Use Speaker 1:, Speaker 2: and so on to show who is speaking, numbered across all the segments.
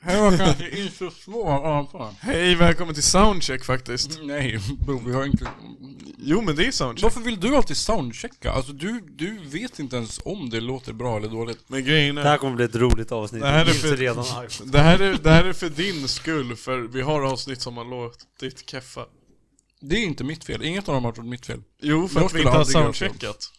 Speaker 1: jag kanske är så svår apa.
Speaker 2: Hej, välkommen till soundcheck faktiskt.
Speaker 1: Nej, Bo, vi har inte...
Speaker 2: Mm. Jo men det är soundcheck.
Speaker 1: Varför vill du alltid soundchecka? Alltså du, du vet inte ens om det låter bra eller dåligt.
Speaker 2: Men grejen
Speaker 3: Det
Speaker 2: är,
Speaker 3: här kommer bli ett roligt avsnitt.
Speaker 2: Det här är
Speaker 3: Jag minns
Speaker 2: för-
Speaker 3: redan arg.
Speaker 2: det här är, det här är för din skull för vi har avsnitt som har låtit keffa.
Speaker 1: Det är inte mitt fel. Inget av dem har varit mitt fel.
Speaker 2: Jo för
Speaker 1: Jag
Speaker 2: att vi
Speaker 1: skulle
Speaker 2: inte har
Speaker 1: aldrig göra så.
Speaker 2: soundcheckat.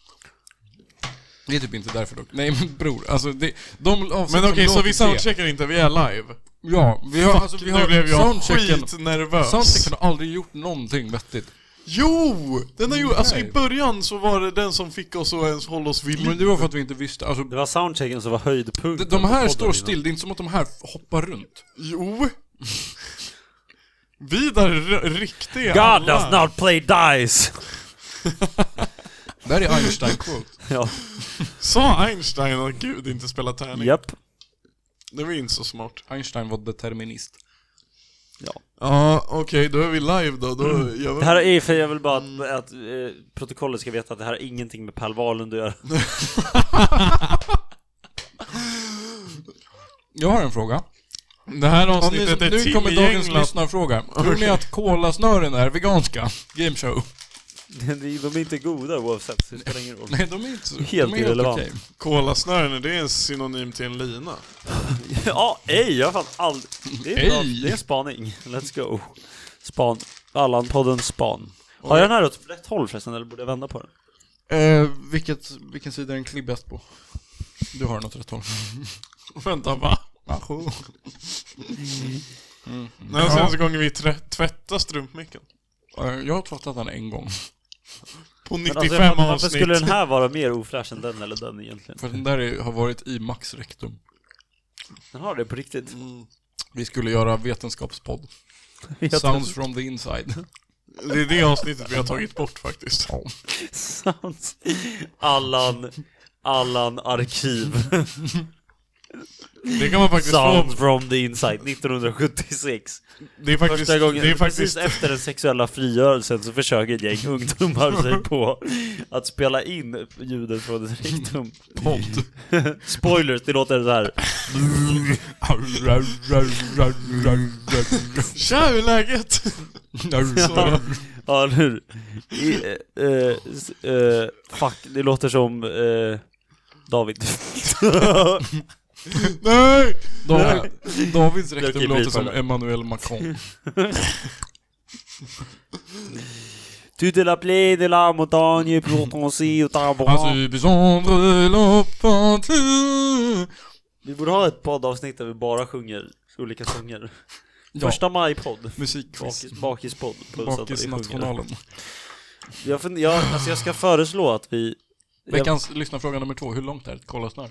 Speaker 1: Det är typ inte därför dock. Nej men bror, alltså det, de avsnitt
Speaker 2: Men
Speaker 1: som
Speaker 2: okej, så
Speaker 1: låter
Speaker 2: vi soundcheckar inte, vi är live.
Speaker 1: det- Ja, vi har, alltså, vi har
Speaker 2: nu blev jag
Speaker 1: soundchecken.
Speaker 2: skitnervös.
Speaker 1: Soundchecken har aldrig gjort någonting vettigt.
Speaker 2: Jo! Den har gjort, alltså i
Speaker 1: Nej.
Speaker 2: början så var det den som fick oss att ens hålla oss vid
Speaker 1: Men
Speaker 2: liv.
Speaker 1: det var för att vi inte visste. Alltså,
Speaker 3: Det var soundchecken som var
Speaker 1: de,
Speaker 3: höjdpunkten.
Speaker 1: de
Speaker 3: på
Speaker 1: här
Speaker 3: podden
Speaker 1: står
Speaker 3: innan.
Speaker 1: still, det är inte som att de här hoppar runt.
Speaker 2: Jo! Vi där r- riktiga
Speaker 3: God does
Speaker 2: alla.
Speaker 3: not play dice!
Speaker 1: Det här är Einstein-quote.
Speaker 3: ja,
Speaker 2: Sa Einstein att Gud inte spelar tärning?
Speaker 3: japp.
Speaker 2: Det var inte så smart.
Speaker 1: Einstein var determinist.
Speaker 3: Ja.
Speaker 2: Ja, okej, då är vi live då. då gör vi...
Speaker 3: Mm. Det här är för jag vill bara att, att eh, protokollet ska veta att det här har ingenting med Per Wahlund att göra.
Speaker 1: Jag har en fråga.
Speaker 2: Det här
Speaker 1: Om ni,
Speaker 2: avsnittet är
Speaker 1: nu kommer dagens
Speaker 2: tillgängligt.
Speaker 1: lyssnarfråga. Tror ni att kolasnören är veganska? Game show.
Speaker 3: Det- det- De är inte goda oavsett, så det spelar ingen roll.
Speaker 1: Nej, de är inte så...
Speaker 3: Helt
Speaker 1: de är
Speaker 3: irrelevant.
Speaker 1: okej.
Speaker 2: Kolasnören, det är en synonym till en lina.
Speaker 3: Ja, ej, jag har fan aldrig... Det är, bra.
Speaker 1: Ej.
Speaker 3: det är en spaning. Let's go. Span. Allan-podden Span. Har jag den här åt rätt håll förresten, eller borde jag vända på den?
Speaker 1: Eh, vilket, vilken sida är den klibbigast på? Du har den åt rätt håll.
Speaker 2: Vänta, va? När var
Speaker 1: Ja.
Speaker 2: senaste gången vi trä- tvättade strumpmicken?
Speaker 1: Eh, Jag har tvättat den en gång.
Speaker 2: På
Speaker 3: Men
Speaker 2: 95
Speaker 3: alltså, jag fattar, varför
Speaker 2: avsnitt.
Speaker 3: skulle den här vara mer ofräsch än den eller den egentligen?
Speaker 1: För den där är, har varit i Max rektum.
Speaker 3: Den har det på riktigt.
Speaker 1: Vi skulle göra vetenskapspodd.
Speaker 3: Vet
Speaker 1: Sounds from the inside.
Speaker 2: Det är det avsnittet vi har tagit bort faktiskt.
Speaker 3: du? Sounds. Allan... Allan arkiv.
Speaker 2: Det kan man faktiskt
Speaker 3: Sounds
Speaker 2: få.
Speaker 3: from the inside 1976.
Speaker 2: Det är faktiskt...
Speaker 3: Första gången,
Speaker 2: det är
Speaker 3: precis
Speaker 2: faktiskt
Speaker 3: efter den sexuella frigörelsen så försöker ett gäng ungdomar sig på att spela in ljudet från ett rektum.
Speaker 1: Podd.
Speaker 3: Spoilers, det låter så här.
Speaker 2: Tja, hur är läget?
Speaker 3: Ja, ja eller hur? I, eh, s- eh, fuck, det låter som eh, David.
Speaker 2: Nej!
Speaker 1: David, Davids rektum
Speaker 3: Okej,
Speaker 1: låter
Speaker 3: blipa
Speaker 1: som
Speaker 3: det.
Speaker 1: Emmanuel Macron.
Speaker 3: Tout est la plaie de la montagne pour ton si och ta bra.
Speaker 2: Alltså,
Speaker 3: Vi borde ha ett poddavsnitt där vi bara sjunger olika sånger.
Speaker 1: Ja.
Speaker 3: Första maj-podd.
Speaker 1: Musikquiz.
Speaker 3: Bakis- Bakispodd. Plus att vi sjunger.
Speaker 1: Bakisnationalen.
Speaker 3: Jag, fund- jag, alltså jag ska föreslå att vi... Jag,
Speaker 1: Veckans lyssnarfråga nummer två. Hur långt är ett kolasnöre?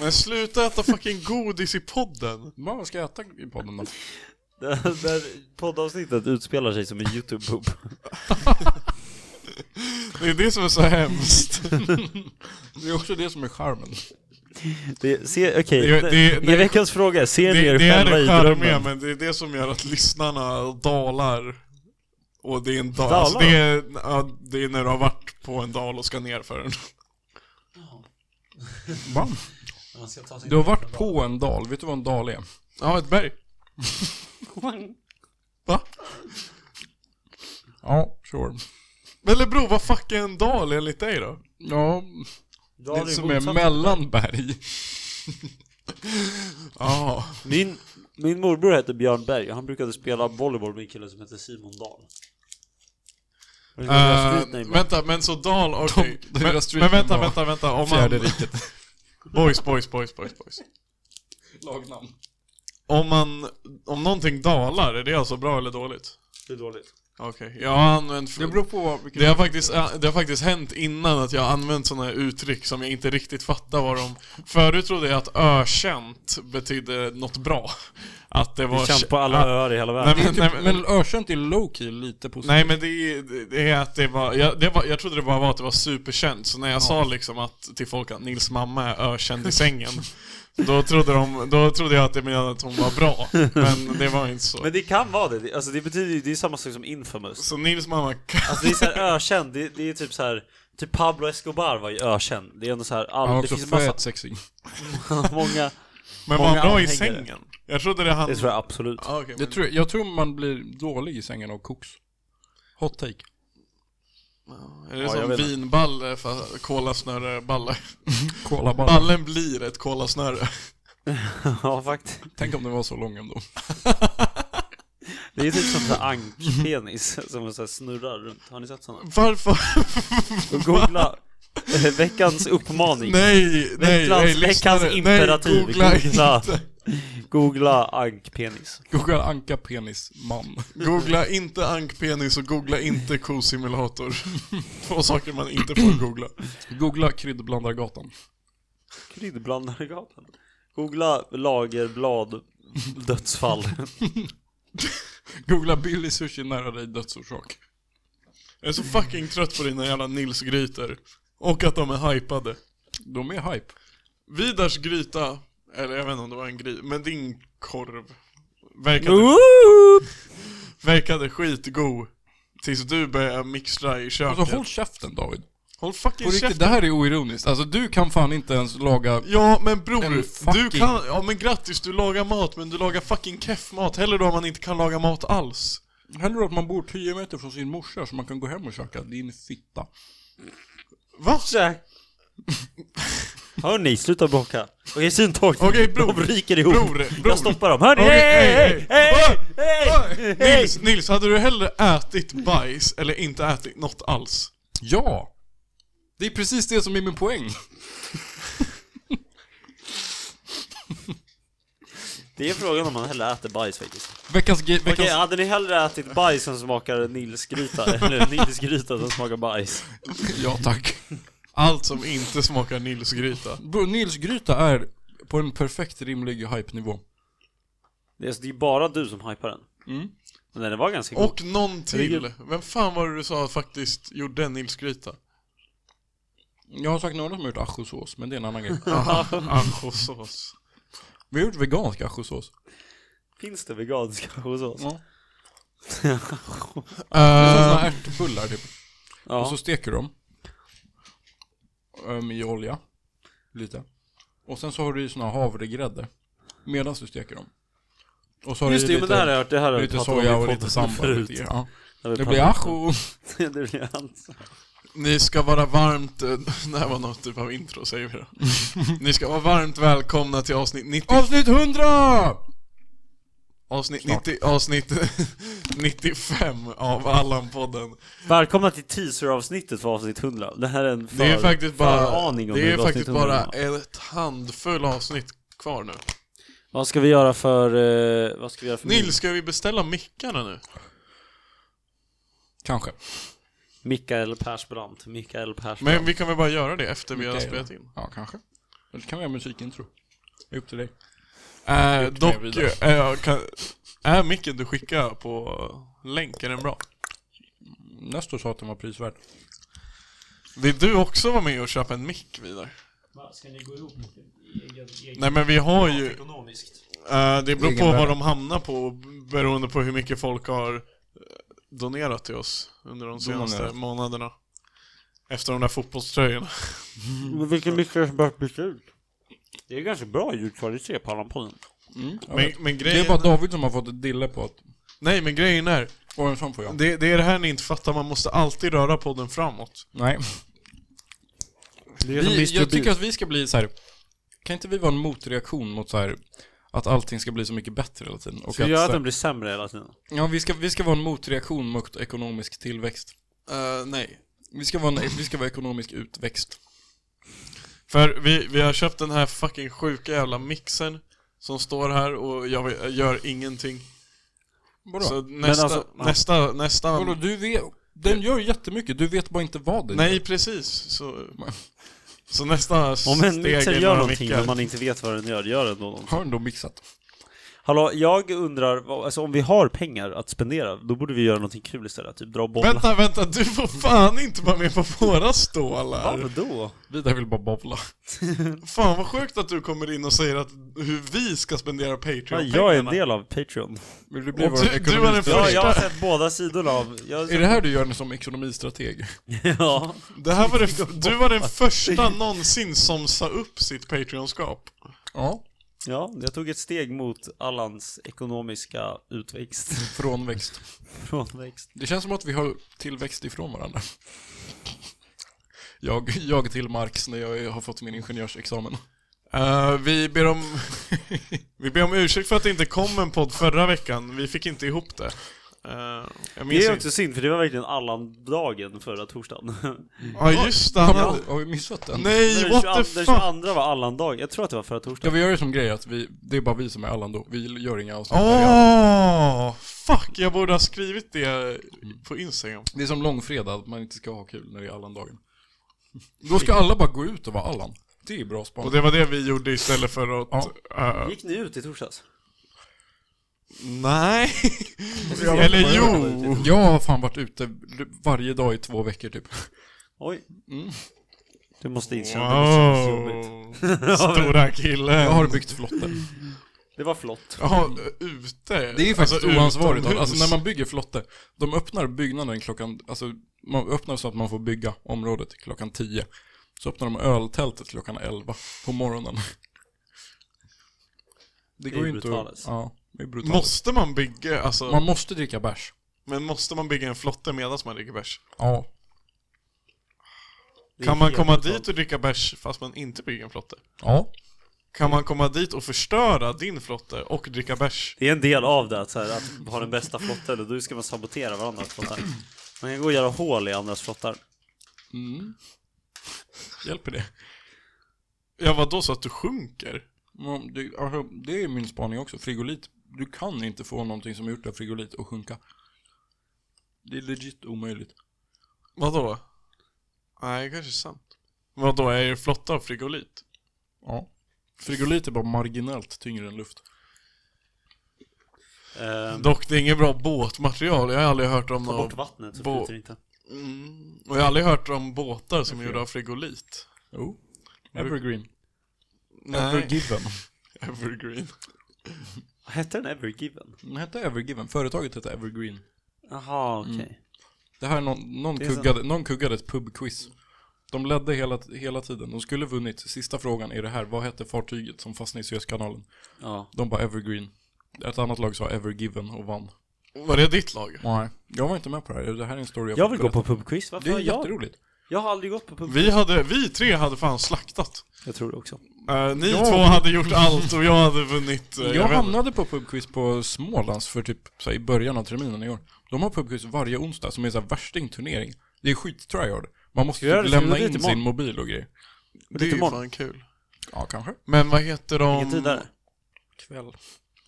Speaker 2: Men sluta äta fucking godis i podden.
Speaker 1: Vad ska jag äta i podden då?
Speaker 3: där, där poddavsnittet utspelar sig som en YouTube-pub.
Speaker 2: Det är det som är så hemskt.
Speaker 1: Det är också det som är charmen.
Speaker 3: Det- se- Okej,
Speaker 2: Det- det-
Speaker 3: okay.
Speaker 2: det-
Speaker 3: veckans fråga är, ser ni
Speaker 2: Det,
Speaker 3: er
Speaker 2: det är
Speaker 3: själva i
Speaker 2: det charmiga,
Speaker 3: drömmen?
Speaker 2: men det är det som gör att lyssnarna dalar. Och det är en dal.
Speaker 3: Dalar?
Speaker 2: Alltså det, är, ja, det är när du har varit på en dal och ska ner för den.
Speaker 1: Va? Du har varit på en dal. Vet du vad en dal är?
Speaker 2: Ja, ett berg. Va?
Speaker 1: Ja, sure.
Speaker 2: Eller bro, vad fuck är en dal enligt dig då?
Speaker 1: Ja,
Speaker 3: Då har
Speaker 1: det
Speaker 3: du
Speaker 1: som är
Speaker 3: motsatt-
Speaker 1: mellan berg.
Speaker 2: Ja.
Speaker 3: min, min morbror hette Björn Berg och han brukade spela volleyboll med en kille som hette Simon Dahl. Jag vet inte vad jag
Speaker 2: Eh,
Speaker 3: skryter med.
Speaker 2: vänta, men så dal, okej.
Speaker 1: De-
Speaker 2: Men,
Speaker 1: deras street
Speaker 2: men vänta,
Speaker 1: name
Speaker 2: vänta, vänta. Om man,
Speaker 1: Fjärde riket.
Speaker 2: boys, boys, boys, boys, boys.
Speaker 1: Lagnamn.
Speaker 2: Om man, om någonting dalar, är det alltså bra eller dåligt?
Speaker 3: Det är dåligt.
Speaker 2: Okej, jag har använt...
Speaker 1: Det beror på vilken...
Speaker 2: Det har, faktiskt, eh, det har faktiskt hänt innan att jag har använt sådana här uttryck som jag inte riktigt fattar vad de... Förut trodde jag att ökänt betydde något bra. Att det var...
Speaker 3: Vi känt på alla öar i hela
Speaker 2: Nej
Speaker 3: världen.
Speaker 2: men, nej, men,
Speaker 1: typ- Men ökänt är low-key lite positivt.
Speaker 2: nej, men det, är, det är att det var, jag, det var... Jag trodde det bara var att det var superkänt, så när jag sa liksom att, till folk att Nils mamma är ökänd i sängen, då trodde, de, då trodde jag att det menade att hon var bra. Men det var inte så.
Speaker 3: Men det kan vara det. det. Alltså det betyder ju, det är samma sak som infamous.
Speaker 2: Så Nils mamma...
Speaker 3: Alltså det är såhär ökänd, det, det är typ så här. Typ Pablo Escobar var ju ökänd. Det är ändå såhär, all,
Speaker 1: Han är
Speaker 3: det
Speaker 1: också
Speaker 3: finns massa,
Speaker 1: fett sexig.
Speaker 3: många...
Speaker 2: Men var
Speaker 3: Många
Speaker 2: bra i
Speaker 3: anhängare.
Speaker 2: sängen? Jag trodde det han...
Speaker 3: Det tror jag absolut.
Speaker 2: Ah, okej,
Speaker 1: Det
Speaker 2: men-
Speaker 1: tror jag, jag tror man blir dålig i sängen av koks. Hot take.
Speaker 2: Är det
Speaker 3: Ja, jag
Speaker 2: som
Speaker 3: vet inte.
Speaker 2: vinballe fast kolasnöre balle?
Speaker 1: Kolla bara.
Speaker 2: Ballen blir ett kolasnöre.
Speaker 3: ja, faktiskt.
Speaker 1: Tänk om den var så lång ändå.
Speaker 3: Det är typ som en ankpenis som så här snurrar runt. Har ni sett sådana?
Speaker 2: Varför?
Speaker 3: Googla eh, veckans uppmaning.
Speaker 2: Nej, nej,
Speaker 3: Veckans-
Speaker 2: nej,
Speaker 3: veckans
Speaker 2: lyssnare.
Speaker 3: imperativ.
Speaker 2: Nej, googla,
Speaker 3: Googla.
Speaker 2: Inte,
Speaker 3: Googla ankpenis.
Speaker 1: Googla anka penis man.
Speaker 2: googla inte ankpenis och googla inte kosimulator. Två saker man inte får googla.
Speaker 1: Googla kryddblandargatan.
Speaker 3: Kryddblandargatan. Googla lagerblad dödsfall.
Speaker 1: Googla billig sushi nära dig dödsorsak.
Speaker 2: Jag är så fucking trött på dina jävla Nils-grytor. Och att de är hypade.
Speaker 1: De är hype.
Speaker 2: Vidars gryta, eller jag vet inte om det var en gryta, men din korv. Verkade
Speaker 3: Woop!
Speaker 2: verkade skitgod tills du började mixtra i köket.
Speaker 1: Alltså håll käften David.
Speaker 2: Håll
Speaker 1: På
Speaker 2: fucking
Speaker 1: riktigt,
Speaker 2: käften.
Speaker 1: det här är oironiskt. Alltså du kan fan inte ens laga...
Speaker 2: Ja men bror,
Speaker 1: En fucking-
Speaker 2: du kan, ja men grattis du lagar mat men du lagar fucking keff mat. Hellre då om man inte kan laga mat alls.
Speaker 1: Hellre att man bor 10 meter från sin morsa så man kan gå hem och käka. Din fitta.
Speaker 2: Va?
Speaker 3: Hörni, sluta bråka. Okej, syntåg.
Speaker 2: Okej, bror.
Speaker 3: De ryker ihop.
Speaker 2: Bror, bror.
Speaker 3: Jag stoppar dem. Hörni,
Speaker 2: Okej,
Speaker 3: hej,
Speaker 2: hej,
Speaker 3: hej, hej, hej, hej!
Speaker 2: Nils, Nils, hade du hellre ätit bajs eller inte ätit något alls?
Speaker 1: Ja! Det är precis det som är min poäng.
Speaker 3: Det är frågan om man hellre äter bajs faktiskt.
Speaker 1: Veckans... ge-
Speaker 3: Okej,
Speaker 1: veckans...
Speaker 3: hade ni hellre ätit bajs som smakar Nilsgryta eller Nilsgryta som smakar bajs?
Speaker 1: Ja tack.
Speaker 2: Allt som inte smakar Nilsgryta.
Speaker 1: Bro, Nils Gryta är på en perfekt rimlig hype-nivå.
Speaker 3: Det är, det är bara du som hypar den.
Speaker 1: Mm.
Speaker 3: Men den var ganska god.
Speaker 2: Och någon till. Vem fan var det du sa faktiskt gjorde en Nilsgryta?
Speaker 1: Jag har sagt några som har gjort achosås, men det är en annan grej.
Speaker 2: Ansjosås.
Speaker 1: Vi har gjort vegansk achosås.
Speaker 3: Finns det veganska hos oss?
Speaker 1: Ja.
Speaker 2: Eh,
Speaker 1: Sådana ärtbullar typ.
Speaker 3: Ja.
Speaker 1: Och så steker du dem. Ehm, I olja. Lite. Och sen så har du ju såna havregrädde. Medan du steker dem. Och så har
Speaker 3: Just
Speaker 1: du
Speaker 3: det,
Speaker 1: ju
Speaker 3: men det här har
Speaker 1: lite,
Speaker 3: jag hört. Det här har jag
Speaker 1: lite
Speaker 3: pratat om i
Speaker 1: soja och
Speaker 3: podden
Speaker 1: lite sambal.
Speaker 3: förut.
Speaker 1: lite- Ja.
Speaker 3: Jag vet
Speaker 1: Det
Speaker 3: inte.
Speaker 1: blir ajo.
Speaker 3: det blir alltså.
Speaker 2: Ni ska vara varmt... eh, Det här var något typ av intro, säger vi då. Ni ska vara varmt välkomna till avsnitt 90...
Speaker 1: Avsnitt 100!
Speaker 2: Avsnitt,
Speaker 1: Snart.
Speaker 2: 90, avsnitt 95 av Allan-podden.
Speaker 3: Välkomna till teaseravsnittet för avsnitt 100. Det här är en för,
Speaker 2: Det är faktiskt bara...
Speaker 3: föraning om
Speaker 2: Det är
Speaker 3: hur
Speaker 2: faktiskt
Speaker 3: avsnitt 100
Speaker 2: bara
Speaker 3: var.
Speaker 2: ett handfull avsnitt kvar
Speaker 1: Mm.
Speaker 2: nu.
Speaker 3: Vad ska vi göra för... eh, vad ska vi göra för
Speaker 2: Nils, ska vi beställa mickarna nu?
Speaker 1: Kanske.
Speaker 3: Mikael Persbrandt. Mikael Persbrandt.
Speaker 2: Men vi kan väl bara göra det efter vi har
Speaker 1: Okej,
Speaker 2: spelat in?
Speaker 1: Ja, kanske. Eller så kan vi göra musikintro. Det är upp till dig.
Speaker 2: Eh, dock,
Speaker 1: med vidare.
Speaker 2: eh, jag kan, är micken du skickar på länk, är den bra?
Speaker 1: Nestor sa att den var prisvärd.
Speaker 2: Vill du också vara med och köpa en mick vidare?
Speaker 4: Ska ni gå ihop egen, egen,
Speaker 2: Nej men vi har ju...
Speaker 4: ekonomiskt?
Speaker 2: Eh, det beror
Speaker 1: Egen
Speaker 2: på
Speaker 1: värde.
Speaker 2: vad de hamnar på beroende på hur mycket folk har eh, donerat till oss under de senaste
Speaker 1: Donerat.
Speaker 2: månaderna. Efter de där fotbollströjorna.
Speaker 3: Mm, Men vilken mick är det som börjat byta ut? Det är ganska bra ljudkvalitet på Allan-podden.
Speaker 1: Mm, jag
Speaker 2: Men,
Speaker 1: vet.
Speaker 2: men
Speaker 1: det
Speaker 2: grejen...
Speaker 1: är bara David som har fått ett dille på att...
Speaker 2: Nej men grejen är,
Speaker 1: Och en sån får jag.
Speaker 2: det, det är det här ni inte fattar, man måste alltid röra podden framåt.
Speaker 1: Nej.
Speaker 3: Det är
Speaker 1: Vi, jag tycker att vi ska bli så här. Kan inte vi vara en motreaktion mot så här att allting ska bli så mycket bättre hela tiden? Och
Speaker 3: Ska
Speaker 1: att,
Speaker 3: vi göra
Speaker 1: så
Speaker 3: att
Speaker 1: här,
Speaker 3: den blir sämre hela tiden?
Speaker 1: ja, vi ska, vi ska vara en motreaktion mot ekonomisk tillväxt.
Speaker 2: Eh, nej.
Speaker 1: Vi ska vara, en, vi ska vara ekonomisk utväxt.
Speaker 2: För vi, vi har köpt den här fucking sjuka jävla mixen som står här och jag vet- jag gör ingenting.
Speaker 1: Vadå?
Speaker 2: Så nästa,
Speaker 3: alltså, ja.
Speaker 2: nästa, nästa...
Speaker 1: Vadå, du vet... Den gör jättemycket, du vet bara inte vad den
Speaker 2: Nej
Speaker 1: gör.
Speaker 2: precis, så, så nästa
Speaker 3: Om en
Speaker 2: steg är
Speaker 3: mixer gör
Speaker 2: några
Speaker 3: någonting
Speaker 2: mickar.
Speaker 3: men man inte vet vad den gör, gör den då någonting?
Speaker 1: Har den då mixat?
Speaker 3: Hallå, jag undrar, vad- alltså om vi har pengar att spendera, då borde vi göra någonting kul istället, typ dra och bolla.
Speaker 2: Vänta, vänta, du får fan inte vara med på våra stålar!
Speaker 3: Varför då?
Speaker 1: Vidar vill bara bovla.
Speaker 2: Fan vad sjukt att du kommer in och säger att hur vi ska spendera Patreon-pengarna.
Speaker 3: Jag är en del av Patreon.
Speaker 1: Vill du bli
Speaker 2: Och
Speaker 1: vår
Speaker 2: du- du är den
Speaker 1: ekonomistrateg?
Speaker 2: första-
Speaker 3: Ja, jag har sett båda sidorna av... Jag har
Speaker 1: Är
Speaker 3: sett,
Speaker 1: det här du gör som ekonomistrateg?
Speaker 3: ja.
Speaker 2: Det här var det, f- du var den första någonsin som sa upp sitt Patreonskap.
Speaker 1: Ja.
Speaker 3: Ja, jag tog ett steg mot Allans ekonomiska utväxt.
Speaker 1: Frånväxt.
Speaker 3: Frånväxt.
Speaker 1: Det känns som att vi har tillväxt ifrån varandra. Jag, jag till Marx när jag har fått min ingenjörsexamen.
Speaker 2: Eh, vi, ber om, vi ber om ursäkt för att det inte kom en podd förra veckan. Vi fick inte ihop det. Eh, jag minns
Speaker 3: Det är
Speaker 2: inte.
Speaker 3: också synd, för det var verkligen Allan-dagen förra torsdagen.
Speaker 2: Ja, just det. han
Speaker 1: Har
Speaker 2: hade-
Speaker 1: vi, har vi missat den?
Speaker 2: Nej,
Speaker 3: Den
Speaker 2: what
Speaker 3: 22
Speaker 2: the
Speaker 3: den
Speaker 2: fuck!
Speaker 3: 22 var Allan-dagen. Jag tror att det var förra
Speaker 1: Ja,
Speaker 3: torsdagen.
Speaker 1: vi gör ju som grej att vi, det är bara vi som är Allan då. Vi gör inga avsnitt. där vi är Allan.
Speaker 2: Åh! fuck, jag borde ha skrivit det på Instagram.
Speaker 1: Det är som långfredag, att man inte ska ha kul när det är Allan-dagen. Då ska alla bara gå ut och vara Allan. Det är bra
Speaker 2: Och
Speaker 1: spanat.
Speaker 2: det var det vi gjorde istället för att...
Speaker 1: Ja.
Speaker 2: eh,
Speaker 3: Gick ni ut i torsdags?
Speaker 2: nej.
Speaker 1: Jag vet
Speaker 2: Eller
Speaker 1: inte vad jag
Speaker 2: jo.
Speaker 1: Jag har fan varit ute varje dag i två veckor typ.
Speaker 3: Oj. Du måste inse att det känns jobbigt.
Speaker 2: Wow. Stora killen.
Speaker 1: Jag har byggt flotte.
Speaker 3: Det var flott.
Speaker 2: Jaha, äh, ute?
Speaker 1: Det är ju faktiskt oansvarigt.
Speaker 2: utomhus.
Speaker 1: Alltså när man bygger flotte, de öppnar byggnaden klockan, alltså man öppnar så att man får bygga området klockan 10. Så öppnar de öltältet klockan 11 på morgonen. Det
Speaker 3: Det
Speaker 1: går
Speaker 3: är
Speaker 1: ju inte
Speaker 3: brutalt.
Speaker 1: Ja, det är brutalt.
Speaker 2: Måste man bygga, alltså,
Speaker 1: Man måste dricka bärs.
Speaker 2: men måste man bygga en flotte medan man dricker bärs?
Speaker 1: Ja.
Speaker 3: Det är
Speaker 2: Kan man
Speaker 3: helt
Speaker 2: komma
Speaker 3: brutalt.
Speaker 2: dit och dricka bärs fast man inte bygger en flotte?
Speaker 1: Ja.
Speaker 2: Kan man komma dit och förstöra din flotte och dricka bärs?
Speaker 3: Det är en del av det, att, så här, att ha den bästa flotten och då ska man sabotera varandras flottar. Man kan gå och göra hål i andras flottar.
Speaker 1: Mm. Hjälper det?
Speaker 2: Ja, vadå så att du sjunker?
Speaker 1: Ja, det, alltså, det är min spaning också. Frigolit, du kan inte få någonting som är gjort av frigolit att sjunka. Det är legit omöjligt.
Speaker 2: Vadå? Nej, det kanske är sant. Vadå, är ju flotta av frigolit?
Speaker 1: Ja. Frigolit är bara marginellt tyngre än luft.
Speaker 3: Ehm,
Speaker 2: Dock, det är inget bra båtmaterial. Jag har aldrig hört om
Speaker 3: ta bort
Speaker 2: någon...
Speaker 3: vattnet så
Speaker 2: bo-
Speaker 3: flyter det inte.
Speaker 2: Mm. Och jag har aldrig hört om båtar som är gjorda av frigolit.
Speaker 1: Jo. Evergreen.
Speaker 2: Nej,
Speaker 1: Evergiven.
Speaker 2: evergreen.
Speaker 3: Hette den Evergiven?
Speaker 1: Den hette Evergiven. Företaget hette Evergreen.
Speaker 3: Jaha, okej.
Speaker 1: Det här är någon, någon,
Speaker 3: Det är
Speaker 1: kuggade, någon kuggade ett pubquiz. De ledde hela, hela tiden. De skulle vunnit. Sista frågan är det här. Vad hette fartyget som fastnade i Suezkanalen?
Speaker 3: Ja.
Speaker 1: De bara Evergreen. Ett annat lag sa Evergiven och vann.
Speaker 2: Var det ditt lag?
Speaker 1: Nej. Jag var inte med på det här. Det här är en story
Speaker 3: Jag vill
Speaker 1: fått
Speaker 3: gå
Speaker 1: berätta.
Speaker 3: på pubquiz, varför
Speaker 1: Det är
Speaker 3: har jag?
Speaker 1: jätteroligt.
Speaker 3: Jag har aldrig gått på pubquiz.
Speaker 2: Vi, hade, vi tre hade fan slaktat.
Speaker 3: Jag tror det också.
Speaker 2: Eh, ni
Speaker 1: Ja.
Speaker 2: två hade gjort allt och jag hade vunnit. eh,
Speaker 1: Jag
Speaker 2: vet inte.
Speaker 1: hamnade på pubquiz på Smålands för typ så här, i början av terminen i år. De har pubquiz varje onsdag som är en värstingturnering. Det är skit-tryhard. Man måste
Speaker 3: Gör
Speaker 1: typ
Speaker 3: det, så
Speaker 1: lämna
Speaker 3: gör det
Speaker 1: in
Speaker 3: till imorgon.
Speaker 1: sin mobil och grejer.
Speaker 2: Det är ju
Speaker 3: imorgon.
Speaker 2: fan kul.
Speaker 1: Ja, kanske.
Speaker 2: Men vad heter de?
Speaker 3: Vilken tid är det?
Speaker 1: Kväll.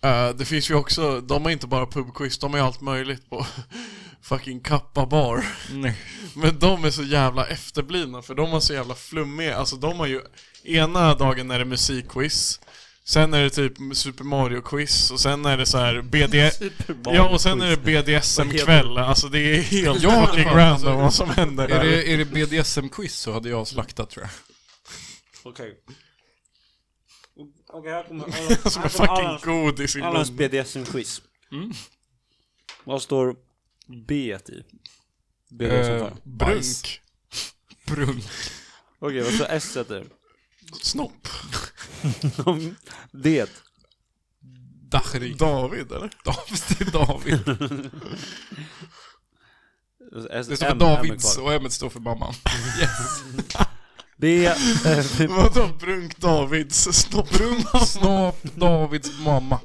Speaker 2: Eh, det finns ju också, de har inte bara pubquiz, de har ju allt möjligt på fucking Kappa bar.
Speaker 1: Nej.
Speaker 2: Men de är så jävla efterblivna för de har så jävla flummiga, alltså de har ju ena dagen är det musikquiz, sen är det typ Super Mario-quiz och sen är det så här BD... Ja, och sen är det BDSM-kväll, alltså det är helt
Speaker 1: Ja,
Speaker 2: fucking
Speaker 1: fan,
Speaker 2: random
Speaker 1: alltså.
Speaker 2: vad som händer
Speaker 1: Är
Speaker 2: där.
Speaker 1: det, är det BDSM-quiz så hade jag slaktat tror jag.
Speaker 3: Okej. Okej, här kommer
Speaker 2: Som är fucking Mm. godis i
Speaker 3: Allans
Speaker 2: munnen.
Speaker 3: BDSM-quiz. Vad står B i? BDSM
Speaker 1: Eh,
Speaker 3: Okej,
Speaker 1: brunk.
Speaker 2: Brunk.
Speaker 1: Brunk.
Speaker 3: vad står S i?
Speaker 2: Snopp.
Speaker 3: Det.
Speaker 1: Dachrik.
Speaker 2: David eller?
Speaker 1: David. David.
Speaker 3: S,
Speaker 1: Det står för
Speaker 3: M, M är
Speaker 1: Davids
Speaker 3: kvar.
Speaker 1: och M står för mamman.
Speaker 3: B, eh,
Speaker 2: Vadå Brunk Davids snoppbrunk?
Speaker 1: Snap Davids mamma.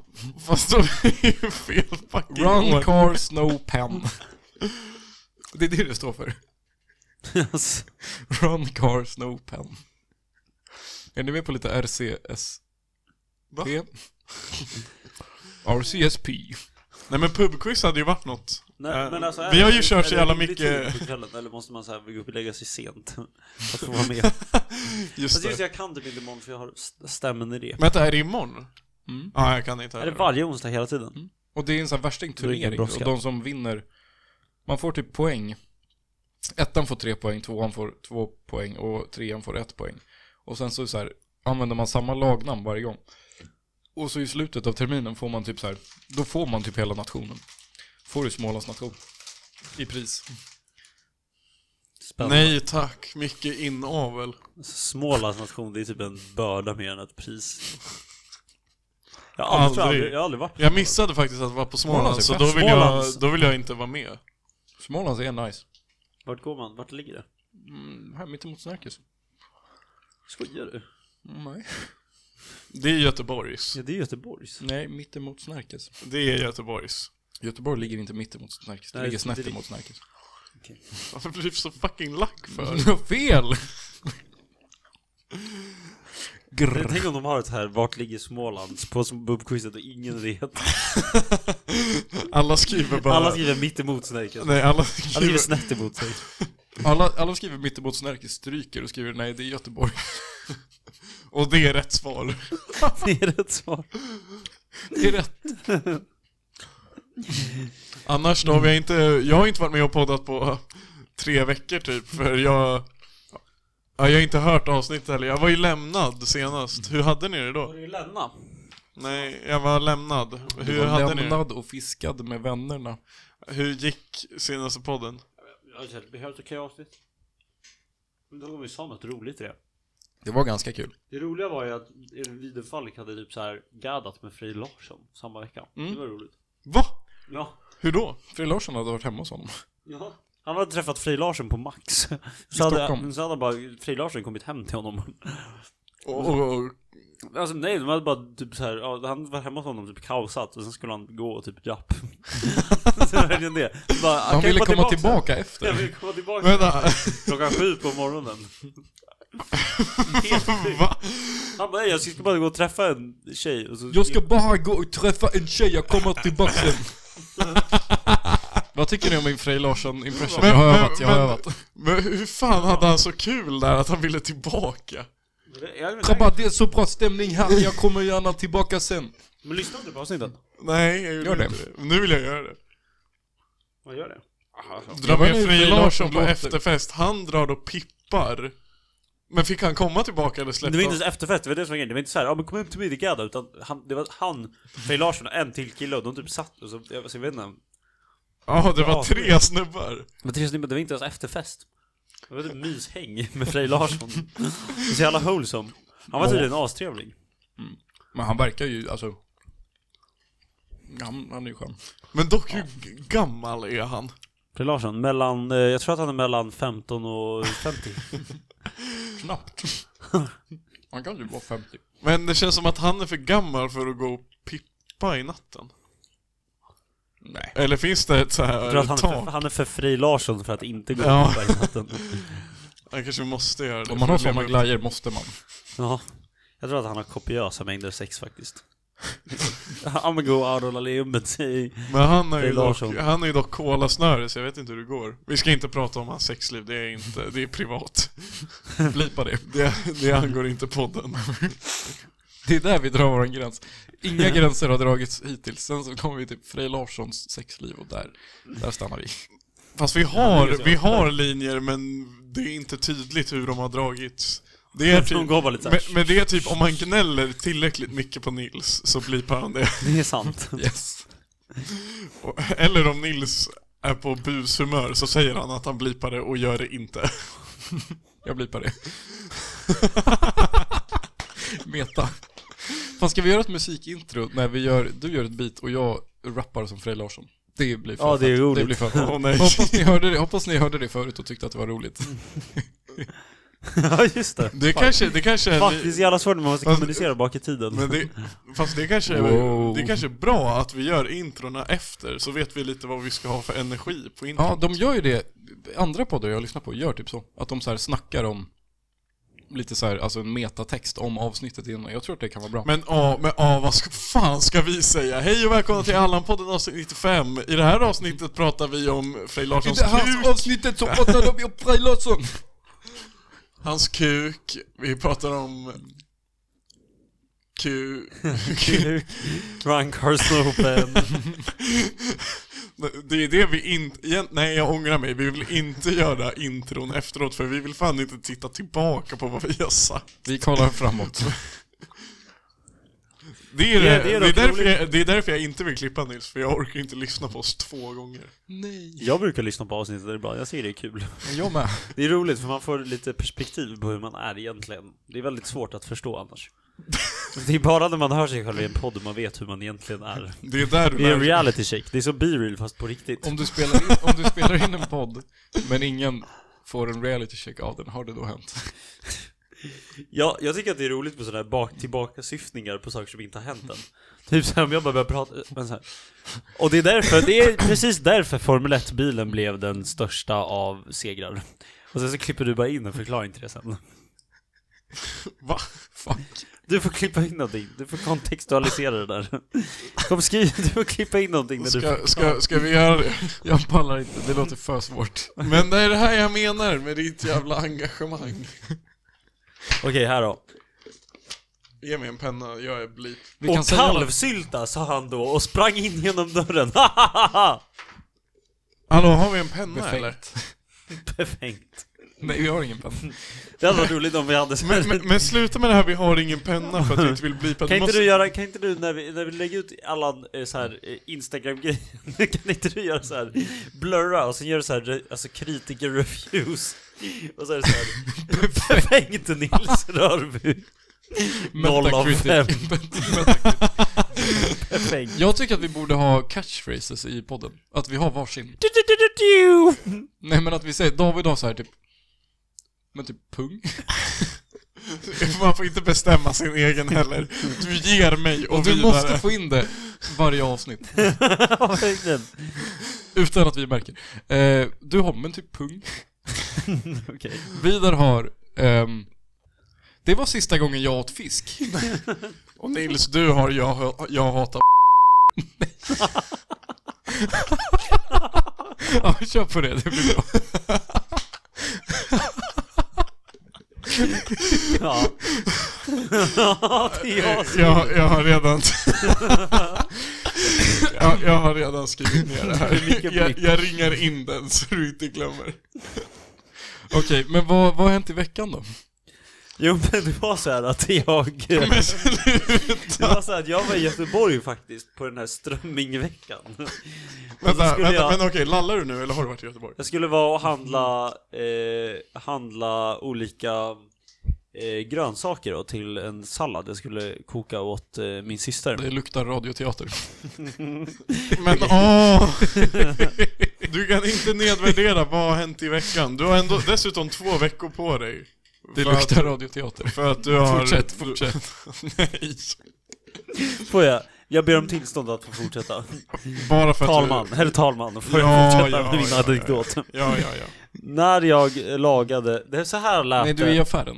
Speaker 2: Fast de är ju fel fucking
Speaker 1: Run
Speaker 2: år.
Speaker 1: car snow pen. Det är det det står för.
Speaker 3: alltså,
Speaker 1: Run car snow pen. Är ni med på lite RCSP?
Speaker 2: Va?
Speaker 1: RCSP.
Speaker 2: Nej men pubquiz hade ju varit något.
Speaker 3: nej,
Speaker 2: Eh,
Speaker 3: men alltså, är
Speaker 2: vi har
Speaker 3: det-
Speaker 2: ju kört
Speaker 3: är
Speaker 2: så
Speaker 3: det
Speaker 2: jävla
Speaker 3: rimlig
Speaker 2: mycket...
Speaker 3: tid på kvällen, Eller måste man så här gå upp och lägga sig sent? Att få vara med. Fast
Speaker 2: Just
Speaker 1: Alltså,
Speaker 3: just
Speaker 2: det.
Speaker 3: det, jag kan det inte imorgon för jag har st- stämmerep.
Speaker 2: Men vänta, är det imorgon?
Speaker 1: Mm.
Speaker 2: Ja, jag kan inte
Speaker 3: Är
Speaker 2: heller.
Speaker 3: det varje onsdag hela
Speaker 2: Mm.
Speaker 3: tiden?
Speaker 1: Och det är en sån här
Speaker 3: Det är ingen
Speaker 1: värstingturnering. Och
Speaker 3: brådska.
Speaker 1: de som vinner, man får typ poäng. Ettan får tre poäng, tvåan får två poäng och trean får ett poäng. Och sen så, så här, använder man samma lagnamn varje gång. Och så i slutet av terminen får man typ så här, då får man typ hela nationen. Får du Smålands nation. I pris.
Speaker 3: Spännande.
Speaker 2: Nej tack, mycket inavel.
Speaker 3: Alltså, Smålands nation, det är typ en börda mer än ett pris. Jag har aldrig,
Speaker 2: Aldrig.
Speaker 3: aldrig. Jag har aldrig varit
Speaker 2: Jag missade faktiskt att vara på Småland,
Speaker 1: Småland är
Speaker 2: så
Speaker 1: fett.
Speaker 2: då vill,
Speaker 3: Smålands-
Speaker 2: jag, då vill jag inte vara med.
Speaker 1: Smålands är nice.
Speaker 3: Vart går man? Vart ligger det?
Speaker 1: Mm, här mittemot Snärkes.
Speaker 3: Skojar du?
Speaker 1: Nej.
Speaker 2: Det är Göteborgs.
Speaker 3: Ja, det är Göteborgs.
Speaker 1: Nej, mittemot Snärkes.
Speaker 2: Det är Göteborgs.
Speaker 1: Göteborg ligger inte mittemot Snärkes, det
Speaker 3: Nej,
Speaker 1: ligger
Speaker 3: det-
Speaker 1: snett
Speaker 3: det-
Speaker 1: emot Snärkes.
Speaker 2: Varför blir du så fucking lack för?
Speaker 1: Du har fel!
Speaker 3: Men
Speaker 1: Grr.
Speaker 3: Tänk om de har ett här, vart ligger Småland? På som bubbquizet och ingen vet.
Speaker 2: Alla skriver bara...
Speaker 3: Alla skriver mitt emot Snärket.
Speaker 2: Nej, alla
Speaker 3: Alla skriver
Speaker 2: skriver...
Speaker 3: snett emot sig.
Speaker 1: Alla, alla skriver mittemot Snärkes, stryker och skriver nej, det är Göteborg.
Speaker 2: Och det är rätt svar.
Speaker 3: Det är rätt svar.
Speaker 1: Det är rätt.
Speaker 2: Annars då, har vi inte, jag har inte varit med och poddat på tre veckor typ, för jag... Ja, jag har inte hört avsnittet heller. Jag var ju lämnad senast. Hur hade ni det
Speaker 3: Var
Speaker 2: då?
Speaker 3: det Lenna?
Speaker 2: Nej, jag var lämnad.
Speaker 1: Du
Speaker 2: Hur
Speaker 1: var
Speaker 2: hade ni det?
Speaker 1: lämnad och fiskad med vännerna.
Speaker 2: Hur gick senaste podden?
Speaker 3: Jag har vi har ett okej avsnitt. Men då har vi sa något roligt i det.
Speaker 1: Det var ganska kul.
Speaker 3: Det roliga var ju att Elin Widenfalk hade typ så här gaddat med Frej Larsson samma vecka.
Speaker 1: Mm.
Speaker 3: Det var roligt.
Speaker 2: Va?
Speaker 3: Ja.
Speaker 2: Hur då?
Speaker 1: Frej Larsson hade varit hemma hos honom.
Speaker 3: ja. Han hade träffat Frej Larsson på Max. Så hade,
Speaker 1: Stockholm.
Speaker 3: så hade bara Frej Larsson kommit hem till honom.
Speaker 2: Och, och, och,
Speaker 3: Alltså nej, de hade bara typ så här, ja, han var hemma hos honom typ kaosat och sen skulle han gå och typ japp. så det var verkligen det. Så Bara,
Speaker 1: Han
Speaker 3: "Kan jag
Speaker 1: ville
Speaker 3: komma
Speaker 1: komma
Speaker 3: tillbaka?"
Speaker 1: tillbaka
Speaker 3: Jag
Speaker 1: efter.
Speaker 3: vill komma tillbaka
Speaker 2: vänta,
Speaker 3: klockan sju på morgonen. Helt sjukt.
Speaker 2: va?
Speaker 3: Han bara, "Nej, jag ska bara gå och träffa en tjej och så
Speaker 1: Jag ska bara gå och träffa en tjej, jag kommer tillbaka sen. Vad tycker ni om min Frej Larsson-impression? Jag har övat, jag har övat.
Speaker 2: Men hur fan hade han så kul där att han ville tillbaka?
Speaker 3: Jag vet inte.
Speaker 1: Grabbar, det är så bra stämning här, jag kommer gärna tillbaka sen.
Speaker 3: Men lyssna inte på avsnitten.
Speaker 2: Nej, jag gjorde
Speaker 1: Gör det.
Speaker 2: inte det. Nu vill jag göra det.
Speaker 3: Vad gör det?
Speaker 2: Dra
Speaker 1: var
Speaker 2: med
Speaker 1: nu
Speaker 2: Frej
Speaker 1: Frej
Speaker 2: Larsson
Speaker 1: Larsson
Speaker 2: på
Speaker 1: låter.
Speaker 2: efterfest, han drar då pippar. Men fick han komma tillbaka eller
Speaker 3: Det
Speaker 2: släppte
Speaker 3: var inte
Speaker 2: han?
Speaker 3: ens efterfest, det var det som var grejen. Det var inte såhär, ja men kom hem till mig, det gadda. Utan han, det var han, Frej Larsson och en till kille och de typ satt och så, jag, så jag vet inte.
Speaker 2: Ja, det var
Speaker 3: Ja.
Speaker 2: tre snubbar.
Speaker 3: Men Therese Lindberg, det var inte ens efterfest. Det var typ myshäng med Frej Larsson. Så jävla wholesome. Han var tydligen astrevlig.
Speaker 1: Men han verkar ju, alltså... Han, han är ju skön.
Speaker 2: Men dock, hur g- gammal är han?
Speaker 3: Frej Larsson, mellan, eh, jag tror att han är mellan 15 och 50.
Speaker 1: Knappt. Han kan ju vara 50.
Speaker 2: Men det känns som att han är för gammal för att gå och pippa i natten.
Speaker 1: Nej.
Speaker 2: Eller finns det ett så
Speaker 3: Jag
Speaker 2: här
Speaker 3: tror att han är
Speaker 2: tak?
Speaker 3: för, han är för Frej Larsson för att inte gå
Speaker 2: Ja.
Speaker 3: ja. i natten.
Speaker 2: Han kanske måste göra det.
Speaker 1: Om man har
Speaker 2: för att
Speaker 1: såna
Speaker 2: leva upp-
Speaker 1: glajjor måste man.
Speaker 3: Ja. Jag tror att han har kopiösa mängder sex faktiskt. I'm gonna go out on a limb and say
Speaker 2: Men han är,
Speaker 3: Frej
Speaker 2: ju dock,
Speaker 3: Larsson.
Speaker 2: han är ju dock kolasnöre, så jag vet inte hur det går. Vi ska inte prata om hans sexliv, det är, inte, det är privat.
Speaker 1: Blipa det.
Speaker 2: Det, det angår inte podden.
Speaker 1: Det är där vi drar vår gräns. Inga gränser har dragits hittills. Sen så kommer vi till Frej Larssons sexliv och där, där stannar vi.
Speaker 2: Fast vi har, vi har linjer men det är inte tydligt hur de har dragits. Det är
Speaker 3: De
Speaker 2: typ,
Speaker 3: går bara lite
Speaker 2: men,
Speaker 3: såhär,
Speaker 2: men det är typ om man gnäller tillräckligt mycket på Nils så blipar han det.
Speaker 3: det är sant.
Speaker 1: Yes.
Speaker 2: Och- Eller om Nils är på bushumör så säger han att han blipar det och gör det inte.
Speaker 1: Jag blipar det. Meta. Fan, ska vi göra ett musikintro när vi gör, du gör ett beat och jag rappar som Frej Larsson? Det blir för
Speaker 3: Ja, det är
Speaker 1: fett.
Speaker 3: roligt.
Speaker 1: Det blir för
Speaker 2: Åh
Speaker 1: fett.
Speaker 2: nej.
Speaker 1: Hoppas ni, hörde det, hoppas ni hörde det förut och tyckte att det var roligt.
Speaker 3: Ja just det.
Speaker 2: Det kanske, det kanske är...
Speaker 3: Fuck, det är så
Speaker 2: li-
Speaker 3: jävla svårt när man måste
Speaker 2: Fast-
Speaker 3: kommunicera bak i tiden.
Speaker 2: Men det, fast det kanske, är,
Speaker 1: Wow.
Speaker 2: det kanske är bra att vi gör introna efter så vet vi lite vad vi ska ha för energi på intron.
Speaker 1: Ja, de gör ju det. Andra poddar jag lyssnar på gör typ så. Att de så här snackar om lite så här, alltså en metatext om avsnittet innan. Jag tror att det kan vara bra.
Speaker 2: Men ja, men ja, vad ska, fan ska vi säga? Hej och välkomna till Allan-podden avsnitt 95. I det här avsnittet pratar vi om Frej
Speaker 1: I
Speaker 2: Larssons
Speaker 1: det
Speaker 2: kuk,
Speaker 1: här avsnittet så pratade vi om Frej Larsson.
Speaker 2: hans kuk, vi pratar om... Ku...
Speaker 3: Run Carson Open.
Speaker 2: Det är det vi inte... Nej, jag ångrar mig. Vi vill inte göra intron efteråt för vi vill fan inte titta tillbaka på vad vi har sagt.
Speaker 1: Vi kollar framåt.
Speaker 2: Det är,
Speaker 3: Det
Speaker 2: det,
Speaker 3: är- det
Speaker 2: det,
Speaker 3: är
Speaker 2: är
Speaker 3: dock
Speaker 2: därför
Speaker 3: roligt.
Speaker 2: jag, det är därför jag inte vill klippa Nils, för jag orkar inte lyssna på oss två gånger.
Speaker 1: Nej.
Speaker 3: Jag brukar lyssna på avsnittet ibland, jag tycker det är kul.
Speaker 1: Jag med.
Speaker 3: Det är roligt för man får lite perspektiv på hur man är egentligen. Det är väldigt svårt att förstå annars. Det är bara när man hör sig själv i en podd man vet hur man egentligen är.
Speaker 2: Det är där du
Speaker 3: Det är en
Speaker 2: lär
Speaker 3: reality check, det är som B-real fast på riktigt.
Speaker 1: Om du, spelar in, om du spelar in en podd, men ingen får en reality check av den, har det då hänt?
Speaker 3: Ja, jag tycker att det är roligt med sådana här bak tillbakasyftningar på saker som inte har hänt än. Typ såhär om jag bara börjar prata, men så här. Och det är därför, det är precis därför Formel 1-bilen blev den största av segrar. Och sen så klipper du bara in en förklaring till det sen.
Speaker 2: Va?
Speaker 1: Fan.
Speaker 3: Du får klippa in någonting, du får kontextualisera det där. Kom skriv, du får klippa in någonting när du
Speaker 2: Ska, ska, ska vi göra det?
Speaker 1: Jag pallar inte, det låter för svårt.
Speaker 2: Men det är det här jag menar med ditt jävla engagemang.
Speaker 3: Okej, här då.
Speaker 2: Ge mig en penna, jag är blip.
Speaker 1: Vi
Speaker 3: Och
Speaker 1: kan säga alla-
Speaker 3: kalvsylta sa han då och sprang in genom dörren.
Speaker 2: Hallå, har vi en penna
Speaker 1: Befängt.
Speaker 2: eller?
Speaker 3: Befängt.
Speaker 1: Nej, vi har ingen penna.
Speaker 3: Det hade varit roligt om vi hade så här-
Speaker 2: Men, men, men sluta med det här, vi har ingen penna för att vi inte vill blipa.
Speaker 3: Kan inte du göra, kan inte du när vi, när vi lägger ut alla eh, så här eh, Instagram-grejer, kan inte du göra så här blurra och sen gör du så här re- alltså kritiker reviews och så är det så här befängt Nils Rörby. Noll av fem.
Speaker 1: Metacritic. Metacritic.
Speaker 3: Befängt.
Speaker 1: Jag tycker att vi borde ha catchphrases i podden. Att vi har varsin.
Speaker 3: Du, du, du, du, du.
Speaker 1: Nej men att vi säger David har så här typ men typ pung.
Speaker 2: Man får inte bestämma sin egen heller. Du ger mig och,
Speaker 1: Och du
Speaker 2: vidare.
Speaker 1: måste få in det varje avsnitt.
Speaker 3: Ja, verkligen.
Speaker 1: Utan att vi märker. Eh, du har men typ pung.
Speaker 3: Okej.
Speaker 1: Vidar har ehm, Det var sista gången jag åt fisk.
Speaker 2: Och Nils, du har jag, jag hatar
Speaker 1: Ja, vi kör på det, det blir bra.
Speaker 3: Ja. Ja, det är jag som...
Speaker 2: jag, jag har redan... jag, jag har redan skrivit ner det
Speaker 3: Det är
Speaker 2: här.
Speaker 3: mycket
Speaker 2: Jag,
Speaker 3: blipp.
Speaker 2: jag ringar in den så du inte glömmer.
Speaker 1: Okej, men vad, vad har hänt i veckan då?
Speaker 3: Jo men det var så här att jag...
Speaker 2: Men sluta!
Speaker 3: Det var så här att jag var i Göteborg faktiskt på den här strömmingveckan. Och så
Speaker 2: Vänta,
Speaker 3: skulle
Speaker 2: vänta
Speaker 3: jag-
Speaker 2: men okej, lallar du nu eller har du varit i Göteborg?
Speaker 3: Jag skulle vara och handla, eh, handla olika eh, grönsaker då, till en sallad jag skulle koka åt eh, min syster.
Speaker 1: Det luktar radioteater.
Speaker 2: Men åh! Du kan inte nedvärdera vad har hänt i veckan. Du har ändå dessutom två veckor på dig.
Speaker 1: Det
Speaker 2: För att-
Speaker 1: luktar radioteater.
Speaker 2: För att du har...
Speaker 1: Fortsätt, fortsätt.
Speaker 2: Nej.
Speaker 3: Får jag? Jag ber om tillstånd att få fortsätta.
Speaker 2: Bara för
Speaker 3: Talman,
Speaker 2: att
Speaker 3: herr talman, får jag
Speaker 2: Ja,
Speaker 3: fortsätta
Speaker 2: ja,
Speaker 3: med min
Speaker 2: ja, ja,
Speaker 3: anekdot?
Speaker 2: du... Ja, ja, ja.
Speaker 3: När jag lagade, det är så här lät
Speaker 1: Nej, du är i
Speaker 3: det.
Speaker 1: affären.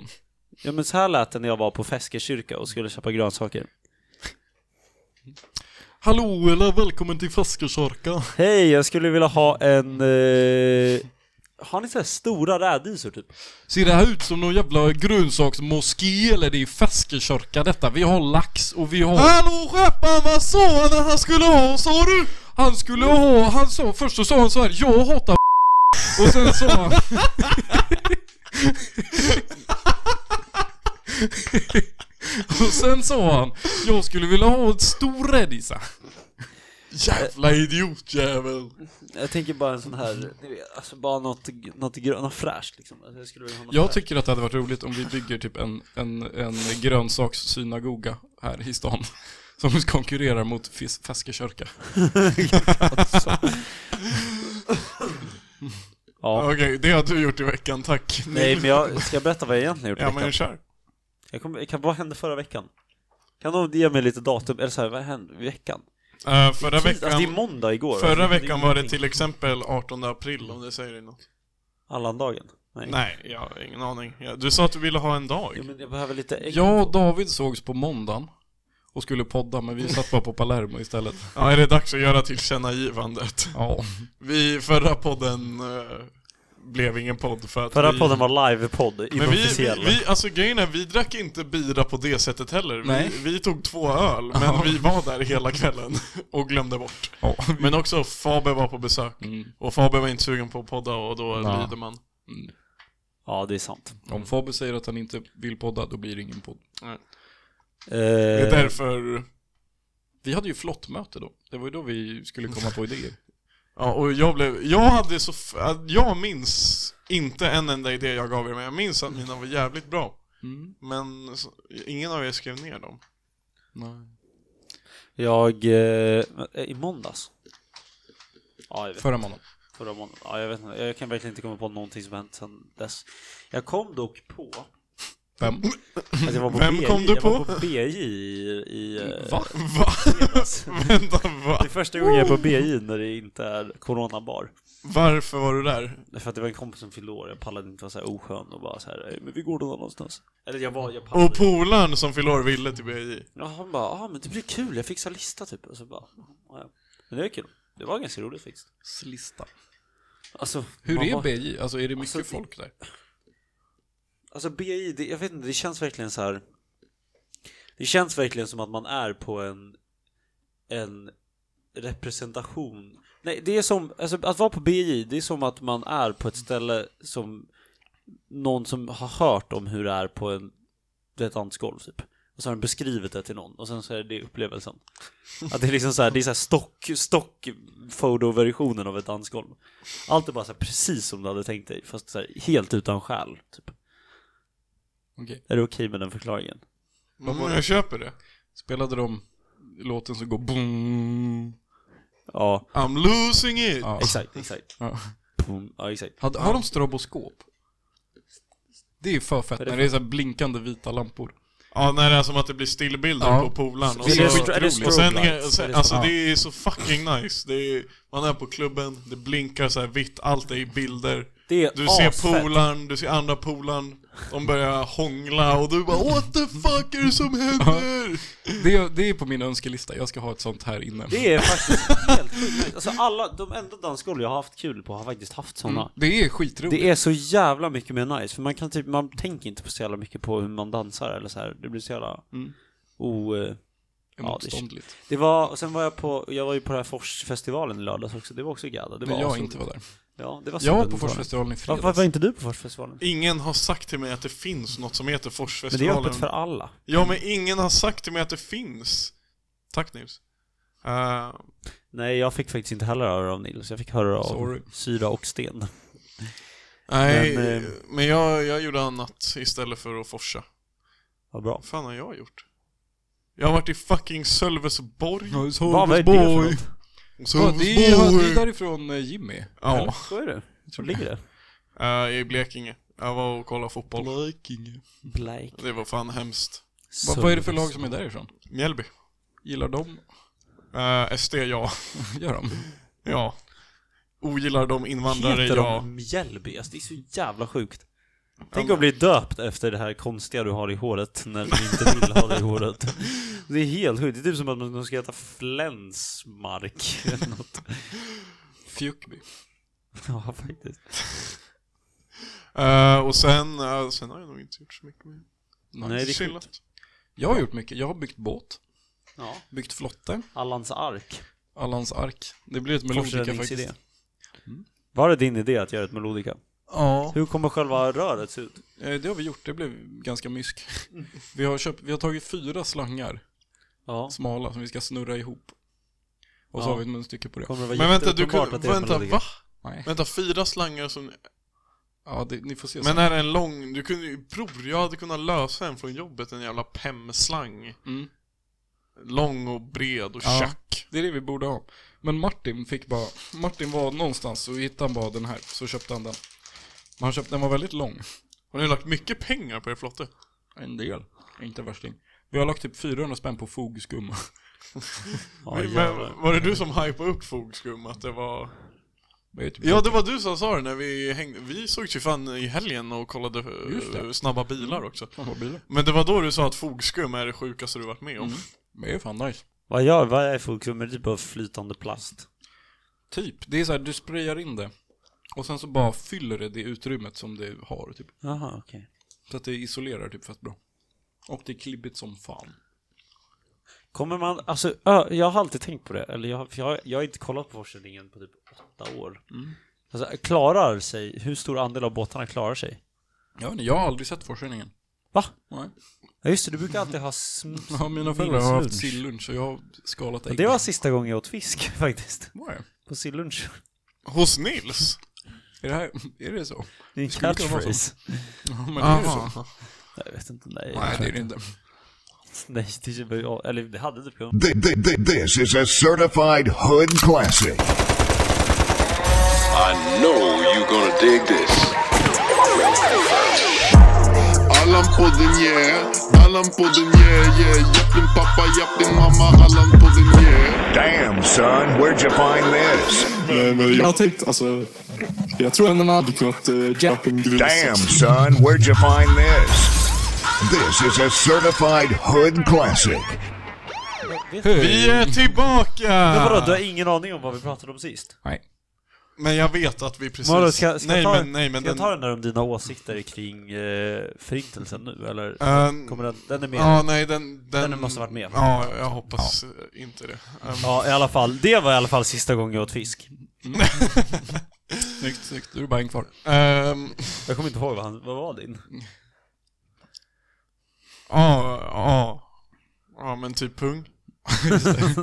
Speaker 3: Ja men så här lät det när jag var på Feskekyrka och skulle köpa grönsaker.
Speaker 1: Hallå eller välkommen till Feskekörka.
Speaker 3: Hej, jag skulle vilja ha en... Eh... Har ni så här stora rädisor typ?
Speaker 1: Ser det här ut som någon jävla grönsaksmoské eller det är feskekörka detta? Vi har lax och vi har...
Speaker 2: Hallå skeppan, vad sa han att han skulle ha sa du?
Speaker 1: Han skulle ha... Han sa... Först så sa han så här, jag hatar Och sen sa han... och sen sa han, jag skulle vilja ha ett stor rädisa.
Speaker 2: Jävla idiotjävel.
Speaker 3: Jag tänker bara en sån här, ni vet, alltså bara något, något, grönt, något fräscht liksom. Alltså, jag skulle vilja ha något
Speaker 1: Jag
Speaker 3: fräscht.
Speaker 1: tycker att det hade varit roligt om vi bygger typ en, en, en grönsakssynagoga här i stan. Som konkurrerar mot fis- feskekörka.
Speaker 3: ja.
Speaker 2: Okej, det har du gjort i veckan, tack.
Speaker 3: Nej men jag ska jag berätta vad jag egentligen gjort i
Speaker 2: Ja, men
Speaker 3: veckan.
Speaker 2: kör.
Speaker 3: Jag kommer, kan, vad hände förra veckan? Kan någon ge mig lite datum, eller så här, vad hände i veckan?
Speaker 2: Eh, förra
Speaker 3: Tis- alltså, det är
Speaker 2: veckan...
Speaker 3: måndag igår.
Speaker 2: Förra
Speaker 3: alltså, det är
Speaker 2: veckan var det
Speaker 3: ingenting.
Speaker 2: till exempel 18 april om det säger dig något.
Speaker 3: Allandagen? Nej.
Speaker 2: Nej, jag har ingen aning. Ja, Du sa att du ville ha en
Speaker 3: Ja,
Speaker 2: dag.
Speaker 3: men jag behöver lite ägg.
Speaker 1: Jag och David sågs på måndagen och skulle podda men vi satt bara på Palermo istället.
Speaker 2: Ja, är det dags att göra tillkännagivandet?
Speaker 1: Ja.
Speaker 2: Vi, förra podden eh, blev ingen podd för att
Speaker 3: Förra
Speaker 2: vi...
Speaker 3: podden var livepodd,
Speaker 2: Men vi, vi,
Speaker 3: inofficiell.
Speaker 2: vi, alltså grejen är, vi drack inte bira på det sättet heller.
Speaker 1: Nej.
Speaker 2: Vi, vi tog två öl, men vi var där hela kvällen och glömde bort.
Speaker 1: ja.
Speaker 2: Men också Faber var på besök.
Speaker 1: Mm.
Speaker 2: Och Faber var inte sugen på att podda och då
Speaker 1: Ja. Eh.
Speaker 2: lider man.
Speaker 3: Ja, det är sant.
Speaker 1: Om Fabbe säger att han inte vill podda, då blir det ingen podd.
Speaker 3: Eh,
Speaker 2: Det är därför
Speaker 1: Vi hade ju flottmöte då. Det var ju då vi skulle komma på idéer.
Speaker 2: Ja, och jag blev... Jag hade så... f- att Jag minns inte en enda idé jag gav er, men jag minns att mina var jävligt bra.
Speaker 1: Mm.
Speaker 2: Men så, ingen av er skrev ner dem.
Speaker 1: Nej.
Speaker 3: Jag... Eh, I måndags? Ja, jag vet.
Speaker 1: Förra månaden.
Speaker 3: Förra månaden. Ja, jag vet inte. Jag kan verkligen inte komma på någonting som hänt sedan dess. Jag kom dock på
Speaker 1: Vem?
Speaker 3: att jag var på
Speaker 2: Vem
Speaker 3: BJ.
Speaker 2: kom du
Speaker 3: jag var
Speaker 2: på?
Speaker 3: på BJ i... i eh,
Speaker 1: Va?
Speaker 2: Va?
Speaker 3: fredags.
Speaker 2: Vänta, va?
Speaker 3: Det är första gången jag är på BJ när det inte är coronabar.
Speaker 2: Varför var du där?
Speaker 3: För att det var en kompis som fyllde år, jag pallade inte vara så här oskön och bara så här, "Ey, men vi går någon annanstans. Eller jag var, jag pallade
Speaker 2: Och polaren som fyllde år ville till BJ.
Speaker 3: Ja, han bara, ja ah, men det blir kul, jag fixar lista typ. Och så bara, "Ja, ja. Men det var kul. Det var ganska roligt faktiskt.
Speaker 1: Slista.
Speaker 3: Alltså,
Speaker 1: Hur
Speaker 3: man
Speaker 1: är
Speaker 3: var-
Speaker 1: BJ? Alltså är det mycket
Speaker 3: Alltså,
Speaker 1: folk där?
Speaker 3: Alltså BI, det, jag vet inte, det känns verkligen så här. Det känns verkligen som att man är på en, en representation. Nej, det är som, alltså att vara på BI, det är som att man är på ett ställe som någon som har hört om hur det är på en, det är ett dansgolv typ. Och så har den beskrivit det till någon och sen så är det upplevelsen. Att det är liksom så här, det är så här stock, stock fotoversionen av ett dansgolv. Allt är bara så här precis som du hade tänkt dig, fast så här, helt utan själ typ.
Speaker 1: Okej.
Speaker 3: Är det okej med den förklaringen?
Speaker 2: Men Mm, jag köper det.
Speaker 1: Spelade de låten som går boom?
Speaker 3: Ja,
Speaker 2: I'm losing it!
Speaker 1: Ja.
Speaker 3: exakt, exakt.
Speaker 1: Ja.
Speaker 3: Boom. Ja, exakt.
Speaker 1: Har, har de stroboskop? Det är ju för fett när det är så här blinkande vita lampor.
Speaker 2: Ja, när det är som att det blir stillbilder
Speaker 1: Ja.
Speaker 2: på polaren. Och,
Speaker 1: Det är
Speaker 2: så,
Speaker 1: så-
Speaker 3: är det så-
Speaker 2: och sen,
Speaker 3: Strobe lights.
Speaker 2: sen, alltså
Speaker 1: Ja.
Speaker 2: det är så fucking nice. Det är, man är på klubben, det blinkar så här vitt, allt är i bilder.
Speaker 3: Det är
Speaker 2: Du ser
Speaker 3: asfett.
Speaker 2: polaren, du ser andra polaren, de börjar hångla och du bara What the fuck är det som händer?
Speaker 1: Det är, det är på min önskelista, jag ska ha ett sånt här inne.
Speaker 3: Det är faktiskt helt sjukt. Alltså alla, de enda dansgolv jag har haft kul på har faktiskt haft sådana.
Speaker 1: Det är skitroligt.
Speaker 3: Det är så jävla mycket mer nice, för man kan typ, man tänker inte på så jävla mycket på hur man dansar eller så här. det blir så jävla o... eh,
Speaker 1: Det är
Speaker 3: ja, det,
Speaker 1: motståndligt.
Speaker 3: det var, och sen var jag på, jag var ju på den här Forsfestivalen i lördags också, det var också gadda. Det var
Speaker 1: När jag
Speaker 3: asroligt.
Speaker 1: inte var där.
Speaker 3: Ja, det var
Speaker 1: Jag var
Speaker 3: synd.
Speaker 1: på Forsfestivalen i
Speaker 3: Varför
Speaker 1: fredags.
Speaker 3: varför var inte du på Forsfestivalen?
Speaker 2: Ingen har sagt till mig att det finns något som heter
Speaker 3: Men det är
Speaker 2: Forsfestivalen.
Speaker 3: öppet för alla.
Speaker 2: Ja, men ingen har sagt till mig att det finns. Tack Nils. Eh,
Speaker 3: Nej, jag fick faktiskt inte heller höra av Nils. Jag fick höra av
Speaker 1: Sorry.
Speaker 3: syra och sten.
Speaker 2: nej,
Speaker 3: Men,
Speaker 2: men,
Speaker 3: eh,
Speaker 2: jag, jag gjorde annat istället för att forsa.
Speaker 3: Vad bra.
Speaker 2: Vad fan har jag gjort? Jag har varit i fucking Sölvesborg.
Speaker 3: Vad var det för något?
Speaker 1: Ja, det är ju det är därifrån eh, Jimmy.
Speaker 2: Ja,
Speaker 3: Så är det. Var ligger det?
Speaker 2: eh, i Blekinge. Jag var och kollade fotboll. Blekinge.
Speaker 3: Blake.
Speaker 2: Det var fan hemskt.
Speaker 1: Va, vad är det för lag som är därifrån?
Speaker 2: Mjällby.
Speaker 1: Gillar de?
Speaker 2: Eh, SD, ja.
Speaker 1: Gör de?
Speaker 2: ja. Ogillar de invandrare,
Speaker 3: Heter
Speaker 2: ja.
Speaker 3: de Mjällby? Alltså, det är så jävla sjukt.
Speaker 2: Ja,
Speaker 3: Tänk
Speaker 2: men-
Speaker 3: att bli döpt efter det här konstiga du har i håret när du inte vill ha det i håret. Det är helt sjukt. Det är typ som att man ska heta Flensmark eller något.
Speaker 1: Fjukby.
Speaker 3: Ja, faktiskt.
Speaker 2: Eh, och sen, eh, sen har jag nog inte gjort så mycket mer.
Speaker 3: Nej, det är sjukt.
Speaker 2: Chillat.
Speaker 1: Jag har gjort mycket. Jag har byggt båt,
Speaker 3: Ja.
Speaker 1: byggt flotte,
Speaker 3: Allans ark.
Speaker 1: Allans ark. Det blir ett melodika
Speaker 3: Forsräddningsidé.
Speaker 1: faktiskt.
Speaker 3: Mm. Var det din idé att göra ett melodika?
Speaker 1: Ja,
Speaker 3: Hur kommer själva röret se ut?
Speaker 1: eh, det har vi gjort. Det blev ganska mysk. Vi har, köpt, vi har tagit fyra slangar,
Speaker 3: Ja.
Speaker 1: smala, som vi ska snurra ihop. Och så
Speaker 3: Ja.
Speaker 1: har vi ett munstycke på det.
Speaker 3: Kommer det vara
Speaker 2: Men vänta, du
Speaker 3: jätteuppenbart
Speaker 2: kunde,
Speaker 3: att det är ett
Speaker 2: vänta,
Speaker 3: melodika?
Speaker 2: va?
Speaker 1: Nej.
Speaker 2: Vänta, fyra slangar som...
Speaker 1: Ja, det, ni får
Speaker 3: Typ
Speaker 1: se
Speaker 2: Men är det en lång... Du kunde ju... Bror, jag hade kunnat lösa en från jobbet, en jävla pemslang.
Speaker 1: sen. Mm.
Speaker 2: Lång och bred och
Speaker 1: Ja.
Speaker 2: tjack.
Speaker 1: Det är det vi borde ha. Men Martin fick bara, Martin var någonstans och hittade han bara den här, så köpte han den. Men han köpte, den var väldigt lång.
Speaker 2: Har ni lagt mycket pengar på er flotte?
Speaker 1: En del. Inte värsting. Vi har lagt typ 400 spänn på fogskum.
Speaker 3: Ja,
Speaker 2: Men-
Speaker 3: jävlar.
Speaker 2: men, var det du som hypade upp fogskum? Att det var...
Speaker 1: Det är typ-
Speaker 2: Ja, det var du som sa det när vi hängde. Vi såg ju fan i helgen och kollade eh,
Speaker 1: Just det.
Speaker 2: snabba bilar också.
Speaker 1: Fan, vad blir det?
Speaker 2: Men det var då du sa att fogskum är det sjukaste du varit med om.
Speaker 3: Mm.
Speaker 1: Men det är fan nice.
Speaker 3: Vad gör, vad är fokusrum? Är det typ av flytande plast?
Speaker 1: Typ, det är så här, du sprayar in det. Och sen så bara fyller det det utrymmet som det har typ.
Speaker 3: Jaha, okej.
Speaker 1: Så att det isolerar typ fett bra. Och det är klibbigt som fan.
Speaker 3: Kommer man, alltså ö, jag har alltid tänkt på det, eller jag, för jag, jag har inte kollat på forskningen på typ åtta år. Alltså klarar sig, hur stor andel av båtarna klarar sig?
Speaker 1: Jag vet inte, jag har aldrig sett forskningen.
Speaker 3: Va?
Speaker 1: Nej.
Speaker 3: Ja just det, du brukar alltid ha sm...
Speaker 1: Ja, mina föräldrar har haft
Speaker 3: Sillunch.
Speaker 1: sillunch och jag har skalat ägg.
Speaker 3: Det var sista gången jag åt fisk faktiskt.
Speaker 1: Var det?
Speaker 3: På sillunch.
Speaker 2: Hos Nils?
Speaker 1: Är det, här, är det så?
Speaker 3: Det är en
Speaker 1: Skulle kunna vara så.
Speaker 3: catchphrase.
Speaker 1: Ja, men är det så?
Speaker 2: Jaha.
Speaker 3: Nej, Jag vet inte, nej.
Speaker 1: Nej, det är det inte.
Speaker 3: Nej, det är ju- eller det hade typ
Speaker 1: Ah.
Speaker 3: kunnat.
Speaker 5: Th- th- th- This is a certified hood classic.
Speaker 6: I know you're gonna dig this.
Speaker 7: Allan podden yeah, Allan podden yeah yeah Japp din pappa, japp din mamma, Allan podden yeah
Speaker 5: Damn, son, where'd you find this?
Speaker 8: Men, men jag har tänkt, alltså... Jag tror ändå man hade kunnat uh, jappa en grus.
Speaker 5: Damn, son, where'd you find this? This is a certified hood classic.
Speaker 2: Vi är
Speaker 3: Men vadå,
Speaker 2: tillbaka!
Speaker 3: du har ingen aning om vad vi pratade om sist?
Speaker 1: Nej.
Speaker 2: Men jag vet att vi precis...
Speaker 3: Vadå, ska, ska,
Speaker 2: nej,
Speaker 3: jag ta,
Speaker 2: men, nej, men
Speaker 3: ska jag
Speaker 2: den...
Speaker 3: ta den där om dina åsikter kring eh, förintelsen nu, eller?
Speaker 2: Ehm,
Speaker 3: Kommer den, den är med?
Speaker 2: Ja, nej den... Den,
Speaker 3: Den måste ha varit med.
Speaker 2: Ja, jag hoppas eh, inte det. Ehm,
Speaker 3: Ja, i alla fall. Det var i alla fall sista gången jag åt fisk.
Speaker 1: Snyggt, snyggt. Då är det bara en kvar.
Speaker 2: ehm,
Speaker 3: Jag kommer inte ihåg vad, han, vad var din?
Speaker 2: Ja, ja. Ja, men typ pung.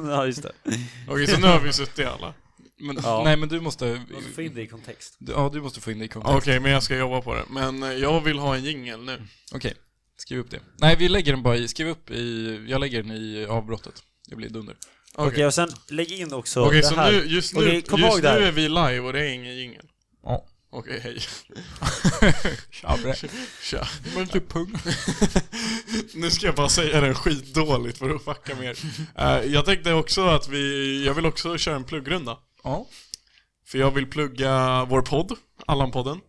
Speaker 3: ja, just det.
Speaker 2: Okej, så nu har vi suttit alla.
Speaker 1: Men,
Speaker 3: Ja.
Speaker 1: Nej, men du måste...
Speaker 3: Måste få in det i kontext.
Speaker 1: Ja, du måste få in det i kontext.
Speaker 2: Okej, men jag ska jobba på det. Men eh, jag vill ha en jingel nu.
Speaker 1: Okej, skriv upp det. Nej, vi lägger den bara i, skriv upp i, jag lägger den i avbrottet. Det blir dunder.
Speaker 3: Okej,
Speaker 2: Okej,
Speaker 3: och sen lägg in också
Speaker 2: Okej,
Speaker 3: det
Speaker 2: så
Speaker 3: här.
Speaker 2: nu, just nu,
Speaker 3: Okej, kom ihåg
Speaker 2: just nu
Speaker 3: det här.
Speaker 2: är vi live och det är ingen jingel.
Speaker 1: Ja.
Speaker 2: Okej, hej.
Speaker 1: Tja, bre.
Speaker 2: Tja.
Speaker 1: Men typ pung.
Speaker 2: Nu ska jag bara säga det skitdåligt för att fucka med er. Eh, Jag tänkte också att vi, jag vill också köra en pluggrunda.
Speaker 1: Ja.
Speaker 2: För jag vill plugga vår podd, Allan-podden.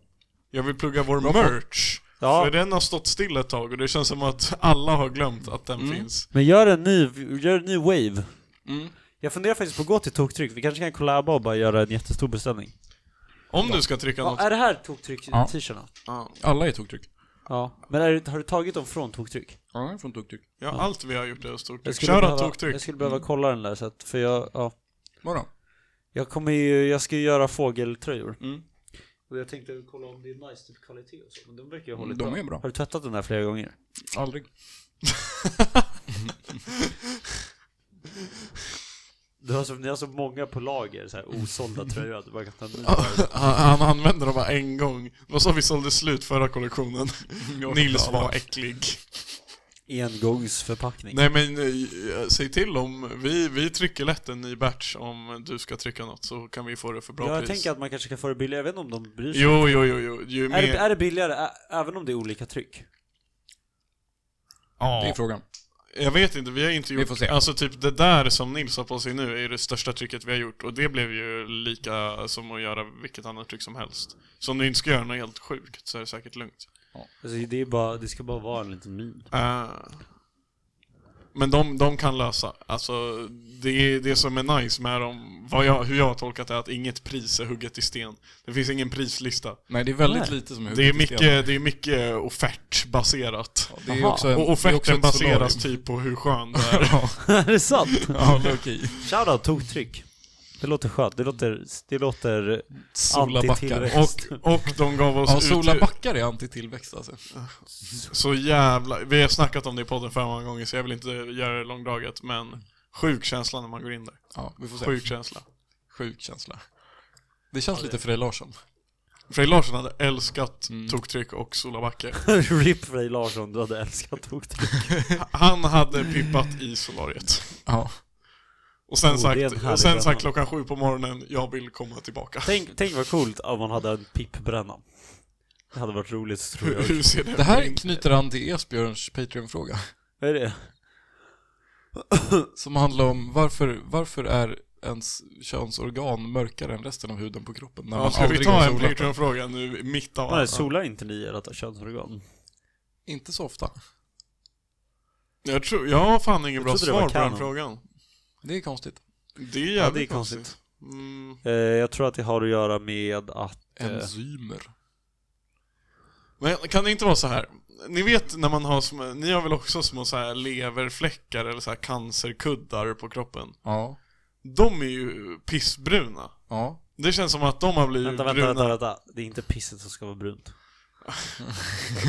Speaker 2: Jag vill plugga vår merch.
Speaker 3: Ja.
Speaker 2: För den har stått still ett tag och det känns som att alla har glömt att
Speaker 3: Mm.
Speaker 2: den finns.
Speaker 3: Men gör en ny, gör en ny wave.
Speaker 2: Mm.
Speaker 3: Jag funderar faktiskt på att gå till Toktryck, vi kanske kan kollaba och bara göra en jättestor beställning.
Speaker 2: Om du ska trycka något.
Speaker 3: är det här Toktryck-t-shirtarna?
Speaker 1: Alla är toktryck.
Speaker 3: Ja. Men är, det- har du tagit dem från Toktryck?
Speaker 1: Ja, jag är från toktryck.
Speaker 2: Ja, allt vi har gjort är
Speaker 3: Jag
Speaker 2: stort.
Speaker 3: skulle
Speaker 2: Kör
Speaker 3: behöva-
Speaker 2: ett toktryck.
Speaker 3: Jag skulle behöva kolla den där så att, för jag, ja.
Speaker 1: Vadå?
Speaker 3: Jag kommer ju, jag ska ju göra fågeltröjor.
Speaker 1: Mm.
Speaker 3: Och jag tänkte kolla om det är nice typ kvalitet och så, men de verkar ju ha hållit
Speaker 1: De är bra.
Speaker 3: Mm. Har du tvättat den här flera gånger?
Speaker 1: Aldrig.
Speaker 3: Du har så, ni har så många på lager, så här osålda tröjor att du bara kan ta en ny.
Speaker 2: Han, han använde dem bara en gång. Vad sa vi sålde slut förra kollektionen?
Speaker 3: Mm,
Speaker 2: Nils var äcklig.
Speaker 3: Engångsförpackning.
Speaker 2: Nej men eh, säg till om, vi, vi trycker lätt en ny batch om du ska trycka något så kan vi få det för bra
Speaker 3: jag
Speaker 2: pris.
Speaker 3: tänker att man kanske kan få det billigare, jag vet inte om de bryr sig.
Speaker 2: Jo, jo, jo, jo. Ju
Speaker 3: Är det,
Speaker 2: mer...
Speaker 3: är det billigare ä- även om det är olika tryck?
Speaker 1: Det är
Speaker 2: Ja.
Speaker 1: frågan.
Speaker 2: Jag vet inte, vi har inte gjort...
Speaker 1: får se.
Speaker 2: Alltså typ det där som Nils har på sig nu är ju det största trycket vi har gjort och det blev ju lika som att göra vilket annat tryck som helst. Så om du inte ska göra något helt sjukt så är det säkert lugnt.
Speaker 3: Alltså, det, är bara, det ska bara vara en liten min.
Speaker 2: Eh, Men de, de kan lösa. Alltså, det, är- det som är nice med dem, vad jag, hur jag har tolkat det, är att inget pris är hugget i sten. Det finns ingen prislista.
Speaker 1: Nej, det är väldigt
Speaker 3: Nej.
Speaker 1: lite som är
Speaker 2: Det är
Speaker 1: huvudtiteln.
Speaker 2: mycket, det är mycket offertbaserat.
Speaker 1: Det är
Speaker 3: Aha.
Speaker 1: också en,
Speaker 2: Och
Speaker 1: det är också
Speaker 2: offerten
Speaker 1: ett solarium.
Speaker 2: baseras typ på hur skön det är.
Speaker 3: är det sant?
Speaker 1: Ja, low-key.
Speaker 3: Shoutout toktryck. Det låter skönt, det låter, det låter
Speaker 1: Sola backar.
Speaker 3: Antitillväxt.
Speaker 2: Och, och de gav oss
Speaker 1: Ja, sola
Speaker 2: ut...
Speaker 1: backar är antitillväxt alltså.
Speaker 2: Så jävla... Vi har snackat om det i podden för många gånger så jag vill inte göra det långdraget, men sjuk känsla när man går in där.
Speaker 1: Ja, vi får se.
Speaker 2: Sjuk känsla.
Speaker 1: Sjuk känsla. Det känns lite Frej Larsson.
Speaker 2: Frej Larsson hade älskat
Speaker 1: Mm.
Speaker 2: toktryck och solabacke.
Speaker 3: RIP Frej Larsson, du hade älskat toktryck.
Speaker 2: Han hade pippat i solariet.
Speaker 1: Ja.
Speaker 2: Och sen,
Speaker 3: Oh, det är en
Speaker 2: sagt,
Speaker 3: härlig
Speaker 2: och sen
Speaker 3: bränna.
Speaker 2: sagt klockan sju på morgonen, jag vill komma tillbaka.
Speaker 3: Tänk, tänk vad coolt om man hade en pippbränna. Det hade varit roligt tror
Speaker 2: Hur,
Speaker 3: jag.
Speaker 2: hur ser det,
Speaker 1: Det här
Speaker 2: ut?
Speaker 1: knyter an till Esbjörns Patreon-fråga.
Speaker 3: Vad är det?
Speaker 1: Som handlar om varför, varför är ens könsorgan mörkare än resten av huden på kroppen? När
Speaker 2: Ja,
Speaker 1: man
Speaker 2: ska vi
Speaker 1: aldrig
Speaker 2: ta
Speaker 1: har
Speaker 2: en
Speaker 1: solat?
Speaker 2: Patreon-fråga nu, mitt av
Speaker 3: Nej,
Speaker 2: allt?
Speaker 3: solar inte ni ert könsorgan?
Speaker 1: Inte så ofta.
Speaker 2: Jag, tror, jag har fan ingen bra
Speaker 3: trodde det var
Speaker 2: svar på den
Speaker 3: kanon.
Speaker 2: frågan.
Speaker 1: Det är konstigt.
Speaker 2: Det är jävligt
Speaker 3: Ja, det är
Speaker 2: konstigt.
Speaker 3: konstigt.
Speaker 2: Mm.
Speaker 3: Eh, jag tror att det har att göra med att... Eh,
Speaker 1: Enzymer.
Speaker 2: Men kan det inte vara så här? Ni vet när man har små, ni har väl också små så här leverfläckar eller så här cancerkuddar på kroppen?
Speaker 1: Ja.
Speaker 2: De är ju pissbruna.
Speaker 1: Ja.
Speaker 2: Det känns som att de har blivit
Speaker 3: vänta, vänta,
Speaker 2: bruna.
Speaker 3: vänta, vänta. Det är inte pisset som ska vara brunt.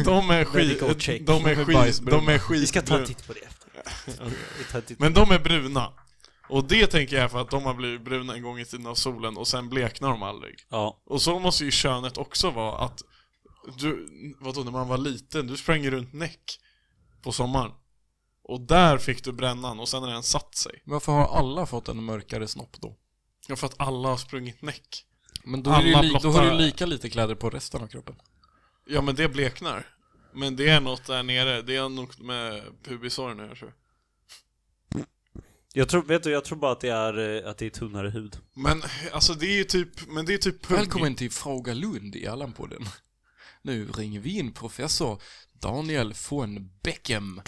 Speaker 2: De är skit...
Speaker 3: Medical check.
Speaker 2: De är skit...
Speaker 1: bajsbruna.
Speaker 2: De är
Speaker 3: Vi ska ta
Speaker 2: skitbruna.
Speaker 3: en titt på det efter. Vi tar en titt.
Speaker 2: Men de är bruna. Och det tänker jag är för att de har blivit bruna en gång i tiden av solen och sen bleknar de aldrig.
Speaker 3: Ja.
Speaker 2: Och så måste ju könet också vara att du, vadå, när man var liten, du sprang ju runt näck på sommaren. Och där fick du brännan och sen har den satt sig.
Speaker 1: Varför har alla fått en mörkare snopp då?
Speaker 2: Ja, för att alla har sprungit näck.
Speaker 1: Men då, är det ju
Speaker 2: Alla
Speaker 1: li- då har du ju
Speaker 2: blottar-
Speaker 1: lika lite kläder på resten av kroppen.
Speaker 2: Ja, men det bleknar. Men det är något där nere, det är något med pubisår nu, jag tror.
Speaker 3: Jag tror, vet du, jag tror bara att det är, eh, att det är tunnare hud.
Speaker 2: Men alltså det är ju typ, men det är typ pugg.
Speaker 1: Välkommen till Fråga Lund i Allan-podden. Nu ringer vi in professor Daniel von Beckham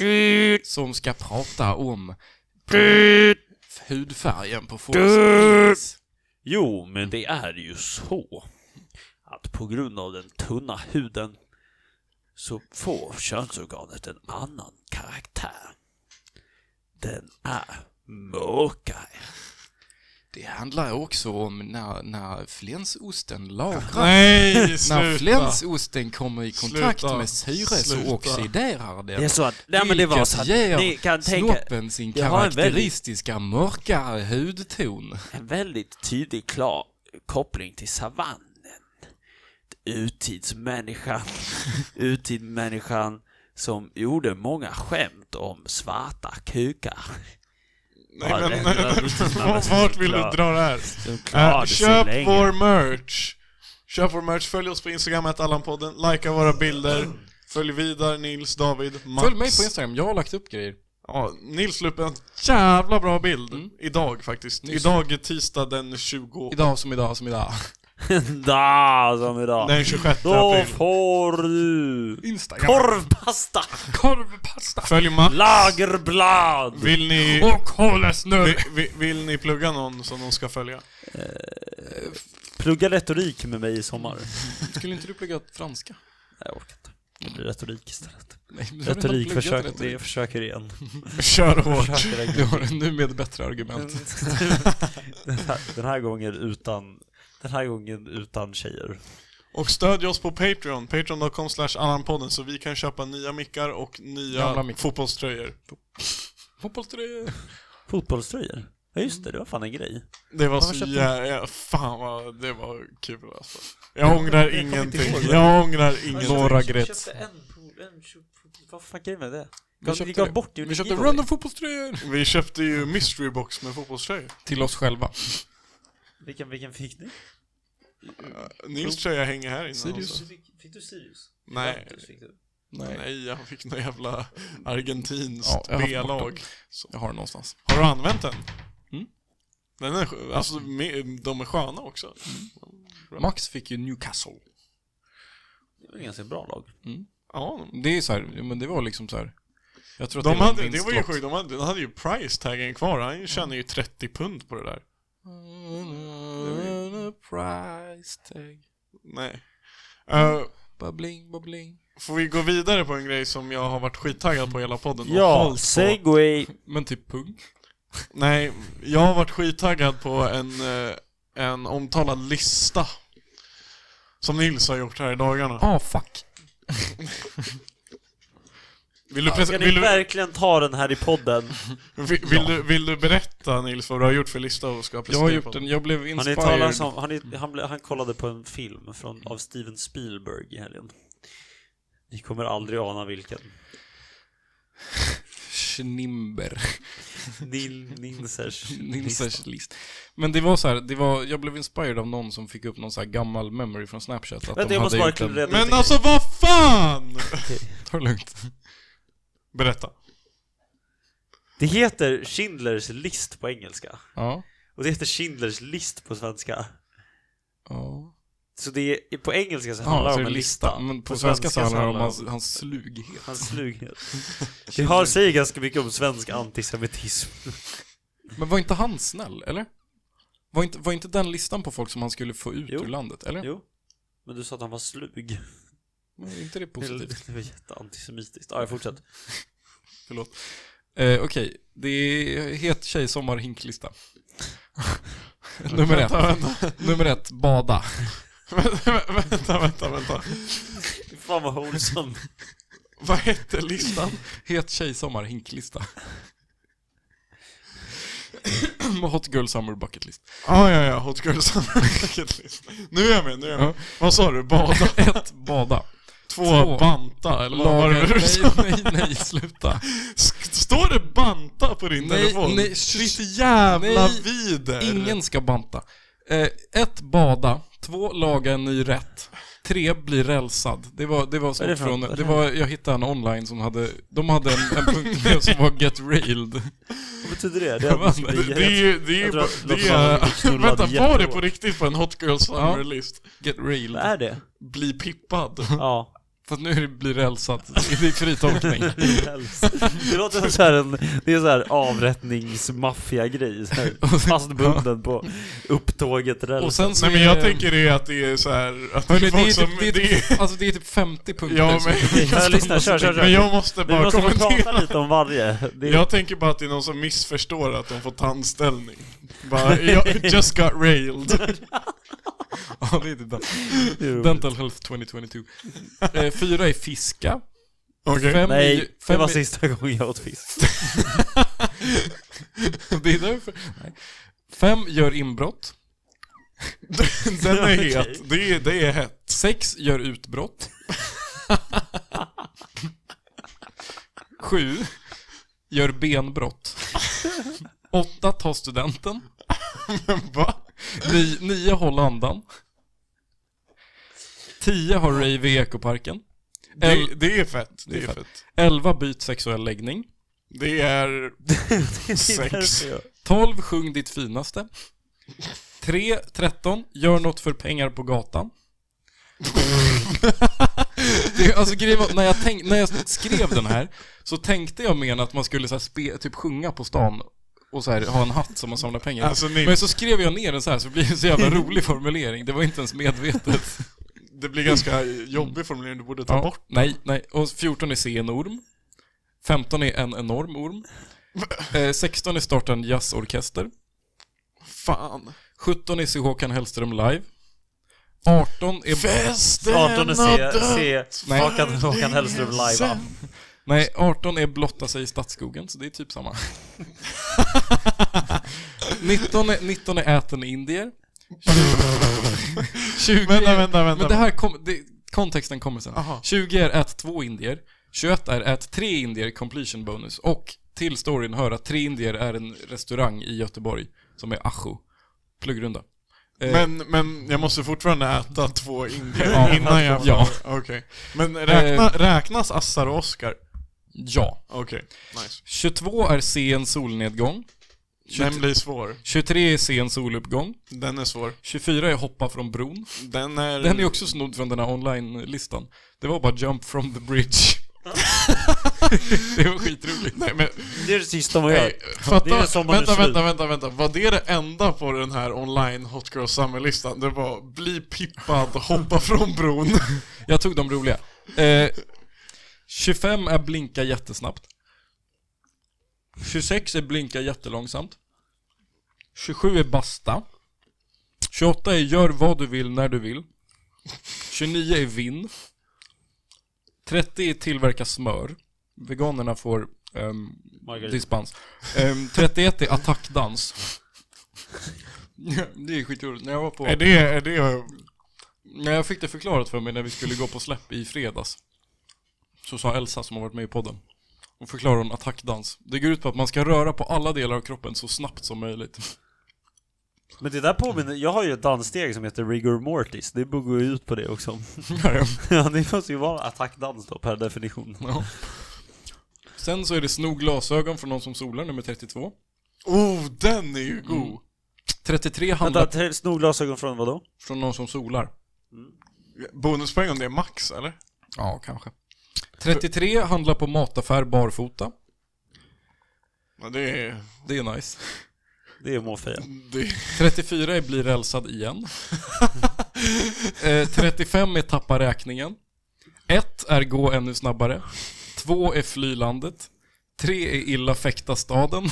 Speaker 1: som ska prata om hudfärgen på folk.
Speaker 3: Jo, men det är ju så att på grund av den tunna huden så får könsorganet en annan karaktär. Den är mörkare.
Speaker 1: Det handlar också om när, när flänsosten lagras.
Speaker 2: Nej,
Speaker 1: När
Speaker 2: sluta!
Speaker 1: flänsosten kommer i kontakt
Speaker 2: Sluta.
Speaker 1: med syre så
Speaker 2: Sluta.
Speaker 1: oxiderar den.
Speaker 3: Det är så att, nej men det var så att
Speaker 1: Vilket ger
Speaker 3: ni kan tänka
Speaker 1: snoppen sin
Speaker 3: Jag har en väldigt-
Speaker 1: karaktäristiska mörkare hudton.
Speaker 3: en väldigt tydlig klar koppling till savannen. Urtidsmänniskan, urtidsmänniskan som gjorde många skämt om svarta kukar.
Speaker 2: Nej, men,
Speaker 3: Ja, det- det- det-
Speaker 2: vart vill du
Speaker 3: klar-
Speaker 2: dra det här?
Speaker 3: som
Speaker 2: Äh,
Speaker 3: klarade sig
Speaker 2: köp
Speaker 3: länge.
Speaker 2: vår merch! Köp vår merch, följ oss på Instagram, Allanpodden, likea våra bilder, följ Vidar, Nils, David, Max.
Speaker 1: Följ mig på Instagram, jag har lagt upp grejer.
Speaker 2: Ja, Nils la upp en jävla bra bild idag faktiskt. Idag är tisdag den 20...
Speaker 1: Mm. Idag som idag som idag.
Speaker 3: Da, som idag.
Speaker 2: Den 26
Speaker 3: Då
Speaker 2: april.
Speaker 3: får du
Speaker 1: Instagram.
Speaker 3: korvpasta,
Speaker 1: korvpasta.
Speaker 2: Följ Max.
Speaker 3: lagerblad.
Speaker 2: Vill ni,
Speaker 1: Och kolasnurr.
Speaker 2: vill, vill, vill ni plugga någon som de ska följa?
Speaker 3: Plugga retorik med mig i sommar.
Speaker 1: Skulle inte du plugga franska?
Speaker 3: Jag orkar inte. Det blir retorik istället.
Speaker 1: Nej, men du har redan
Speaker 3: Retorik,
Speaker 1: pluggat
Speaker 3: försök,
Speaker 1: retorik.
Speaker 3: det försöker igen.
Speaker 2: Kör hårt.
Speaker 3: Försöker igen.
Speaker 1: Du har nu med bättre argument.
Speaker 3: Mm. den, här, den här gången utan den här gången utan tjejer.
Speaker 2: Och stödj oss på Patreon, patreon.com slash allanpodden så vi kan köpa nya mickar och
Speaker 1: Gamla
Speaker 2: nya
Speaker 1: mickar.
Speaker 2: fotbollströjor.
Speaker 1: Fotbollströjor.
Speaker 3: Fotbollströjor? Ja just det, det var fan en grej.
Speaker 2: Det var så jävla... Fan vad det var kul alltså. Jag ångrar ingenting. Jag ångrar ingenting.
Speaker 1: Några Gretz.
Speaker 3: köpte en, en vad fan grejen med det?
Speaker 1: Vi köpte det. Vi köpte random fotbollströjor.
Speaker 2: Vi köpte ju mystery box med fotbollströjor.
Speaker 1: Till oss själva.
Speaker 3: Vilken, vilken fick ni?
Speaker 2: Nils tröja hänger här inne
Speaker 1: Sirius.
Speaker 2: också.
Speaker 3: Fick, du Sirius?
Speaker 2: Nej.
Speaker 1: Nej,
Speaker 2: Nej, han fick något jävla argentinskt
Speaker 1: Ja, jag har fått
Speaker 2: B-lag.
Speaker 1: jag har den någonstans.
Speaker 2: Har du använt den?
Speaker 1: Mm.
Speaker 2: Den är, skö- alltså, me- de är sköna också.
Speaker 1: Max fick ju Newcastle.
Speaker 3: Det var en ganska bra lag.
Speaker 2: Ja, de-
Speaker 1: Det är så här, men det var liksom så här. Jag tror att
Speaker 2: de
Speaker 1: det,
Speaker 2: hade,
Speaker 1: minst
Speaker 2: det var ju
Speaker 1: lott.
Speaker 2: sjukt, de hade, de hade ju price-taggen kvar. Han tjänar ju 30 pund på det där.
Speaker 1: Mm. Price tag.
Speaker 2: Nej. Eh,
Speaker 1: Bubbling, bubbling.
Speaker 2: Får vi gå vidare på en grej som jag har varit skittaggad på hela podden? och
Speaker 3: Ja,
Speaker 2: hållt på?
Speaker 3: segway.
Speaker 1: Men typ punk.
Speaker 2: Nej, jag har varit skittaggad på en, eh, en omtalad lista. Som Nils har gjort här i dagarna.
Speaker 1: Ah, fuck.
Speaker 2: Vill du,
Speaker 3: Ska
Speaker 2: pres-
Speaker 3: ni
Speaker 2: vill du,
Speaker 3: verkligen ta den här i podden?
Speaker 2: vill, vill du, vill du berätta Nils vad du har gjort för lista och ska
Speaker 1: Jag
Speaker 2: presentera
Speaker 1: har
Speaker 2: på
Speaker 1: gjort en, jag blev
Speaker 3: Har ni
Speaker 1: inspired.
Speaker 3: talat om, har ni, han, ble- han kollade på en film från, av Steven Spielberg i helgen. Ni kommer aldrig ana vilken.
Speaker 1: Schnimber.
Speaker 3: Nil, Ninsers.
Speaker 1: Nilsers list. Men det var så här, det var, jag blev inspired av någon som fick upp någon så här gammal memory från Snapchat. Att
Speaker 3: Vänta,
Speaker 1: de
Speaker 3: jag måste
Speaker 1: hade
Speaker 3: bara
Speaker 1: gjort en...
Speaker 3: reda ut
Speaker 2: Men
Speaker 3: en
Speaker 2: alltså vad fan!
Speaker 1: Ta det lugnt.
Speaker 2: Berätta.
Speaker 3: Det heter Schindlers list på engelska.
Speaker 1: Ja.
Speaker 3: Och det heter Schindlers list på svenska.
Speaker 1: Ja.
Speaker 3: Så det är, på engelska så handlar
Speaker 1: Ja,
Speaker 3: det
Speaker 1: så
Speaker 3: om
Speaker 1: är det
Speaker 3: en
Speaker 1: lista.
Speaker 3: lista.
Speaker 1: Men på svenska så handlar det om hans,
Speaker 3: om
Speaker 1: hans slughet.
Speaker 3: hans slughet. Det har sig ganska mycket om svensk antisemitism.
Speaker 1: Men var inte han snäll, eller? Var inte, var inte den listan på folk som han skulle få ut
Speaker 3: Jo.
Speaker 1: ur landet, eller?
Speaker 3: Jo. Men du sa att han var slug.
Speaker 1: Var inte det positivt?
Speaker 3: Det var jätteantisemitiskt. Ja, jag fortsätter.
Speaker 1: Förlåt. Eh, Okej, det är het tjej sommar hinklista. Nummer ett. Nummer ett, bada.
Speaker 2: Vänta, vänta, vänta, vänta.
Speaker 3: Fan vad wholesome.
Speaker 2: Vad hette listan?
Speaker 1: Het tjejsommar, hinklista. Hot girl summer bucket list.
Speaker 2: Ah, ja, ja, Hot Girl Summer Bucket List. Nu är jag med, nu är jag med. Vad sa du? Bada?
Speaker 1: Ett, Bada.
Speaker 2: Två,
Speaker 1: Två.
Speaker 2: banta? Eller vad var
Speaker 1: Laga,
Speaker 2: det du sa?
Speaker 1: nej, nej, nej, sluta.
Speaker 2: Sk- Står det banta på din
Speaker 1: Nej,
Speaker 2: telefon?
Speaker 1: nej,
Speaker 2: Ditt
Speaker 1: shh.
Speaker 2: jävla
Speaker 1: Nej,
Speaker 2: vider!
Speaker 1: Eh, Ingen ska banta. Eh, ett, bada. Två, laga en ny rätt. Tre, bli rälsad. Det var, det var
Speaker 3: är det
Speaker 1: sånt
Speaker 3: för
Speaker 1: från,
Speaker 3: något?
Speaker 1: det var, jag hittade en online som hade, de hade en, en punkt som var get railed. Alltså,
Speaker 3: Vad betyder det? Det
Speaker 1: Vad
Speaker 3: är,
Speaker 1: fan,
Speaker 2: Det, det är ju... Det är, ju det
Speaker 3: Jag tror att Lotta Sandholm
Speaker 2: är,
Speaker 3: fick knullad
Speaker 2: vänta, var det
Speaker 3: jättehårt.
Speaker 2: på riktigt på en Hot Girl Summer List?
Speaker 1: Get railed.
Speaker 3: Vad är det?
Speaker 2: Bli pippad.
Speaker 3: Ja.
Speaker 1: Fast nu är det bli rälsad. Det är fritolkning.
Speaker 3: Det låter som så här en, det är så här avrättningsmaffia-grej. så här Fastbunden på upptåget räls.
Speaker 1: Och sen så
Speaker 2: Nej men jag
Speaker 1: är-
Speaker 2: tänker det att det är så här, att det
Speaker 1: Hörni,
Speaker 2: är
Speaker 1: det, är
Speaker 2: folk
Speaker 1: typ,
Speaker 2: som...
Speaker 1: det, är
Speaker 2: det är-
Speaker 1: typ, alltså det är typ 50 punkter.
Speaker 2: Ja,
Speaker 1: som-
Speaker 2: men-
Speaker 3: Okej, Jag lyssnar, kör, kör,
Speaker 2: Men
Speaker 3: kör.
Speaker 2: jag måste
Speaker 3: Vi
Speaker 2: bara
Speaker 3: måste få prata
Speaker 2: kommentera.
Speaker 3: lite om varje. Det är,
Speaker 2: Jag tänker bara att det är någon som missförstår att de får tandställning. Bara, jag just got railed.
Speaker 1: ja, det är typ den.
Speaker 3: det är roligt.
Speaker 1: Dental Health 2022. Eh, fyra är fiska.
Speaker 2: Okej.
Speaker 1: Fem är, ju-
Speaker 3: Nej, det
Speaker 1: fem
Speaker 3: var
Speaker 1: är-
Speaker 3: sista gången jag åt fisk.
Speaker 1: Det är därför. Nej. Fem gör inbrott.
Speaker 2: Den är het. Det är, det är hett.
Speaker 1: Sex gör utbrott. Sju gör benbrott. Åtta tar studenten.
Speaker 2: Va?
Speaker 1: Ni, nio håll andan. Tio har rave i ekoparken. El,
Speaker 2: Det, det är fett. Det
Speaker 1: Det är
Speaker 2: är
Speaker 1: fett.
Speaker 2: fett.
Speaker 1: elva byt sexuell läggning.
Speaker 2: Det är sex.
Speaker 3: Därför jag-
Speaker 1: 12 Sjung ditt finaste. 3 13 Gör något för pengar på gatan. det, är- alltså, grejen var- när, jag tänk, när jag skrev den här så tänkte jag mer att man skulle så här, spe, typ sjunga på stan och så här, ha en hatt som man samlar pengar i.
Speaker 2: Alltså, ni-
Speaker 1: Men så skrev jag ner den så här så det blir en så jävla rolig formulering. Det var inte ens medvetet.
Speaker 2: Det blir ganska jobbig formulering, du borde ta
Speaker 1: Ja,
Speaker 2: bort.
Speaker 1: Nej, nej. Och 14 är se en orm. 15 är en enorm orm. Eh, 16 är starta en jazzorkester.
Speaker 2: Fan.
Speaker 1: 17 är se Håkan Hellström live. 18 är...
Speaker 3: 18
Speaker 2: Festen
Speaker 3: och se, se
Speaker 1: Nej.
Speaker 3: Håkan, Håkan Hellström live. va?
Speaker 1: Nej, 18 är blotta sig i Stadsskogen, så det är typ samma. 19 är, 19 är äten indier. 20
Speaker 2: Vänta, vänta, vänta.
Speaker 1: Men det här kom, det, kontexten kommer sen.
Speaker 2: Aha.
Speaker 1: 20 är ät två indier. 21 är ät tre indier completion bonus. Och till storyn hör att tre indier är en restaurang i Göteborg som är Acho. Pluggrunda.
Speaker 2: Men, men jag måste fortfarande äta två indier
Speaker 1: Ja.
Speaker 2: innan jag...
Speaker 1: Ja.
Speaker 2: Okej. Men räkna, räknas Assar och Oscar?
Speaker 1: Ja.
Speaker 2: Okej, nice.
Speaker 1: 22 är se en solnedgång.
Speaker 2: Den blir svår.
Speaker 1: 23 är se en soluppgång.
Speaker 2: Den är svår.
Speaker 1: 24 är hoppa från bron.
Speaker 2: Den är...
Speaker 1: Den är också snodd från den här online-listan. Det var bara jump from the bridge. det var skitroligt.
Speaker 2: Nej, men,
Speaker 3: Det är det sista man gör.
Speaker 2: nej, fatta,
Speaker 3: Det är som man är
Speaker 2: vänta,
Speaker 3: slut.
Speaker 2: vänta, vänta, vänta. Var det det enda på den här online Hot Girl Summer-listan? Det var bli pippad, hoppa från bron.
Speaker 1: Jag tog de roliga. Eh, 25 är blinka jättesnabbt. 26 är blinka jättelångsamt. 27 är basta. 28 är gör vad du vill när du vill. 29 är vinn. 30 är tillverka smör. Veganerna får ehm,
Speaker 3: Margarita.
Speaker 1: dispens. Ehm, 31 är attackdans. det är skitroligt. När jag var på...
Speaker 2: är det... Är det
Speaker 1: När jag fick det förklarat för mig när vi skulle gå på släpp i fredags Så sa Elsa som har varit med i podden Hon förklarar om attackdans Det går ut på att man ska röra på alla delar av kroppen så snabbt som möjligt
Speaker 3: Men det där påminner, jag har ju ett danssteg som heter rigor mortis, det borde gå ut på det också.
Speaker 1: ja.
Speaker 3: ja, det måste ju vara attackdans då per definition.
Speaker 1: Sen så är det sno glasögon från någon som solar, nummer 32
Speaker 2: oh, den är ju
Speaker 1: Mm.
Speaker 2: god!
Speaker 1: 33 handlar
Speaker 3: Vänta, tre- sno glasögon från vadå?
Speaker 1: från någon som solar
Speaker 2: Bonuspoäng om det är max, eller?
Speaker 1: Ja, kanske 33 handlar på mataffär barfota
Speaker 2: Ja, det är...
Speaker 1: Det är nice
Speaker 3: Det är måfeja.
Speaker 2: Det är
Speaker 1: 34 är bli rälsad igen. eh, 35 är tappa räkningen. 1 är gå ännu snabbare. 2 är fly landet. 3 är illa fäkta staden.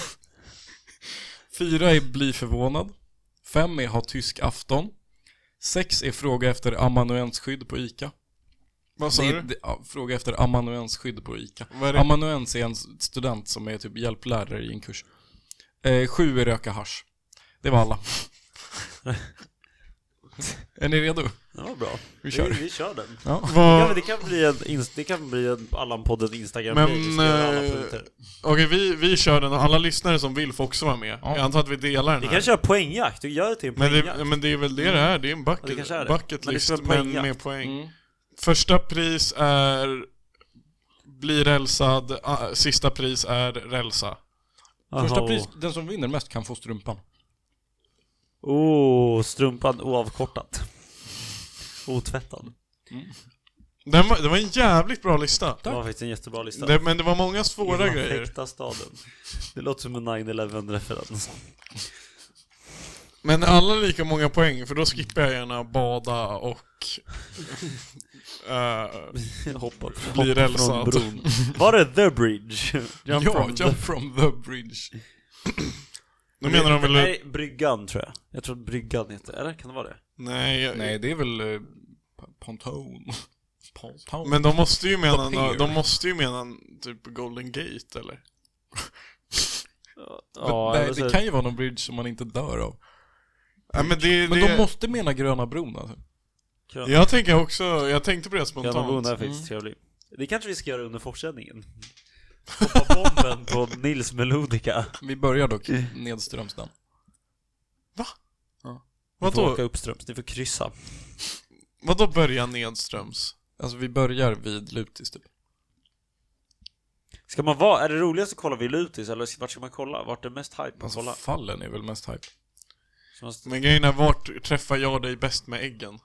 Speaker 1: 4 är bli förvånad. 5 är ha tysk afton. Sex är fråga efter amanuensskydd på ICA.
Speaker 2: Vad sa
Speaker 1: Det
Speaker 2: du?
Speaker 1: är, det, ja, fråga efter amanuensskydd på ICA.
Speaker 2: Vad är det?
Speaker 1: Amanuens är en student som är typ hjälplärare i en kurs. Eh, sju är röka hasch. Det var alla. är ni redo?
Speaker 3: Det var bra.
Speaker 1: Vi kör.
Speaker 3: Vi, vi kör den.
Speaker 1: Ja.
Speaker 3: Ja, men
Speaker 2: Vad...
Speaker 3: det kan bli en, inst- det kan bli en Allan-podden instagram
Speaker 2: Men,
Speaker 3: vi ska göra alla
Speaker 2: eh,
Speaker 3: punkter.
Speaker 2: Okej, vi, vi kör den och alla lyssnare som vill får också vara med.
Speaker 1: Ja.
Speaker 2: Jag antar att vi delar den
Speaker 3: Vi
Speaker 2: här.
Speaker 3: kan köra poängjakt, du gör det till en
Speaker 2: Men
Speaker 3: poängjakt.
Speaker 2: det, men det är väl det det är, det är en bucket,
Speaker 3: Ja, det kanske är det.
Speaker 2: bucket
Speaker 3: Men det
Speaker 2: list
Speaker 3: ska vara
Speaker 2: men
Speaker 3: poängjakt.
Speaker 2: med poäng.
Speaker 1: Mm.
Speaker 2: Första pris är blir rälsad, ah, sista pris är rälsa.
Speaker 1: Första
Speaker 3: Aha.
Speaker 1: pris, den som vinner mest kan få strumpan.
Speaker 3: Oh, strumpan oavkortat. Otvättad.
Speaker 2: Den var, det var en jävligt bra lista.
Speaker 3: Det var faktiskt en jättebra lista.
Speaker 2: Det, men det var många
Speaker 3: I
Speaker 2: svåra
Speaker 3: den
Speaker 2: grejer.
Speaker 3: perfekta staden. Det låter som en 9-11-referens.
Speaker 2: Men alla lika många poäng, för då skippar jag gärna bada och... eh,
Speaker 3: Hoppa från,
Speaker 2: Blir
Speaker 3: hoppa från
Speaker 2: rälsad.
Speaker 3: bron. Var det The Bridge? Jump
Speaker 1: ja,
Speaker 3: from
Speaker 1: jump from the bridge.
Speaker 2: då menar de väl...
Speaker 3: Nej, Bryggan tror jag. Jag tror att Bryggan heter... Eller kan det vara det?
Speaker 2: Nej, jag-
Speaker 1: Nej, det är väl eh, p- ponton. Ponton.
Speaker 2: men de måste ju mena,
Speaker 1: Vad är det?
Speaker 2: de måste ju mena typ Golden Gate eller?
Speaker 3: Ja,
Speaker 1: Nej,
Speaker 3: eller så-
Speaker 1: det kan ju vara någon bridge som man inte dör av.
Speaker 2: Ja, men det,
Speaker 1: Men
Speaker 2: det...
Speaker 1: de måste mena Gröna bron alltså.
Speaker 3: Krön-
Speaker 2: Jag tänker också, jag tänkte på det
Speaker 3: Gröna bron är
Speaker 2: spontant.
Speaker 3: faktiskt trevlig. Mm. Det kanske vi ska göra under fortsättningen. Hoppa bomben på Nils Melodica.
Speaker 1: Vi börjar dock nedströms den.
Speaker 3: Ni får
Speaker 2: Vadå,
Speaker 3: åka uppströms, ni får kryssa.
Speaker 2: vadå börja nedströms?
Speaker 1: Alltså vi börjar vid Lutis typ.
Speaker 3: Ska man vara, är det roligast att kolla vid Lutis eller vart ska man kolla? Vart är mest hype att
Speaker 1: Alltså
Speaker 3: kolla?
Speaker 1: fallen är väl mest hype.
Speaker 3: Så man-
Speaker 2: Men grejen är, vart träffar jag dig bäst med äggen?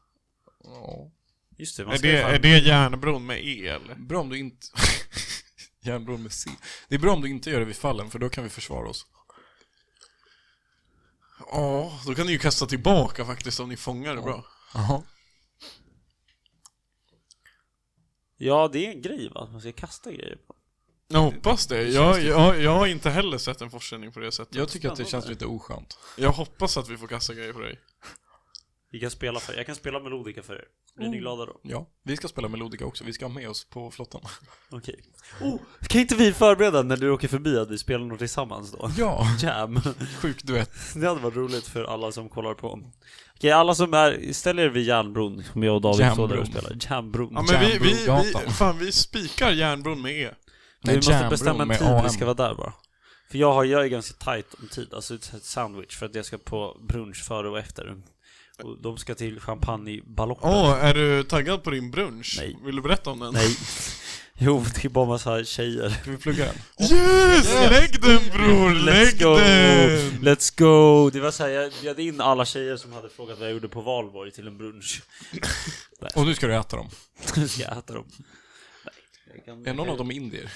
Speaker 1: Ja.
Speaker 3: Just det, man
Speaker 2: Är
Speaker 3: ska
Speaker 2: det,
Speaker 3: ju fan-
Speaker 2: är det järnbron med E eller?
Speaker 1: Bra om du inte... Järnbron med C. Det är bra om du inte gör det vid fallen för då kan vi försvara oss.
Speaker 2: Ja, då kan ni ju kasta tillbaka faktiskt om ni fångar det bra.
Speaker 1: Jaha.
Speaker 3: Ja, det är en grej va? Man ska kasta grejer på.
Speaker 2: Jag hoppas det. Jag,
Speaker 3: typ-
Speaker 2: jag, jag har inte heller sett en fortsättning på det sättet.
Speaker 1: Jag tycker att det känns lite oskönt.
Speaker 2: Jag hoppas att vi får kasta grejer på dig.
Speaker 3: Vi kan spela för, jag kan spela Melodica för er. Blir ni glada då?
Speaker 1: Ja. Vi ska spela Melodica också, vi ska ha med oss på flottan.
Speaker 3: Okej. Oh, kan inte vi förbereda när du åker förbi att vi spelar något tillsammans då?
Speaker 1: Ja,
Speaker 3: Jam.
Speaker 1: sjuk duett.
Speaker 3: Det hade varit roligt för alla som kollar på. Okej, alla som är, ställ er vid järnbron, kommer jag och David står där och
Speaker 1: Järnbron.
Speaker 3: spelar. Järnbron.
Speaker 2: Ja men vi, vi, vi,
Speaker 1: Järnbrogatan.
Speaker 2: fan vi spikar järnbron med E.
Speaker 3: vi måste
Speaker 1: Järnbron
Speaker 3: bestämma en
Speaker 1: med
Speaker 3: tid vi
Speaker 1: AM.
Speaker 3: ska vara där bara. För jag, har, jag är ganska tight om tid, alltså ett sandwich, för att jag ska på brunch före och efter. Och de ska till champagneballongen.
Speaker 2: Åh, är du taggad på din brunch?
Speaker 3: Nej.
Speaker 2: Vill du berätta om den?
Speaker 3: Nej. Jo, det är bara massa tjejer.
Speaker 1: Ska vi plugga den?
Speaker 2: Yes! Lägg den bror! Lägg den!
Speaker 3: Let's go! Det var såhär, jag bjöd in alla tjejer som hade frågat vad jag gjorde på valborg till en brunch.
Speaker 1: Och nu ska du äta dem.
Speaker 3: ska jag äta dem. Nej, jag kan,
Speaker 1: Är någon av dem indier?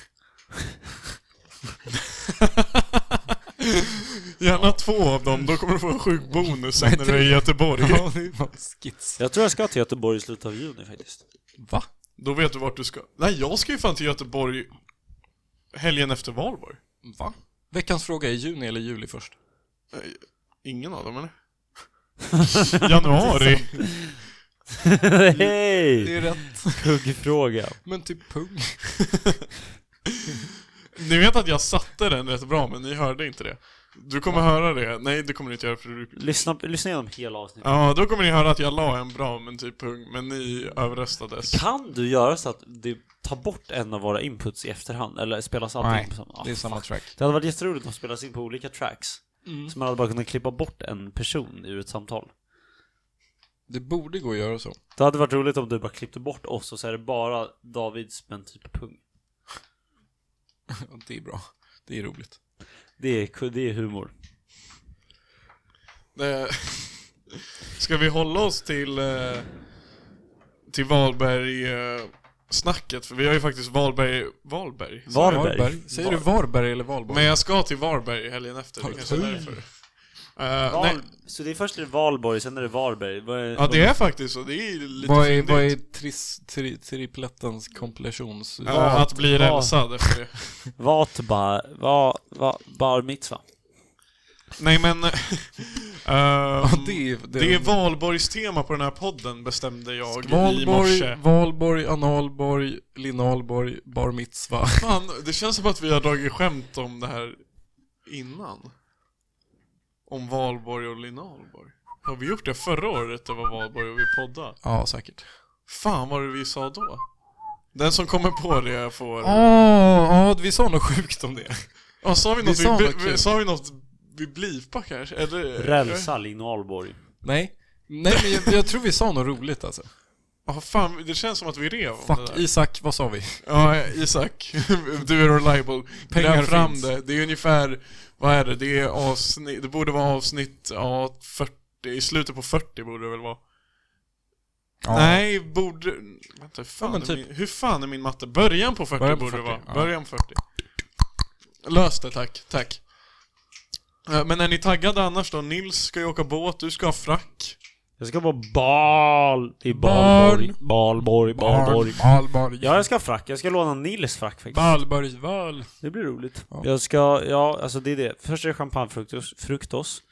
Speaker 2: Gärna två av dem, då kommer du få en sjuk bonus sen när du är i Göteborg.
Speaker 1: Skits.
Speaker 3: Jag tror jag ska till Göteborg i slutet av juni faktiskt.
Speaker 1: Va?
Speaker 2: Då vet du vart du ska. Nej, jag ska ju fan till Göteborg helgen efter valborg.
Speaker 1: Va? Veckans fråga är juni eller juli först?
Speaker 2: Ingen av dem eller? Januari.
Speaker 3: Hej!
Speaker 1: är rätt.
Speaker 3: Kuggfråga.
Speaker 1: Men typ pung.
Speaker 2: Ni vet att jag satte den rätt bra, men ni hörde inte det. Du kommer höra det. Nej, det kommer ni inte göra för du...
Speaker 3: Lyssna, lyssna igenom hela avsnittet.
Speaker 2: Ja, då kommer ni höra att jag la en bra, men typ pung. Men ni överröstades.
Speaker 3: Kan du göra så att du tar bort en av våra inputs i efterhand? Eller spelas allting på samma? Ah,
Speaker 1: det är samma
Speaker 3: fuck.
Speaker 1: track.
Speaker 3: Det hade varit jätteroligt om de spelas in på olika tracks.
Speaker 1: Mm.
Speaker 3: Så man hade bara kunnat klippa bort en person ur ett samtal.
Speaker 1: Det borde gå att göra så.
Speaker 3: Det hade varit roligt om du bara klippte bort oss och så är det bara Davids men typ pung.
Speaker 1: Ja, Det är bra. Det är roligt.
Speaker 3: Det är, ku- det är humor.
Speaker 2: Eh, Ska vi hålla oss till, eh, till Varberg-snacket? För vi har ju faktiskt Varberg... Varberg?
Speaker 3: Varberg.
Speaker 1: Säger du Varberg eller Valborg?
Speaker 2: Men jag ska till Varberg helgen efter, det
Speaker 1: Har du
Speaker 2: kanske är
Speaker 1: tur?
Speaker 2: därför. Eh, nej,
Speaker 3: Val- så det är först är det Valborg, sen är det Varberg. Vad är-
Speaker 2: ja det är faktiskt så, det är ju lite
Speaker 1: vad är,
Speaker 2: fyndigt.
Speaker 1: vad är tris, tri, triplettens kompilations...
Speaker 2: Eh, Att bli
Speaker 3: vad-
Speaker 2: rensad efter det.
Speaker 3: Vatbar, va, va, bar mitzva.
Speaker 2: Nej men, Ehm,
Speaker 1: det är- det-
Speaker 2: eh, det är valborgstema på den här podden bestämde jag i
Speaker 1: Valborg,
Speaker 2: morse.
Speaker 1: Valborg, Analborg, Linalborg, Bar Mitzva.
Speaker 2: Fan, det känns som att vi har dragit skämt om det här innan. Om valborg och linalborg. Har vi gjort det förra året det var valborg och vi poddade?
Speaker 1: Ja, säkert.
Speaker 2: Fan vad det vi sa då? Den som kommer på det får...
Speaker 1: Åh, Ja, vi sa något sjukt om det.
Speaker 2: Ja, sa vi
Speaker 1: vi
Speaker 2: något vi,
Speaker 1: sa
Speaker 2: vi,
Speaker 1: något kul.
Speaker 2: sa vi något vi blipar kanske? Eller?
Speaker 3: Rälsa Linalborg.
Speaker 1: Nej. Nej, men jag, jag tror vi sa något roligt alltså.
Speaker 2: Ja, fan, det känns som att vi rev om det
Speaker 1: Fuck
Speaker 2: där.
Speaker 1: Isak, vad sa vi?
Speaker 2: Ja, Isak. Du är reliable.
Speaker 1: Pengar
Speaker 2: Gräv fram
Speaker 1: finns.
Speaker 2: det. Det är ungefär, vad är det? Det, är avsnitt, det borde vara avsnitt ja, 40, i slutet på 40 borde det väl vara. Nej, borde... Vänta, hur fan,
Speaker 1: men
Speaker 2: är
Speaker 1: typ.
Speaker 2: min, hur fan är min matte? Början på 40
Speaker 1: Början på
Speaker 2: borde det
Speaker 1: 40,
Speaker 2: vara.
Speaker 1: ja.
Speaker 2: Början på 40. Lös det, tack. Tack. Eh, Men är ni taggade annars då? Nils ska ju åka båt, du ska ha frack.
Speaker 3: Jag ska vara bal i Balborg.
Speaker 1: Barn.
Speaker 3: Balborg, Balborg.
Speaker 1: Valborg.
Speaker 3: Ja, jag ska ha frack. Jag ska låna Nils frack faktiskt.
Speaker 1: Valborg, Val.
Speaker 3: Det blir roligt.
Speaker 1: Ja.
Speaker 3: Jag ska, ja alltså det är det. Först är det champagnefruktos, fruktos.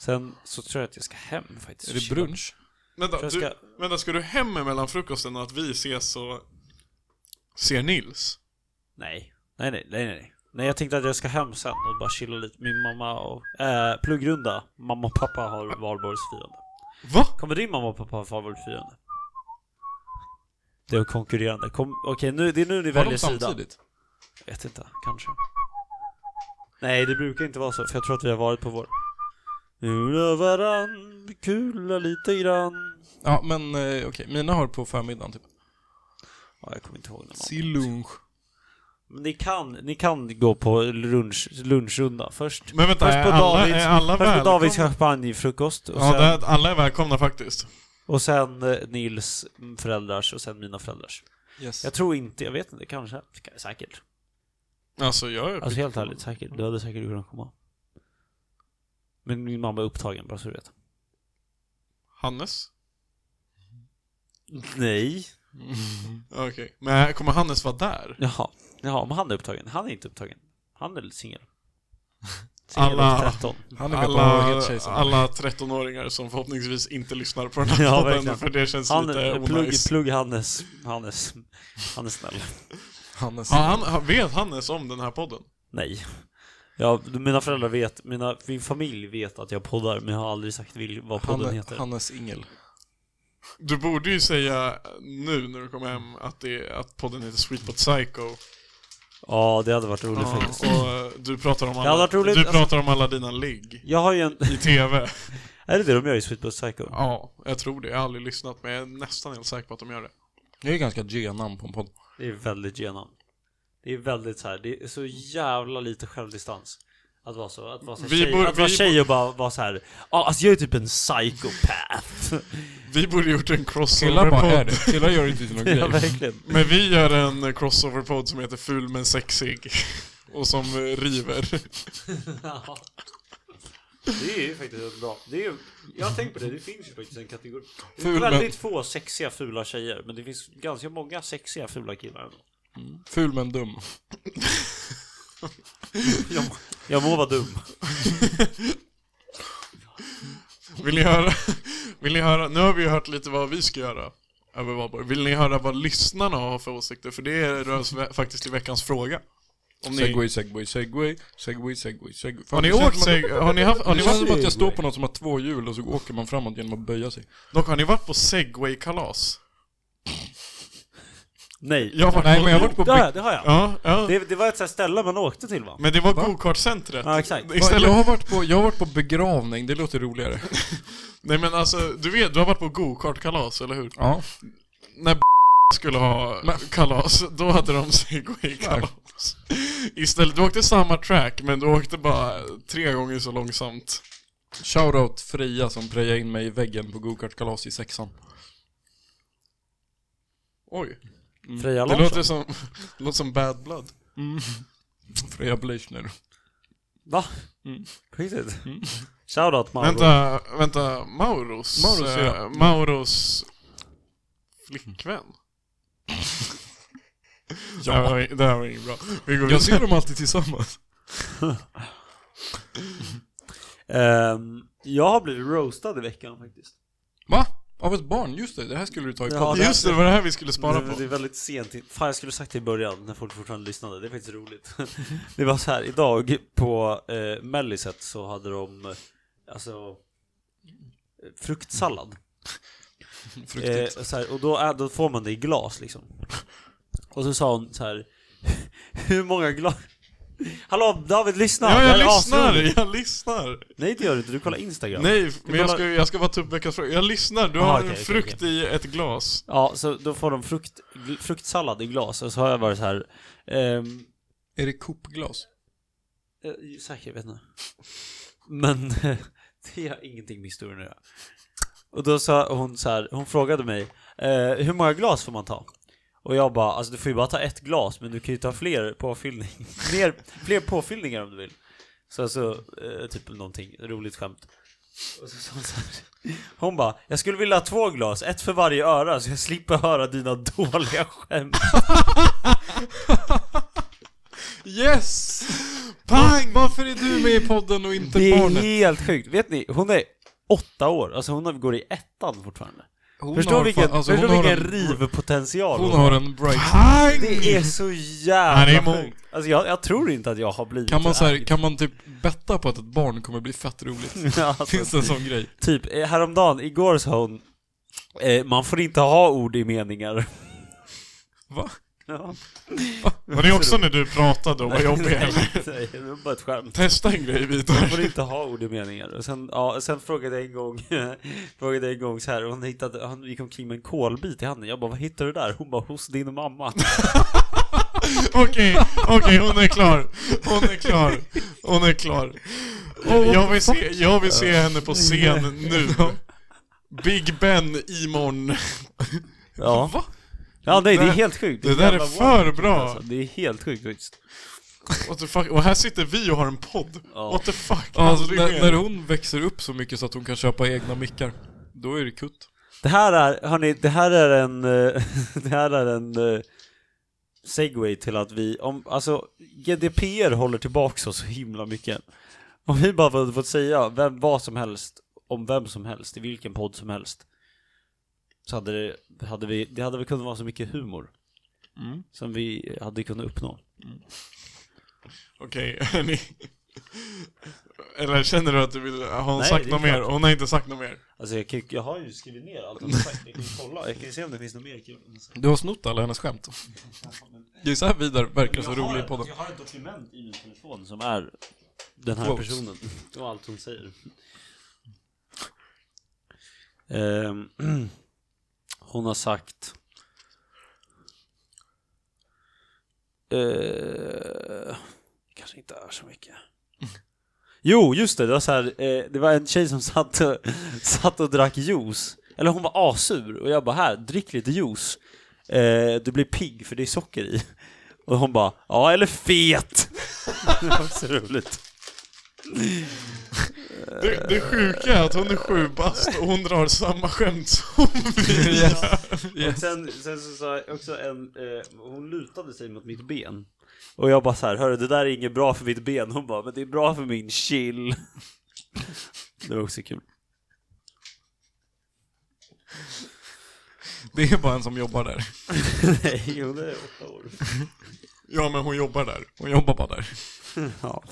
Speaker 3: Sen så tror jag att jag ska hem faktiskt.
Speaker 1: Är det brunch?
Speaker 2: Vänta,
Speaker 3: Jag
Speaker 2: du,
Speaker 3: ska-
Speaker 2: vänta, ska du hem mellan frukosten och att vi ses och ser Nils?
Speaker 3: Nej. Nej, nej, nej, nej. Nej, jag tänkte att jag ska hem sen och bara chilla lite. Min mamma och... Eh, pluggrunda. Mamma och pappa har valborgsfirande.
Speaker 2: Va?
Speaker 3: Kommer din mamma och pappa ha valborgsfirande? Det är konkurrerande. Kom, okej, nu, det är nu ni
Speaker 1: Var
Speaker 3: väljer
Speaker 1: de
Speaker 3: sida.
Speaker 1: samtidigt?
Speaker 3: Vet inte, kanske. Nej, det brukar inte vara så, för jag tror att vi har varit på vår... Ula varann, kula lite grann.
Speaker 1: Ja, men eh, okej. Mina har på förmiddagen typ.
Speaker 3: Ja, jag kommer inte ihåg när mamma...
Speaker 1: Silunch.
Speaker 3: Men ni kan, ni kan gå på lunch, lunchrunda först.
Speaker 2: Men vänta,
Speaker 3: Först på
Speaker 2: är alla,
Speaker 3: Davids-
Speaker 2: är alla
Speaker 3: Först på
Speaker 2: välkomna?
Speaker 3: Davids champagnefrukost och,
Speaker 2: Ja,
Speaker 3: sen,
Speaker 2: där, alla är välkomna faktiskt.
Speaker 3: och sen eh, Nils föräldrars och sen mina föräldrars.
Speaker 1: Yes.
Speaker 3: Jag tror inte, jag vet inte, kanske. Ska- Säkert.
Speaker 2: Alltså, jag är
Speaker 3: Alltså helt ärligt, säkert. Du hade säkert kunnat komma. Men min mamma är upptagen, bara så du vet.
Speaker 2: Hannes.
Speaker 3: Nej.
Speaker 2: Okej. Men kommer Hannes vara där?
Speaker 3: Jaha. Jaha, men han är upptagen. Han är inte upptagen. Han är lite singel. Singel
Speaker 2: Alla-
Speaker 3: och 13.
Speaker 1: Han är med på
Speaker 2: Alla,
Speaker 1: Hetkejsaren.
Speaker 2: alla 13-åringar som förhoppningsvis inte lyssnar på den här
Speaker 3: Ja,
Speaker 2: podden,
Speaker 3: verkligen.
Speaker 2: för det känns
Speaker 3: Han,
Speaker 2: lite
Speaker 3: plugg,
Speaker 2: onajs.
Speaker 3: plugg Hannes. Hannes. Han är snäll.
Speaker 1: Hannes.
Speaker 2: Ja, han, han, vet Hannes om den här podden?
Speaker 3: Nej. Ja, mina föräldrar vet, mina, min familj vet att jag poddar, men jag har aldrig sagt vil, vad podden
Speaker 1: Hanne,
Speaker 3: heter.
Speaker 1: Hannes Ingel.
Speaker 2: Du borde ju säga nu när du kommer hem att, det, att podden heter Sweet But Psycho.
Speaker 3: Ja, det hade varit roligt
Speaker 2: Ja,
Speaker 3: faktiskt.
Speaker 2: och eh, du pratar om
Speaker 3: hade
Speaker 2: alla,
Speaker 3: varit roligt,
Speaker 2: du
Speaker 3: alltså-
Speaker 2: pratar om alla dina ligg
Speaker 3: Jag har ju en...
Speaker 2: i TV.
Speaker 3: Är det det de gör i Sweet But Psycho?
Speaker 2: Ja, jag tror det. Jag har aldrig lyssnat, men jag är nästan helt säker på att de gör det.
Speaker 1: Det är ganska G-namn på en podd.
Speaker 3: Det är väldigt genom. Det är väldigt så här. det är så jävla lite självdistans. Att vara så, att vara, så här,
Speaker 2: Vi
Speaker 3: tjej,
Speaker 2: borde-
Speaker 3: att vara
Speaker 2: vi
Speaker 3: tjej och bara vara så här. Ja, alltså jag är typ en psykopat.
Speaker 2: Vi borde gjort en
Speaker 1: Killar bara är
Speaker 2: crossover-podd.
Speaker 1: det. Killar gör inte till någon
Speaker 3: ja,
Speaker 1: grej.
Speaker 3: verkligen.
Speaker 2: Men vi gör en crossover-podd som heter Ful men sexig. Och som eh, river.
Speaker 3: Ja. Det är ju faktiskt bra. Det är ju, jag har tänkt på det, det finns ju faktiskt en kategori. Det är
Speaker 1: Ful, men-
Speaker 3: väldigt få sexiga fula tjejer, men det finns ganska många sexiga fula killar ändå.
Speaker 1: Ful men dum.
Speaker 3: Jag, jag må vara dum.
Speaker 2: Vill ni höra? Vill ni höra? Nu har vi ju hört lite vad vi ska göra över valborg. Vill ni höra vad lyssnarna har för åsikter? För det rör sig vä- faktiskt till veckans fråga. Om ni,
Speaker 1: Segway, segway, segway, segway, segway, segway. Fan,
Speaker 2: har ni
Speaker 1: det känns
Speaker 2: åkt
Speaker 1: som att-
Speaker 2: seg- har ni haft, har ni
Speaker 1: Det känns
Speaker 2: varit,
Speaker 1: som att jag står på något som har två hjul och så åker man framåt genom att böja sig.
Speaker 2: dock, har ni varit på segway-kalas?
Speaker 3: Nej.
Speaker 2: Jag har varit
Speaker 1: Nej,
Speaker 2: på,
Speaker 1: men jag har varit på...
Speaker 3: Ja, det har jag.
Speaker 2: Ja, ja.
Speaker 3: Det, det var ett sånt ställe man åkte till va?
Speaker 2: Men det var go-kartcentret.
Speaker 3: Ja, exakt.
Speaker 2: Istället,
Speaker 1: Jag har varit på, jag har varit på begravning, det låter roligare.
Speaker 2: Nej men alltså, du vet, du har varit på go-kartkalas, eller hur?
Speaker 1: Ja.
Speaker 2: när skulle ha kalas, då hade de segway-kalas. Istället, du åkte samma track, men du åkte bara tre gånger så långsamt.
Speaker 1: Shoutout Freja som prejade in mig i väggen på gokartkalas i sexan.
Speaker 2: Oj.
Speaker 3: Freja
Speaker 2: Det
Speaker 3: Larsson.
Speaker 2: låter som, det låter som bad blood.
Speaker 1: Freja Bleichner.
Speaker 3: Va? På riktigt? Shoutout Mauro.
Speaker 2: Mm. Vänta, vänta, Mauros?
Speaker 1: Mauros,
Speaker 2: eh,
Speaker 1: ja.
Speaker 2: Mauros flickvän? Ja. Det här var, det här var inget bra. Vi går
Speaker 1: Jag
Speaker 2: vidare.
Speaker 1: ser dem alltid tillsammans.
Speaker 3: Ehm, Jag har blivit roastad i veckan faktiskt.
Speaker 1: Va? Av ett barn? Just det, det här skulle du ta i
Speaker 3: Ja,
Speaker 1: podden.
Speaker 3: det-
Speaker 2: Just det, det var det här vi skulle spara
Speaker 3: det, det
Speaker 2: på.
Speaker 3: är väldigt sent. in- Fan, jag skulle sagt det i början när folk fortfarande lyssnade. Det är faktiskt roligt. det var så här, idag på eh, Melliset så hade de eh, alltså eh, fruktsallad. Eh,
Speaker 1: Fruktigt.
Speaker 3: så här, och då, är, då får man det i glas liksom. Och så sa hon så här, hur många glas? Hallå David, lyssna!
Speaker 2: Ja,
Speaker 3: Det här
Speaker 2: jag
Speaker 3: är asroligt.
Speaker 2: lyssnar! Jag lyssnar!
Speaker 3: Nej det gör du inte, du kollar Instagram.
Speaker 2: Nej, men jag
Speaker 3: kollar-
Speaker 2: ska, jag ska bara ta upp veckans fråga. Jag lyssnar, du
Speaker 3: Aha,
Speaker 2: har
Speaker 3: okej,
Speaker 2: en
Speaker 3: okej,
Speaker 2: frukt i ett glas.
Speaker 3: Ja, så då får de frukt, gl- fruktsallad i glas och så har jag varit så här. ehm,
Speaker 1: Är det Coop-glas?
Speaker 3: eh, säkert, jag vet inte. Men eh, det har ingenting med historien att göra. Och då sa hon så här, hon frågade mig eh, hur många glas får man ta? Och jag bara, alltså du får ju bara ta ett glas men du kan ju ta fler påfyllning, fler, fler påfyllningar om du vill. Så alltså, eh, typ någonting, roligt skämt. Och så sa hon så här, hon bara, jag skulle vilja ha två glas, ett för varje öra så jag slipper höra dina dåliga skämt.
Speaker 1: Yes! Pang! Varför är du med i podden och inte
Speaker 3: Det är
Speaker 1: barnet?
Speaker 3: helt sjukt. Vet ni, hon är åtta år. Alltså hon har- går i ettan fortfarande.
Speaker 1: Hon
Speaker 3: förstår
Speaker 1: har
Speaker 3: vilken,
Speaker 1: fan- alltså,
Speaker 3: förstår
Speaker 1: hon har
Speaker 3: vilken
Speaker 1: en-
Speaker 3: rivpotential
Speaker 1: Hon har en bright...
Speaker 3: Det är så
Speaker 2: Han är
Speaker 3: jävla
Speaker 2: emot.
Speaker 3: sjukt. Alltså jag, jag tror inte att jag har blivit
Speaker 1: Kan man,
Speaker 3: så
Speaker 1: så här,
Speaker 3: här.
Speaker 1: kan man typ betta på att ett barn kommer bli fett roligt?
Speaker 3: alltså,
Speaker 1: Finns det en sån grej?
Speaker 3: Typ, eh, häromdagen, igår sa hon eh, Man får inte ha ord i meningar.
Speaker 1: Va?
Speaker 3: Ja.
Speaker 2: Var det också när du pratade och var jobbig eller?
Speaker 3: Nej, det var bara ett skämt.
Speaker 2: Testa en grej
Speaker 3: Man
Speaker 2: vidare.
Speaker 3: får inte ha ord i meningar. Och sen, ja, sen frågade jag en gång, frågade jag en gång så här, hon hittade, han gick omkring med en kolbit i handen. Jag bara, vad hittade du där? Hon bara, hos din mamma.
Speaker 2: Okej, okej, hon är klar. Hon är klar. Hon är klar. Jag vill se, jag vill se henne på scen nu. Big Ben imorgon.
Speaker 3: Ja. Ja, nej, det är helt sjukt.
Speaker 2: Det där är
Speaker 3: jävla
Speaker 2: för
Speaker 3: wild,
Speaker 2: bra.
Speaker 3: Alltså. Det är helt sjukt faktiskt.
Speaker 2: What the fuck? Och här sitter vi och har en podd. What the fuck?
Speaker 1: Alltså,
Speaker 2: Aldrig mer.
Speaker 1: när, när hon växer upp så mycket så att hon kan köpa egna mickar, då är det kutt.
Speaker 3: Det här är, hörni, det här är en, eh, det här är en eh, segway till att vi, om, alltså GDPR håller tillbaka oss så himla mycket. Om vi bara hade fått säga vem, vad som helst, om vem som helst, i vilken podd som helst. Så hade det, hade vi, det hade väl kunnat vara så mycket humor.
Speaker 2: Mm.
Speaker 3: Som vi hade kunnat uppnå.
Speaker 2: Okej, hörni. Eller känner du att du vill, har hon
Speaker 3: Nej,
Speaker 2: sagt
Speaker 3: det är
Speaker 2: något mer? Hon har inte sagt något mer.
Speaker 3: Alltså jag, kan, ju- jag har ju skrivit ner allt hon har sagt, jag kan ju kolla, jag kan ju se om det finns något mer kul.
Speaker 1: Du har snott alla hennes skämt. Det är så här Vidar verkar så rolig i podden.
Speaker 3: jag har ett dokument i min telefon som är den här
Speaker 1: Quotes.
Speaker 3: personen och allt hon säger. Ehm, hon har sagt... Eh, kanske inte är så mycket. Jo, just det. Det var, så här, eh, det var en tjej som satt och, satt och drack juice. Eller hon var asur och jag bara här, drick lite juice. Eh, du blir pigg för det är socker i. Och hon bara, ja eller fet. det var så roligt.
Speaker 2: Det, det sjuka är att hon är sju bast och hon drar samma skämt som vi gör.
Speaker 3: Och sen, sen så sa jag också en, eh, hon lutade sig mot mitt ben. Och jag bara så här, hörru det där är inget bra för mitt ben. Hon bara, men det är bra för min chill. det var också kul.
Speaker 1: Det är bara en som jobbar där.
Speaker 3: Nej, hon är åtta år.
Speaker 2: Ja, men hon jobbar där.
Speaker 1: Hon jobbar bara där.
Speaker 3: Ja.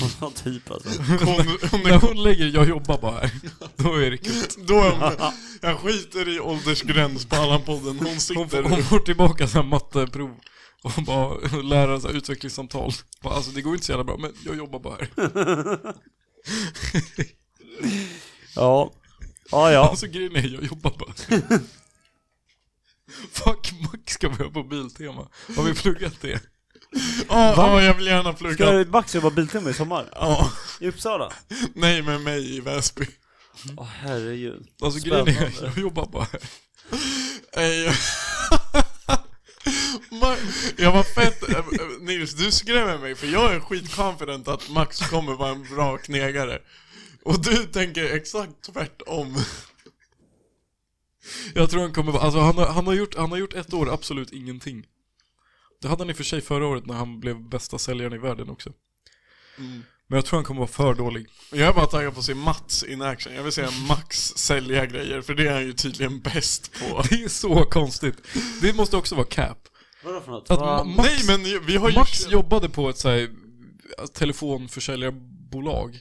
Speaker 3: Hon har typ alltså.
Speaker 2: Hon, hon
Speaker 1: När
Speaker 2: är,
Speaker 1: hon lägger jag jobbar bara här, då är det kutt.
Speaker 2: då är hon, jag skiter i åldersgräns på Allan-podden. Hon
Speaker 1: Hon får,
Speaker 2: sitter...
Speaker 1: hon får tillbaka så här matteprov och bara lära sig utvecklingssamtal. Bara, Alltså det går inte så jävla bra, men jag jobbar bara här.
Speaker 3: Ja. Ja, ja.
Speaker 1: Alltså grejen är, jag jobbar bara. Fuck, Max ska börja på Biltema. Har vi pluggat det?
Speaker 2: Ja, ja, jag vill gärna plugga.
Speaker 3: Ska Max jobba biltimme i sommar?
Speaker 2: Ja,
Speaker 3: I Uppsala?
Speaker 2: nej med mig i Väsby.
Speaker 3: Åh herregud.
Speaker 1: Alltså grejen är,
Speaker 3: Spännande.
Speaker 1: jag jobbar bara här.
Speaker 2: Nej. Ma- Jag var fett... Nils, du skrämmer mig för jag är skitconfident att Max kommer vara en bra knegare. Och du tänker exakt tvärtom.
Speaker 1: Jag tror han kommer vara- alltså han har, han, har gjort, han har gjort ett år absolut ingenting.
Speaker 2: Mm.
Speaker 1: Det hade han i och för sig förra året när han blev bästa säljaren i världen också. Men jag tror han kommer vara för dålig.
Speaker 2: Jag är bara taggad på att se Mats in action. Jag vill se Max sälja grejer, för det är han ju tydligen bäst på.
Speaker 1: Det är så konstigt. Det måste också vara cap.
Speaker 3: Vadå för något?
Speaker 1: Att
Speaker 3: Vad-
Speaker 1: Ma-
Speaker 2: Nej
Speaker 1: Max,
Speaker 2: men ju- vi har ju...
Speaker 1: Max jobbade på ett så här, alltså, telefonförsäljarbolag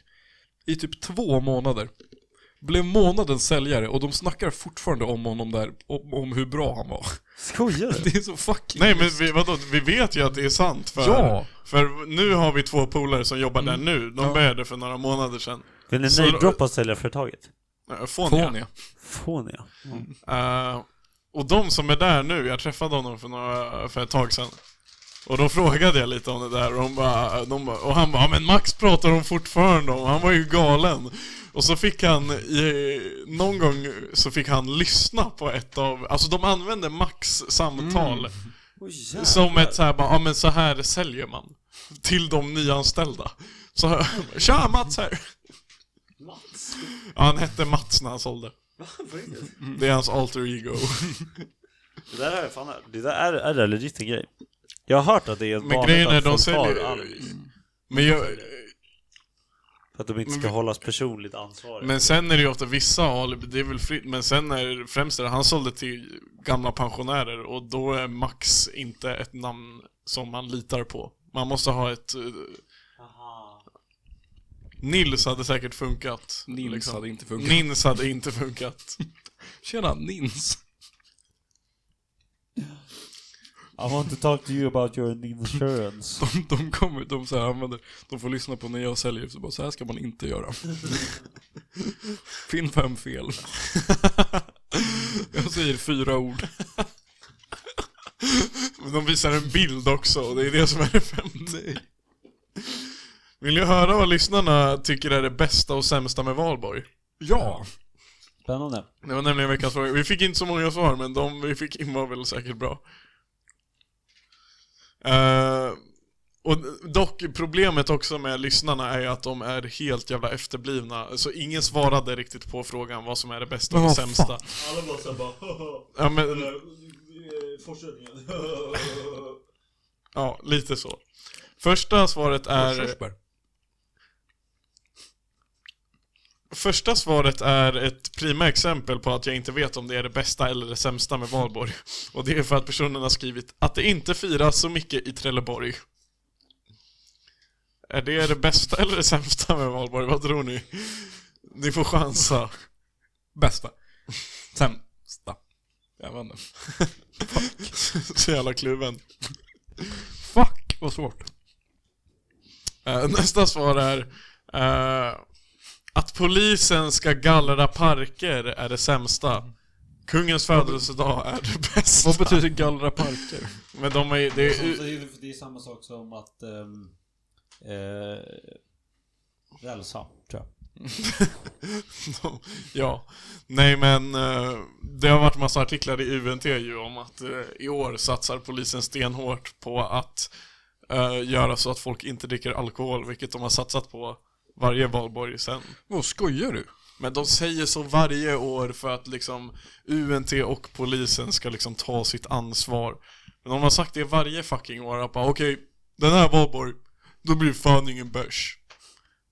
Speaker 1: i typ två månader. Blev månadens säljare och de snackar fortfarande om honom där, om, om hur bra han var.
Speaker 3: Skojar du?
Speaker 1: Det är så fucking...
Speaker 2: Nej men vi, vadå, vi vet ju att det är sant för...
Speaker 1: Ja. Mm.
Speaker 2: För nu har vi två polare som jobbar där nu. De
Speaker 1: Ja.
Speaker 2: började för några månader sedan.
Speaker 3: Vill ni
Speaker 2: Så-
Speaker 3: namedroppa säljarföretaget?
Speaker 2: Eh, Fonia.
Speaker 1: Fåniga.
Speaker 3: Fåniga. Mm.
Speaker 2: Eh, och de som är där nu, jag träffade honom för, några, för ett tag sedan. Och då frågade jag lite om det där och, de bara, de bara, och han bara "Ja, men Max pratar de fortfarande om, han var ju galen. Och så fick han, i, någon gång så fick han lyssna på ett av, alltså de använde Max samtal som ett så här, bara, ja men så här säljer man. Till de nyanställda. Så, tja Mats här!
Speaker 4: Mats?
Speaker 2: Ja, han hette Mats när han sålde. Det är hans alter ego.
Speaker 3: Det där är fan, det där är, är det legit en grej? Jag har hört att det är en
Speaker 2: Men grejen är,
Speaker 3: att
Speaker 2: de
Speaker 3: folk har
Speaker 2: säljer-
Speaker 3: alibis.
Speaker 2: Men jag,
Speaker 3: För att de inte ska hållas personligt ansvariga.
Speaker 2: Men sen är det ju ofta vissa alibi, det är väl fritt, men sen är det främst det, han sålde till gamla pensionärer och då är Max inte ett namn som man litar på. Man måste ha ett... eh, Nils hade säkert funkat.
Speaker 1: Nils
Speaker 2: liksom.
Speaker 1: hade inte funkat.
Speaker 2: Nils hade inte funkat.
Speaker 1: Tjena, Nins.
Speaker 3: I want to talk to you about your insurance.
Speaker 1: De, de kommer, de så här använder, de får lyssna på när jag säljer, så bara så här ska man inte göra. Finn fem fel. Jag säger fyra ord.
Speaker 2: Men De visar en bild också och det är det som är det femte. Vill ni höra vad lyssnarna tycker är det bästa och sämsta med Valborg?
Speaker 1: Ja!
Speaker 3: Spännande.
Speaker 2: Det var nämligen veckans fråga. Vi fick inte så många svar, men de vi fick in var väl säkert bra. Eh, och dock, problemet också med lyssnarna är ju att de är helt jävla efterblivna. Så ingen svarade riktigt på frågan vad som är det bästa och
Speaker 1: Men
Speaker 2: det
Speaker 1: vad
Speaker 2: sämsta.
Speaker 4: Alla bara såhär bara haha. eh,
Speaker 2: Ja, men,
Speaker 4: Fortsättningen.
Speaker 2: ja, lite så. Första svaret är...
Speaker 1: Körsbär.
Speaker 2: Första svaret är ett prima exempel på att jag inte vet om det är det bästa eller det sämsta med valborg. Och det är för att personen har skrivit att det inte firas så mycket i Trelleborg. Är det det bästa eller det sämsta med valborg? Vad tror ni? Ni får chansa.
Speaker 1: Bästa. Sämsta. Jag vet inte.
Speaker 2: så jävla kluven.
Speaker 1: Fuck, vad svårt.
Speaker 2: Eh, Nästa svar är eh, att polisen ska gallra parker är det sämsta. Kungens födelsedag är det bästa.
Speaker 1: Vad betyder gallra parker?
Speaker 2: Men de är, det
Speaker 9: Alltså, Det
Speaker 2: är,
Speaker 9: är, det är samma sak som att ehm, eh, rälsa, tror jag.
Speaker 2: Ja, nej men eh, det har varit massa artiklar i UNT ju om att eh, i år satsar polisen stenhårt på att eh, göra så att folk inte dricker alkohol, vilket de har satsat på varje valborg sen.
Speaker 1: Vad skojar du?
Speaker 2: Men de säger så varje år för att liksom UNT och polisen ska liksom ta sitt ansvar. Men de har sagt det varje fucking år, att bara okej, den här valborg, då blir det fan ingen bärs.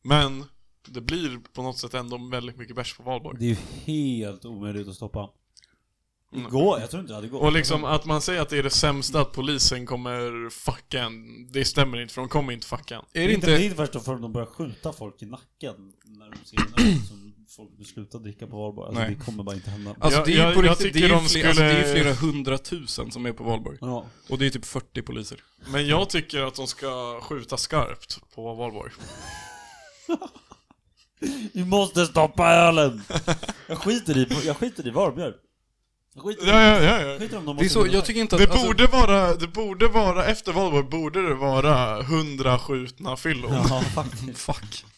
Speaker 2: Men det blir på något sätt ändå väldigt mycket bärs på valborg.
Speaker 9: Det är ju helt omöjligt att stoppa. Gå, jag tror inte det hade gått.
Speaker 2: Mm. Och liksom att man säger att det är det sämsta att polisen kommer fucka en, det stämmer inte för de kommer inte fucka en.
Speaker 1: Är det
Speaker 9: det är inte, det är
Speaker 1: inte...
Speaker 9: inte först förrän de börjar skjuta folk i nacken när de ser en öl som folk beslutar dricka på valborg. Alltså
Speaker 1: Nej.
Speaker 9: det kommer bara inte hända.
Speaker 1: Alltså
Speaker 2: Jag-
Speaker 1: det är ju på
Speaker 2: jag- jag
Speaker 1: riktigt, det
Speaker 2: tycker
Speaker 1: är, ju
Speaker 2: de
Speaker 1: fler, alltså, det är ju
Speaker 2: skulle-
Speaker 1: flera hundratusen som är på valborg.
Speaker 9: Ja.
Speaker 1: Och det är typ 40 poliser.
Speaker 2: Men jag tycker att de ska skjuta skarpt på valborg.
Speaker 9: Vi måste stoppa ölen! Jag skiter i, jag skiter i Varbjörn. Jag skiter i,
Speaker 2: Ja, ja, ja, ja.
Speaker 9: jag skiter i om de
Speaker 1: Det är
Speaker 9: måste
Speaker 1: så,
Speaker 9: vinna.
Speaker 1: jag tycker inte att...
Speaker 2: Det
Speaker 1: alltså-
Speaker 2: borde vara, det borde vara, efter valborg borde det vara hundra skjutna fyllon.
Speaker 9: Ja, faktiskt.
Speaker 1: Fuck.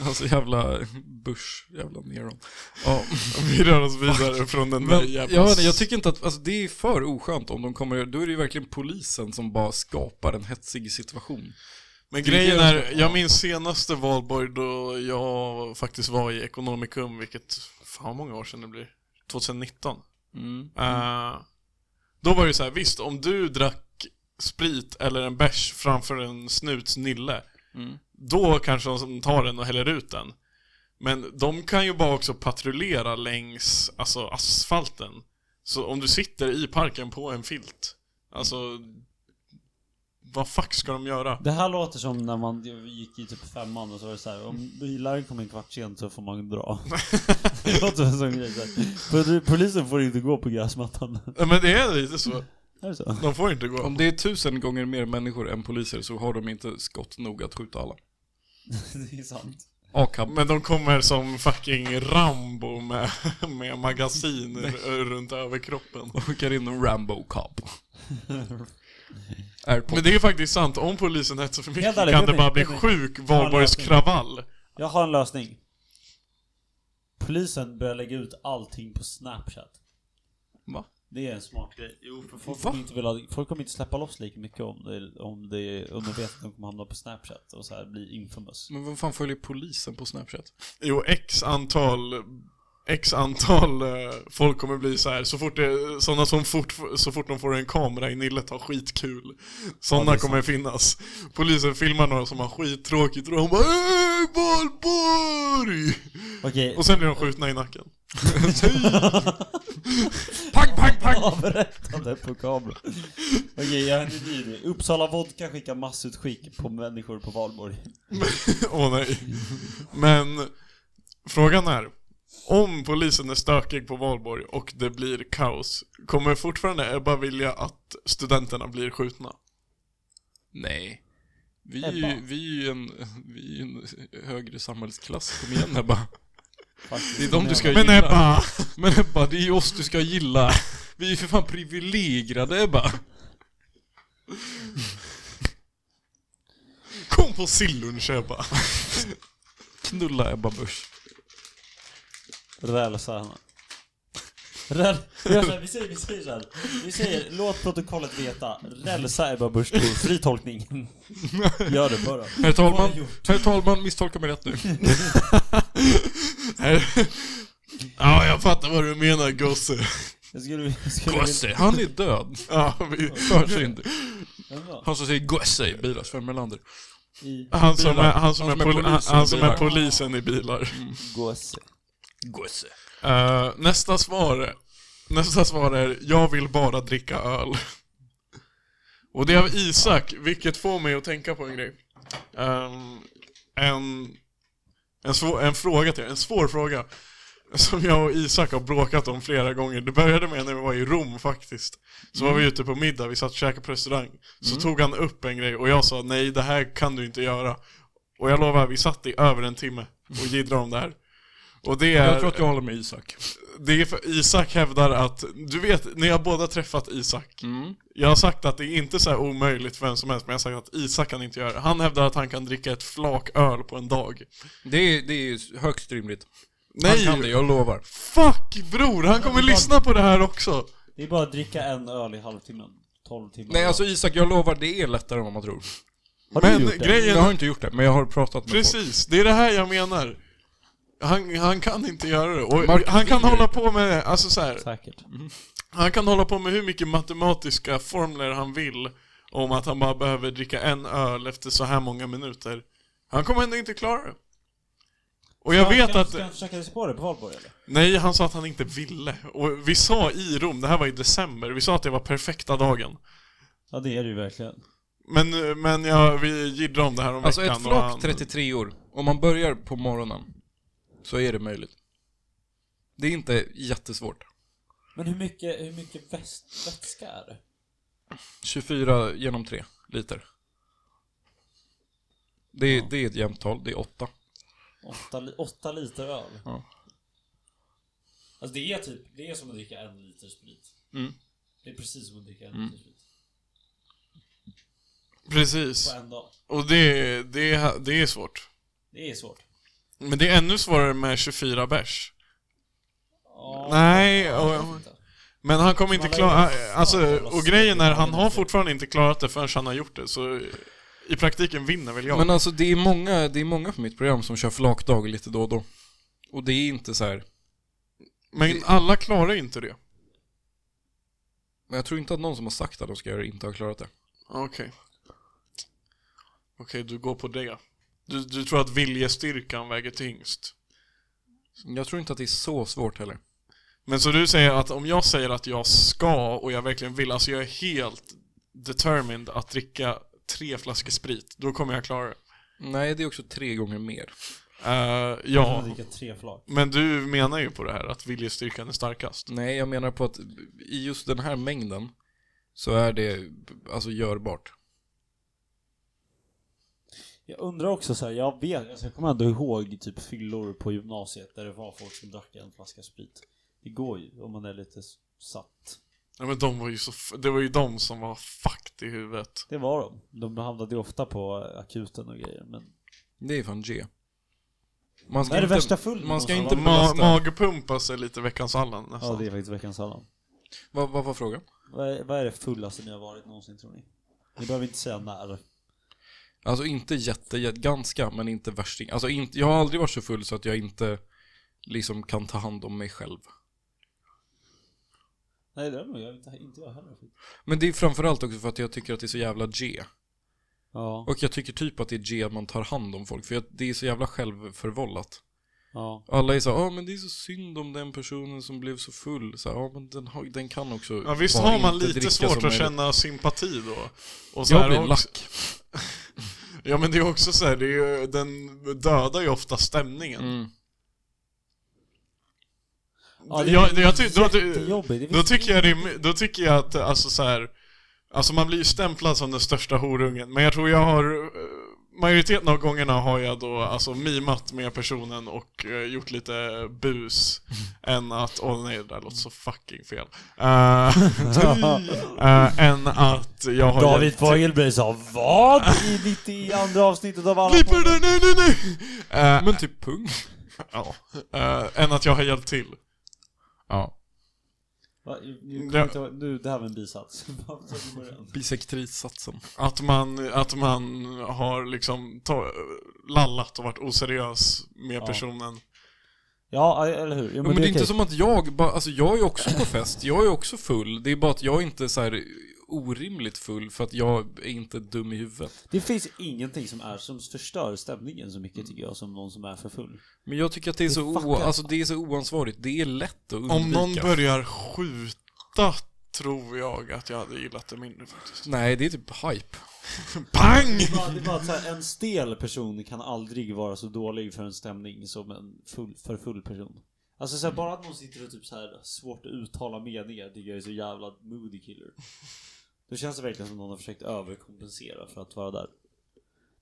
Speaker 1: Alltså jävla Bush, jävla Neron. Ja,
Speaker 2: Vi rör oss vidare från den där
Speaker 1: men
Speaker 2: jävla...
Speaker 1: jag, vet inte, jag tycker inte att, alltså det är för oskönt om de kommer, då är det ju verkligen polisen som bara skapar en hetsig situation.
Speaker 2: Men
Speaker 1: Det är
Speaker 2: grejen
Speaker 1: det jag
Speaker 2: är,
Speaker 1: ska-
Speaker 2: jag minns senaste valborg då jag faktiskt var i Ekonomikum, vilket, fan vad många år sedan det blir? 2019.
Speaker 1: Mm.
Speaker 2: Eh, då var det ju så här, visst om du drack sprit eller en bärs framför en snuts nille,
Speaker 1: Mm.
Speaker 2: Då kanske de som tar den och häller ut den. Men de kan ju bara också patrullera längs alltså, asfalten. Så om du sitter i parken på en filt, alltså... Vad fuck ska de göra?
Speaker 3: Det här låter som när man gick i typ femman och så var det så här, om läraren kommer en kvart sent så får man dra. det låter som en sån grej. så här. För Polisen får inte gå på gräsmattan.
Speaker 2: Ja, Men det är lite så.
Speaker 3: Är det så?
Speaker 2: De får inte gå.
Speaker 1: Om det är tusen gånger mer människor än poliser så har de inte skott nog att skjuta alla.
Speaker 3: Det är sant.
Speaker 1: A-cab.
Speaker 2: Men de kommer som fucking Rambo med, med magasin r- runt överkroppen.
Speaker 1: De skickar in en Rambo-cop. Airpod.
Speaker 2: Men det är faktiskt sant, om polisen hetsar för mycket
Speaker 3: Helt ärligt,
Speaker 2: kan det
Speaker 3: vet
Speaker 2: bara
Speaker 3: ni-
Speaker 2: bli
Speaker 3: vet ni-
Speaker 2: sjuk valborgskravall.
Speaker 3: Jag har en lösning. Polisen börjar lägga ut allting på Snapchat.
Speaker 1: Va?
Speaker 3: Det är en smart grej. Jo, för folk, kommer inte vilja, folk kommer inte släppa loss lika mycket om, det, om, det, om de vet att de kommer hamna på Snapchat och så här bli infamous.
Speaker 1: Men vad fan följer polisen på Snapchat?
Speaker 2: Jo, x antal X antal eh, folk kommer bli så här så fort det, såna som fort, så fort de får en kamera i nillet har skitkul. Såna kommer finnas. Polisen filmar några som har skittråkigt och de bara "Ey, Valborg!
Speaker 3: Okej, okay,
Speaker 2: Och sen blir de skjutna i nacken.
Speaker 1: Pang, pang, pang!
Speaker 3: avrättade på kamera. Okej, jag har en ny idé. Uppsala Vodka skickar massutskick på människor på valborg.
Speaker 2: Åh nej. Men frågan är, om polisen är stökig på valborg och det blir kaos, kommer fortfarande Ebba vilja att studenterna blir skjutna?
Speaker 1: Nej. Vi är, ju,
Speaker 3: Ebba.
Speaker 1: vi, är ju en, vi är ju en högre samhällsklass. Kom igen Ebba.
Speaker 3: Faktiskt.
Speaker 1: Det är de du ska
Speaker 2: Men
Speaker 1: gilla.
Speaker 2: Ebba!
Speaker 1: Men Ebba, det är ju oss du ska gilla. Vi är ju för fan privilegierade Ebba.
Speaker 2: Kom på sillunch Ebba!
Speaker 1: Knulla Ebba Busch.
Speaker 3: Rälsa henne. Räl... Vi, gör så här, vi säger, vi säger så här. Vi säger, låt protokollet veta. Rälsa Ebba Busch Thor. Fri tolkning. Gör det bara.
Speaker 1: Herr talman,
Speaker 3: Vad har jag
Speaker 1: herr talman, misstolka mig rätt nu.
Speaker 2: ja, jag fattar vad du menar gosse.
Speaker 3: Jag skulle, jag skulle vilja...
Speaker 1: Gosse, han är död.
Speaker 2: Ja, vi,
Speaker 1: Hör sig inte.
Speaker 3: Ja,
Speaker 1: Han som säger gosse i bilar, Sven Melander.
Speaker 3: I
Speaker 2: han, som
Speaker 1: Bilar.
Speaker 2: är, han, som är poli- han,
Speaker 1: polisen i
Speaker 2: han som är
Speaker 1: bilar.
Speaker 2: polisen i bilar.
Speaker 3: gosse.
Speaker 1: Gosse.
Speaker 2: Eh, nästa svar Nästa svar är Jag vill bara dricka öl Och det är av Isak Vilket får mig att tänka på en grej Ehm, En en, svår, en fråga till er, en svår fråga Som jag och Isak har bråkat om flera gånger Det började med när vi var i Rom faktiskt Så
Speaker 1: Mm.
Speaker 2: var vi ute på middag, vi satt och käkade på restaurang Så tog han upp en grej och jag sa Nej det här kan du inte göra Och jag lovar, vi satt i över en timme och jiddrade om det här och det är
Speaker 1: Mm. Jag tror att jag håller med Isak.
Speaker 2: det är för Isak hävdar att, du vet, ni har båda träffat Isak.
Speaker 1: Mm.
Speaker 2: Jag har sagt att det är inte så här omöjligt för vem som helst, men jag har sagt att Isak kan inte göra det. Han hävdar att han kan dricka ett flak öl på en dag.
Speaker 1: Det är, det är högst rimligt.
Speaker 2: Nej!
Speaker 1: Han kan det, jag lovar.
Speaker 2: Fuck bror, han kommer lyssna på det här också!
Speaker 3: Det är bara att dricka en öl i halvtimmen. 12 timmar.
Speaker 1: Nej alltså Isak, jag lovar, det är lättare än vad man tror.
Speaker 3: har du
Speaker 2: Men
Speaker 3: gjort det?
Speaker 1: Jag har
Speaker 2: grejen,
Speaker 1: inte gjort det, men jag har pratat med folk.
Speaker 2: precis, det är det här jag menar. Han, han kan inte göra det. Och
Speaker 1: Marcus
Speaker 2: han kan
Speaker 1: Birger.
Speaker 2: hålla på med, alltså så här,
Speaker 3: Säkert.
Speaker 2: Han kan hålla på med hur mycket matematiska formler han vill om att han bara behöver dricka en öl efter så här många minuter. Han kommer ändå inte klara det. Och jag vet
Speaker 3: ska,
Speaker 2: att...
Speaker 3: Ska han försöka sig på det på valborg eller?
Speaker 2: Nej, han sa att han inte ville. Och vi sa i Rom, det här var i december, vi sa att det var perfekta dagen.
Speaker 3: Ja det är det ju verkligen.
Speaker 2: Men, men ja, vi jiddrade om det här om
Speaker 1: Alltså
Speaker 2: veckan
Speaker 1: ett
Speaker 2: och
Speaker 1: flak 33 år, om man börjar på morgonen så är det möjligt. Det är inte jättesvårt.
Speaker 3: Men hur mycket, hur mycket väst, vätska är det?
Speaker 1: 24 genom 3 liter. Det är, det är ett jämnt tal, det är 8.
Speaker 3: 8, li- åtta liter öl?
Speaker 1: Ja.
Speaker 3: Alltså det är typ, det är som att dricka en liter sprit. Det är precis som att dricka en liter sprit.
Speaker 2: Precis.
Speaker 3: På en dag.
Speaker 2: Och det, det, det är svårt.
Speaker 3: Det är svårt.
Speaker 2: Men det är ännu svårare med 24 bärs.
Speaker 3: Ja,
Speaker 2: Nej,
Speaker 3: jag
Speaker 2: och,
Speaker 3: vet inte.
Speaker 2: Men han kommer inte
Speaker 3: alla
Speaker 2: klara...
Speaker 3: jävla fan,
Speaker 2: Alltså,
Speaker 3: jävla
Speaker 2: och grejen är,
Speaker 3: snubbar
Speaker 2: han har
Speaker 3: inne.
Speaker 2: fortfarande inte klarat det förrän han har gjort det, så i praktiken vinner väl jag.
Speaker 1: Men alltså det är, många, det är många på mitt program som kör flakdag lite då och då. Och det är inte så här.
Speaker 2: Men alla klarar ju inte det.
Speaker 1: Men jag tror inte att någon som har sagt att de ska göra det inte har klarat det.
Speaker 2: Okej. Okej, du går på det. Du, du tror att viljestyrkan väger tyngst.
Speaker 1: Jag tror inte att det är så svårt heller.
Speaker 2: Men så du säger att om jag säger att jag ska och jag verkligen vill, alltså jag är helt determined att dricka tre flaskor sprit, då kommer jag klara det.
Speaker 1: Nej, det är också tre gånger mer.
Speaker 2: Eh,
Speaker 3: Jag
Speaker 2: ja,
Speaker 3: dricka tre flak.
Speaker 2: men du menar ju på det här att viljestyrkan är starkast.
Speaker 1: Nej, jag menar på att i just den här mängden så är det alltså görbart.
Speaker 3: Jag undrar också så här, jag vet, alltså, jag kommer ändå ihåg typ fyllor på gymnasiet där det var folk som drack en flaska sprit. Det går ju om man är lite s- satt.
Speaker 2: Ja, men de var ju så, f- det var ju de som var fucked i huvudet.
Speaker 3: Det var de. De hamnade ju ofta på akuten och grejer. Men
Speaker 1: Det är fan G. Man
Speaker 3: Vad är det värsta full
Speaker 1: Man ska
Speaker 3: någonstans?
Speaker 1: inte
Speaker 2: Ma-
Speaker 1: belasta.
Speaker 2: magpumpa sig lite veckans Allan nästan.
Speaker 3: ja, det är faktiskt veckans Allan.
Speaker 1: Vad, vad var frågan?
Speaker 3: Vad är, vad är det fullaste ni har varit någonsin tror ni? Ni behöver inte säga när.
Speaker 1: Alltså inte jätte, jätte ganska, men inte värsting. Alltså inte, jag har aldrig varit så full så att jag inte liksom kan ta hand om mig själv.
Speaker 3: Nej det har nog jag inte, inte jag heller.
Speaker 1: Men det är framförallt också för att jag tycker att det är så jävla G.
Speaker 3: Ja,
Speaker 1: Och jag tycker typ att det är G att man tar hand om folk, för jag, det är så jävla självförvållat.
Speaker 3: ja.
Speaker 1: Alla är så ja ah, men det är så synd om den personen som blev så full. Så ja ah, men den, har, den kan också
Speaker 2: Ja, visst
Speaker 1: bara
Speaker 2: har man
Speaker 1: inte dricka
Speaker 2: lite
Speaker 1: som
Speaker 2: svårt att
Speaker 1: möjligt."
Speaker 2: känna sympati då? Och
Speaker 1: Jag
Speaker 2: här
Speaker 1: blir
Speaker 2: också-
Speaker 1: lack.
Speaker 2: Ja men det är också så här, det är ju, den dödar ju ofta stämningen.
Speaker 1: Mm.
Speaker 3: ja det
Speaker 2: jag,
Speaker 3: är
Speaker 2: jag ty- då, då,
Speaker 3: jättejobbigt. Det
Speaker 2: då
Speaker 3: finns-
Speaker 2: tycker jag det, är- då tycker jag att alltså så här, alltså man blir ju stämplad som den största horungen, men jag tror jag har eh, Majoriteten av gångerna har jag då alltså mimat med personen och eh, gjort lite bus än att, åh nej det där låter så fucking fel. Eh, eh, än att jag har
Speaker 3: David
Speaker 2: hjälpt-
Speaker 3: Fogelberg sa vad i 92 avsnittet av Allan
Speaker 2: Klipper det, nej nej nej! Eh,
Speaker 1: Men typ pung.
Speaker 2: Ja. Eh, än att jag har hjälpt till.
Speaker 1: Ja.
Speaker 3: Va, nu, kommer
Speaker 2: Ja.
Speaker 3: jag inte ihåg- nu, det här var en bisats. Vad sa du i början?
Speaker 1: Bisektrisatsen.
Speaker 2: Att man, att man har liksom ta, lallat och varit oseriös med
Speaker 3: Ja.
Speaker 2: personen.
Speaker 3: ja, eller hur? Jo,
Speaker 1: Men, men det är inte
Speaker 3: okej.
Speaker 1: som att jag bara, alltså jag är också på fest, jag är också full. Det är bara att jag inte är så här orimligt full för att jag är inte dum i huvudet.
Speaker 3: det finns ingenting som, är, som förstör stämningen så mycket tycker jag som någon som är för full.
Speaker 1: Men jag tycker att det är så, o,
Speaker 3: fuckar.
Speaker 1: alltså det är så oansvarigt, det är lätt att undvika.
Speaker 2: Om någon börjar skjuta tror jag att jag hade gillat det mindre faktiskt.
Speaker 1: Nej, det är typ hype.
Speaker 2: Pang!
Speaker 3: Det är bara- det är bara att så här, en stel person kan aldrig vara så dålig för en stämning som en full, för full person. Alltså så här, bara att någon sitter och typ så här svårt att uttala meningar tycker jag är så jävla moody killer. Då känns det verkligen som någon har försökt överkompensera för att vara där.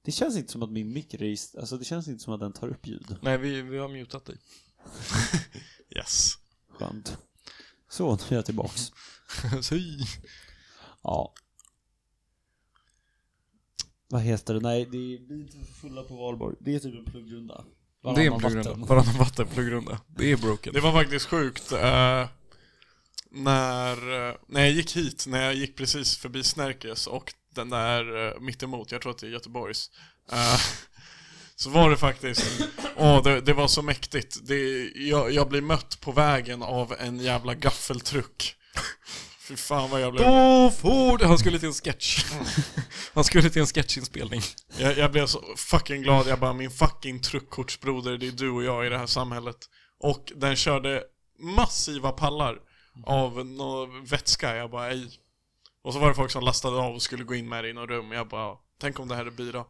Speaker 3: Det känns inte som att min mikrorist, alltså det känns inte som att den tar upp ljud.
Speaker 1: Nej, vi, vi har mutat dig.
Speaker 2: Yes.
Speaker 3: Skönt. Så, nu är jag tillbaks. Ja. Vad heter det? Nej, det är, vi är inte fulla på valborg. Det är typ en pluggrunda.
Speaker 1: det är
Speaker 3: Varannan
Speaker 1: en pluggrunda.
Speaker 3: vatten.
Speaker 1: Varannan vattenpluggrunda. Det är broken.
Speaker 2: Det var faktiskt sjukt. eh, när, eh, när jag gick hit, när jag gick precis förbi Snärkes och den där eh, mittemot, jag tror att det är Göteborgs. eh, så var det faktiskt, åh det, det var så mäktigt. Det, jag, jag blir mött på vägen av en jävla gaffeltruck. Fy fan vad jag blev,
Speaker 1: Då får du... Han skulle till en sketch. Han skulle till en sketchinspelning.
Speaker 2: jag, jag blev så fucking glad. Jag bara min fucking truckkortsbroder, det är du och jag i det här samhället. Och den körde massiva pallar av någon vätska. Jag bara ej. Och så var det folk som lastade av och skulle gå in med det i något rum. Jag bara, tänk om det här är bira.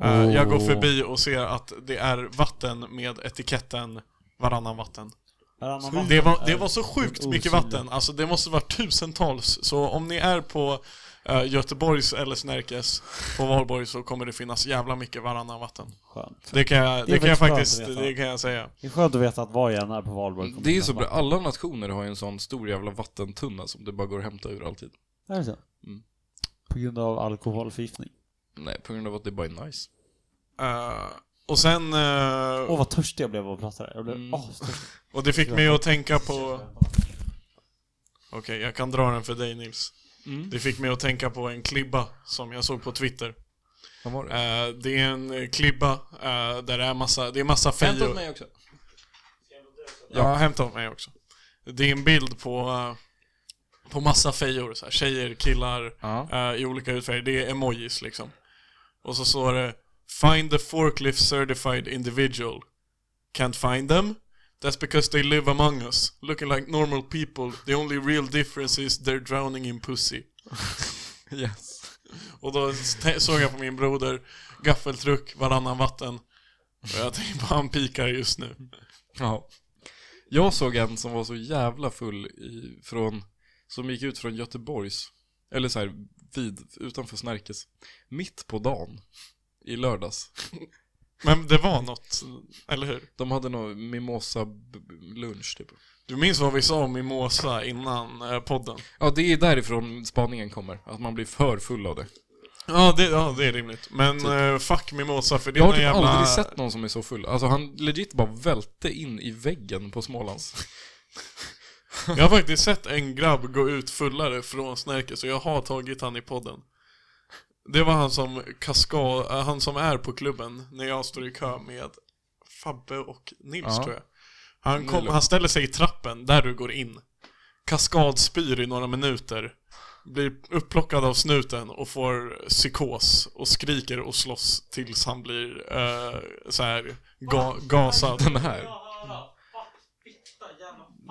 Speaker 2: Eh, jag går förbi och ser att det är vatten med etiketten varannan vatten.
Speaker 3: Varannan vatten
Speaker 2: Det var,
Speaker 3: är-
Speaker 2: det var så sjukt mycket vatten, alltså det måste vara tusentals. Så om ni är på eh, Göteborgs eller Snärkes på Valborg så kommer det finnas jävla mycket varannan vatten.
Speaker 3: Skönt.
Speaker 2: Det kan jag, det kan jag
Speaker 3: faktiskt skönt
Speaker 2: faktiskt
Speaker 3: att veta.
Speaker 2: det kan jag säga.
Speaker 3: Det är skönt att veta att var jag än är på valborg kommer
Speaker 1: Det är
Speaker 3: mina
Speaker 1: så bra.
Speaker 3: vatten.
Speaker 1: Alla nationer har ju en sån stor jävla vattentunna som det bara går att hämta ur alltid.
Speaker 3: Är det så?
Speaker 1: Mm.
Speaker 3: På grund av alkoholförgiftning.
Speaker 1: Nej, på grund av att det bara är nice.
Speaker 2: Eh, och sen... eh,
Speaker 3: Åh vad törstig jag blev av att prata där. Jag blev
Speaker 1: Mm.
Speaker 3: astörstig.
Speaker 2: Och det fick mig att tänka på... Okej, jag kan dra den för dig Nils.
Speaker 1: Mm.
Speaker 2: Det fick mig att tänka på en klibba som jag såg på Twitter.
Speaker 1: Vad var det?
Speaker 2: Eh, det är en eh, klibba eh, där det är massa, det är massa fejor.
Speaker 1: också.
Speaker 2: Ja, hämta åt mig också. Det är en bild på, eh, på massa fejor, så här, tjejer, killar
Speaker 1: Ja.
Speaker 2: eh, i olika utfärger. Det är emojis liksom. Och så står det Find the forklift certified individual. Can't find them? That's because they live among us, looking like normal people. The only real difference is they're drowning in pussy.
Speaker 1: Yes.
Speaker 2: Och då st- såg jag på min broder, gaffeltruck, varannan vatten. Och jag tänkte bara, han pikar just nu.
Speaker 1: Ja. Jag såg en som var så jävla full i, från, som gick ut från Göteborgs, eller så här, vid, utanför Snärkes, mitt på dagen i lördags.
Speaker 2: Men det var något, eller hur?
Speaker 1: De hade någon mimosa-lunch typ.
Speaker 2: Du minns vad vi sa om mimosa innan eh, podden?
Speaker 1: Ja, det är därifrån spaningen kommer, att man blir för full av det.
Speaker 2: Ja det, ja, det är rimligt. Men eh, fuck mimosa för det
Speaker 1: Jag
Speaker 2: är
Speaker 1: har
Speaker 2: någon
Speaker 1: typ
Speaker 2: jävla...
Speaker 1: aldrig sett någon som är så full. Alltså han legit bara välte in i väggen på Smålands.
Speaker 2: Jag har faktiskt sett en grabb gå ut fullare från Snärke, så jag har tagit han i podden. Det var han som kaskad, eh, han som är på klubben när jag står i kö med Fabbe och Nils
Speaker 1: Ja.
Speaker 2: tror jag. Han, kom,
Speaker 1: Nilo.
Speaker 2: han ställer sig i trappen där du går in. Kaskadspyr i några minuter. Blir upplockad av snuten och får psykos och skriker och slåss tills han blir eh, så här ga, gasad.
Speaker 1: Den här.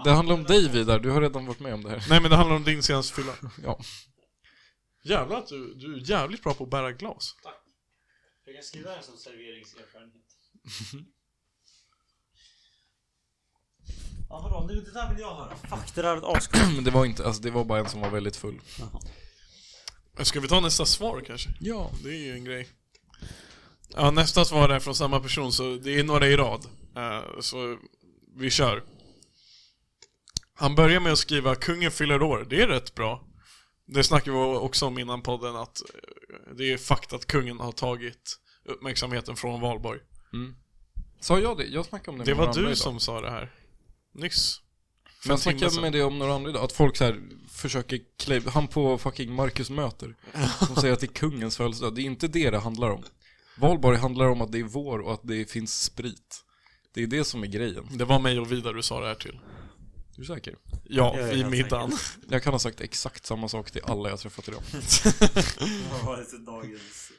Speaker 1: Det handlar om dig Vidar, du har redan varit med om det här.
Speaker 2: Nej men det handlar om din senaste fylla.
Speaker 1: Ja.
Speaker 2: Jävlar att du, du är jävligt bra på att bära glas.
Speaker 9: Jag kan skriva det här som serveringserfarenhet. Ja vadå, nu, det där vill jag höra. Fuck, det där är ett askul.
Speaker 1: Men det var inte, alltså det var bara en som var väldigt full.
Speaker 2: Ska vi ta nästa svar kanske?
Speaker 1: Ja.
Speaker 2: Det är ju en grej. Ja, nästa svar är från samma person, så det är några i rad. Eh, så vi kör. Han börjar med att skriva “Kungen fyller år”, det är rätt bra. Det snackade vi också om innan podden, att eh, det är fakt att kungen har tagit uppmärksamheten från valborg.
Speaker 1: Sa jag det? Jag snackade om det
Speaker 2: Det
Speaker 1: med några
Speaker 2: var
Speaker 1: andra
Speaker 2: du
Speaker 1: idag.
Speaker 2: som sa det här. Nyss.
Speaker 1: Men jag
Speaker 2: en timme
Speaker 1: snackade
Speaker 2: sedan.
Speaker 1: med det om några andra idag, att folk så här försöker klä... Han på fucking Marcus möter. Som säger att det är kungens födelsedag. Det är inte det det handlar om. Valborg handlar om att det är vår och att det finns sprit. Det är det som är grejen.
Speaker 2: Det var mig och Vidar du sa det här till.
Speaker 1: Är du säker?
Speaker 2: Ja,
Speaker 3: jag är
Speaker 2: vid
Speaker 3: helt
Speaker 2: middagen.
Speaker 1: Jag kan ha sagt exakt samma sak till alla jag träffat idag.
Speaker 3: Vad var det till dagens...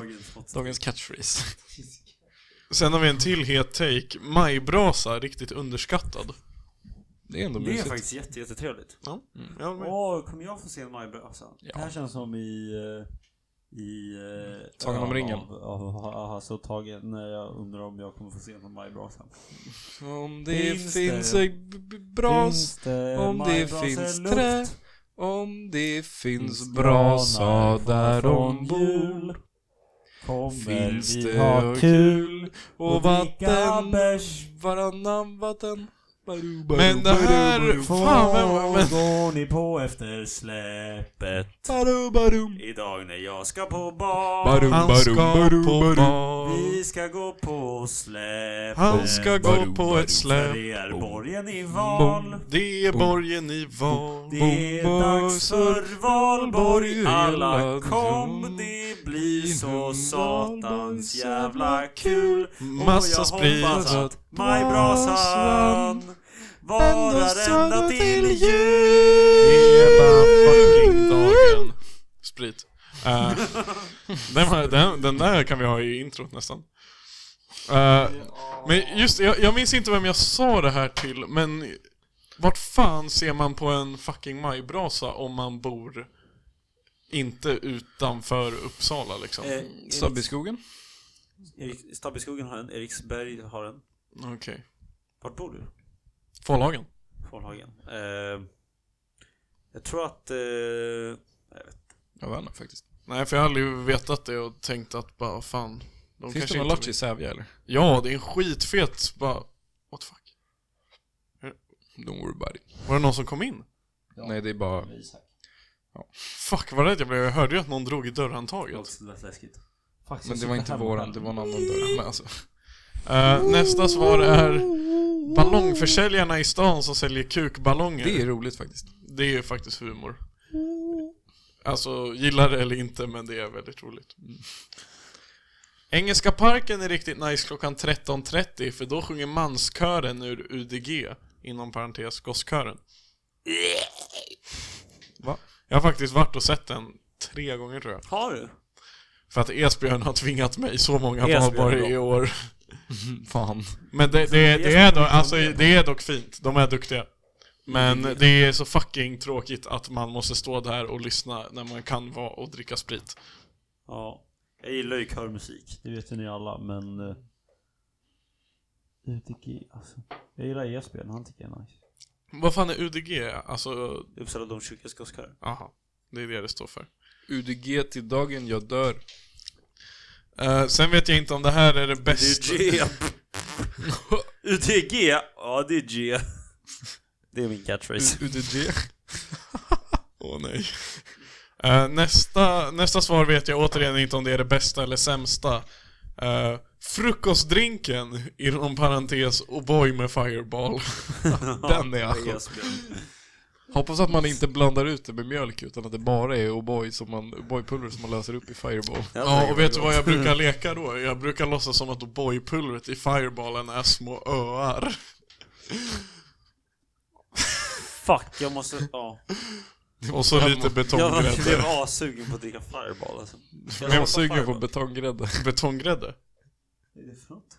Speaker 3: Dagens hot
Speaker 1: Dagens catchphrase.
Speaker 2: Sen har vi en till het take. Majbrasa, riktigt underskattad.
Speaker 1: Det är ändå
Speaker 3: Det är
Speaker 1: mysigt.
Speaker 3: faktiskt jätte, jättetrevligt.
Speaker 2: Ja, men-
Speaker 3: Åh, kommer jag få se en majbrasa?
Speaker 9: Det här känns som i... eh, I... eh,
Speaker 1: Sagan om
Speaker 9: av-
Speaker 1: ringen.
Speaker 9: Av, av, av, alltså tagen, när jag undrar om jag kommer få se någon majbrasa.
Speaker 1: Om det
Speaker 9: Finns det-
Speaker 1: finns en b- b- bras
Speaker 9: det
Speaker 1: Om det
Speaker 9: majbrasa
Speaker 1: finns
Speaker 9: lukt?
Speaker 1: trä Om det finns brasa där de bor
Speaker 9: Kommer
Speaker 1: Finns
Speaker 9: vi
Speaker 1: det
Speaker 9: ha kul
Speaker 1: Och
Speaker 9: dricka
Speaker 1: vatten
Speaker 9: bärs
Speaker 1: Varannan vatten Baru, baru,
Speaker 2: Men det
Speaker 1: baru,
Speaker 2: här...
Speaker 1: baru,
Speaker 2: Fan, men, men,
Speaker 9: går ni på efter släpet
Speaker 1: baru, baru.
Speaker 3: Idag när jag ska på bar.
Speaker 1: Barum,
Speaker 2: han ska
Speaker 1: barum, barum,
Speaker 2: på
Speaker 1: barum.
Speaker 2: bar.
Speaker 3: Vi ska gå på släpet.
Speaker 2: Han ska
Speaker 1: Barum,
Speaker 2: gå på
Speaker 1: barum.
Speaker 2: ett släp.
Speaker 3: Det är borgen i val.
Speaker 2: Det är borgen i val.
Speaker 3: Det är
Speaker 1: Bom,
Speaker 3: dags för valborg.
Speaker 1: Valborg,
Speaker 3: Alla
Speaker 1: hela
Speaker 3: kom.
Speaker 1: dagen.
Speaker 3: Det blir så
Speaker 1: Valborg,
Speaker 3: satans
Speaker 1: så
Speaker 3: jävla
Speaker 1: jävla
Speaker 3: kul.
Speaker 2: Massa
Speaker 3: och jag hoppas
Speaker 2: sprit.
Speaker 3: att majbrasan varar ända till jul.
Speaker 2: Hela fucking dagen. Sprit. Eh, den, var- den, den där kan vi ha i introt nästan. Eh, men just jag, jag minns inte vem jag sa det här till, men vart fan ser man på en fucking majbrasa om man bor inte utanför Uppsala liksom?
Speaker 3: Eh,
Speaker 1: Sabbiskogen?
Speaker 3: Erik, Stabbeskogen har en, Eriksberg har en.
Speaker 2: Okej.
Speaker 3: Vart bor du?
Speaker 2: Fållhagen?
Speaker 3: Fålhagen. Eh, jag tror att... Eh,
Speaker 1: Jag vet inte faktiskt.
Speaker 2: Nej, för jag har aldrig vetat det och tänkt att bara fan. De
Speaker 1: Finns det någon
Speaker 2: inte
Speaker 1: lotch i Sävja eller?
Speaker 2: Ja, det är en skitfet bara... What the fuck?
Speaker 1: Don't worry about it.
Speaker 2: Var det någon som kom in?
Speaker 1: Nej, det är bara...
Speaker 2: Fuck vad rädd jag blev, jag hörde ju att någon drog i dörrhandtaget.
Speaker 1: Alltså.
Speaker 3: också lät läskigt.
Speaker 9: Faktiskt,
Speaker 1: Men det var inte våran, det var en annan dörr. Men alltså,
Speaker 2: Eh, nästa svar är ballongförsäljarna i stan som säljer kukballonger.
Speaker 1: det är roligt faktiskt.
Speaker 2: det är ju faktiskt humor. Alltså, gillar det eller inte, men det är väldigt roligt. Mm. Engelska parken är riktigt nice klockan 13.30 för då sjunger manskören ur UDG, inom parentes gosskören.
Speaker 1: Va?
Speaker 2: Jag har faktiskt varit och sett den tre gånger tror jag.
Speaker 3: Har du?
Speaker 2: För att Esbjörn har tvingat mig så många
Speaker 9: Esbjörn är
Speaker 2: valborg
Speaker 9: bra.
Speaker 2: i år.
Speaker 1: Fan.
Speaker 2: Men det, det, det, är dock, alltså, det är dock fint, de är duktiga. Men det är så fucking tråkigt att man måste stå där och lyssna när man kan vara och dricka sprit.
Speaker 9: Ja. Jag gillar ju körmusik.
Speaker 3: Det vet ju ni alla, men... eh, UTG, alltså. Jag gillar Esbjörn, han tycker jag är nice.
Speaker 2: Vad fan är UDG? Alltså,
Speaker 9: Uppsala domkyrkas gosskör.
Speaker 2: aha. Det är det det står för.
Speaker 1: UDG till dagen jag dör.
Speaker 2: Eh, sen vet jag inte om det här är det
Speaker 9: Det
Speaker 2: bästa.
Speaker 9: är G. UTG? Ja, det är G. Mm, Det är min catchphrase.
Speaker 2: UDG. Åh nej. Eh, nästa, nästa svar vet jag återigen inte om det är det bästa eller sämsta. Eh, frukostdrinken, inom parentes, O'boy med Fireball.
Speaker 1: Den är jag.
Speaker 9: Esbjörn.
Speaker 1: Hoppas att man inte blandar ut det med mjölk utan att det bara är O'boy som man, O'boy-pulver som man löser upp i Fireball.
Speaker 2: Ja, och vet du vad jag brukar leka då? Jag brukar låtsas som att O'boy-pulvret i Fireballen är små öar.
Speaker 9: Fuck, jag måste... Ja.
Speaker 2: Och så lite
Speaker 9: Jag blev
Speaker 2: betonggrädde.
Speaker 9: assugen på att dricka Fireball alltså. Ska
Speaker 1: Jag
Speaker 9: hoppa
Speaker 1: var sugen på
Speaker 9: Fireball?
Speaker 1: betonggrädde.
Speaker 2: Betonggrädde?
Speaker 3: Vad är det för något?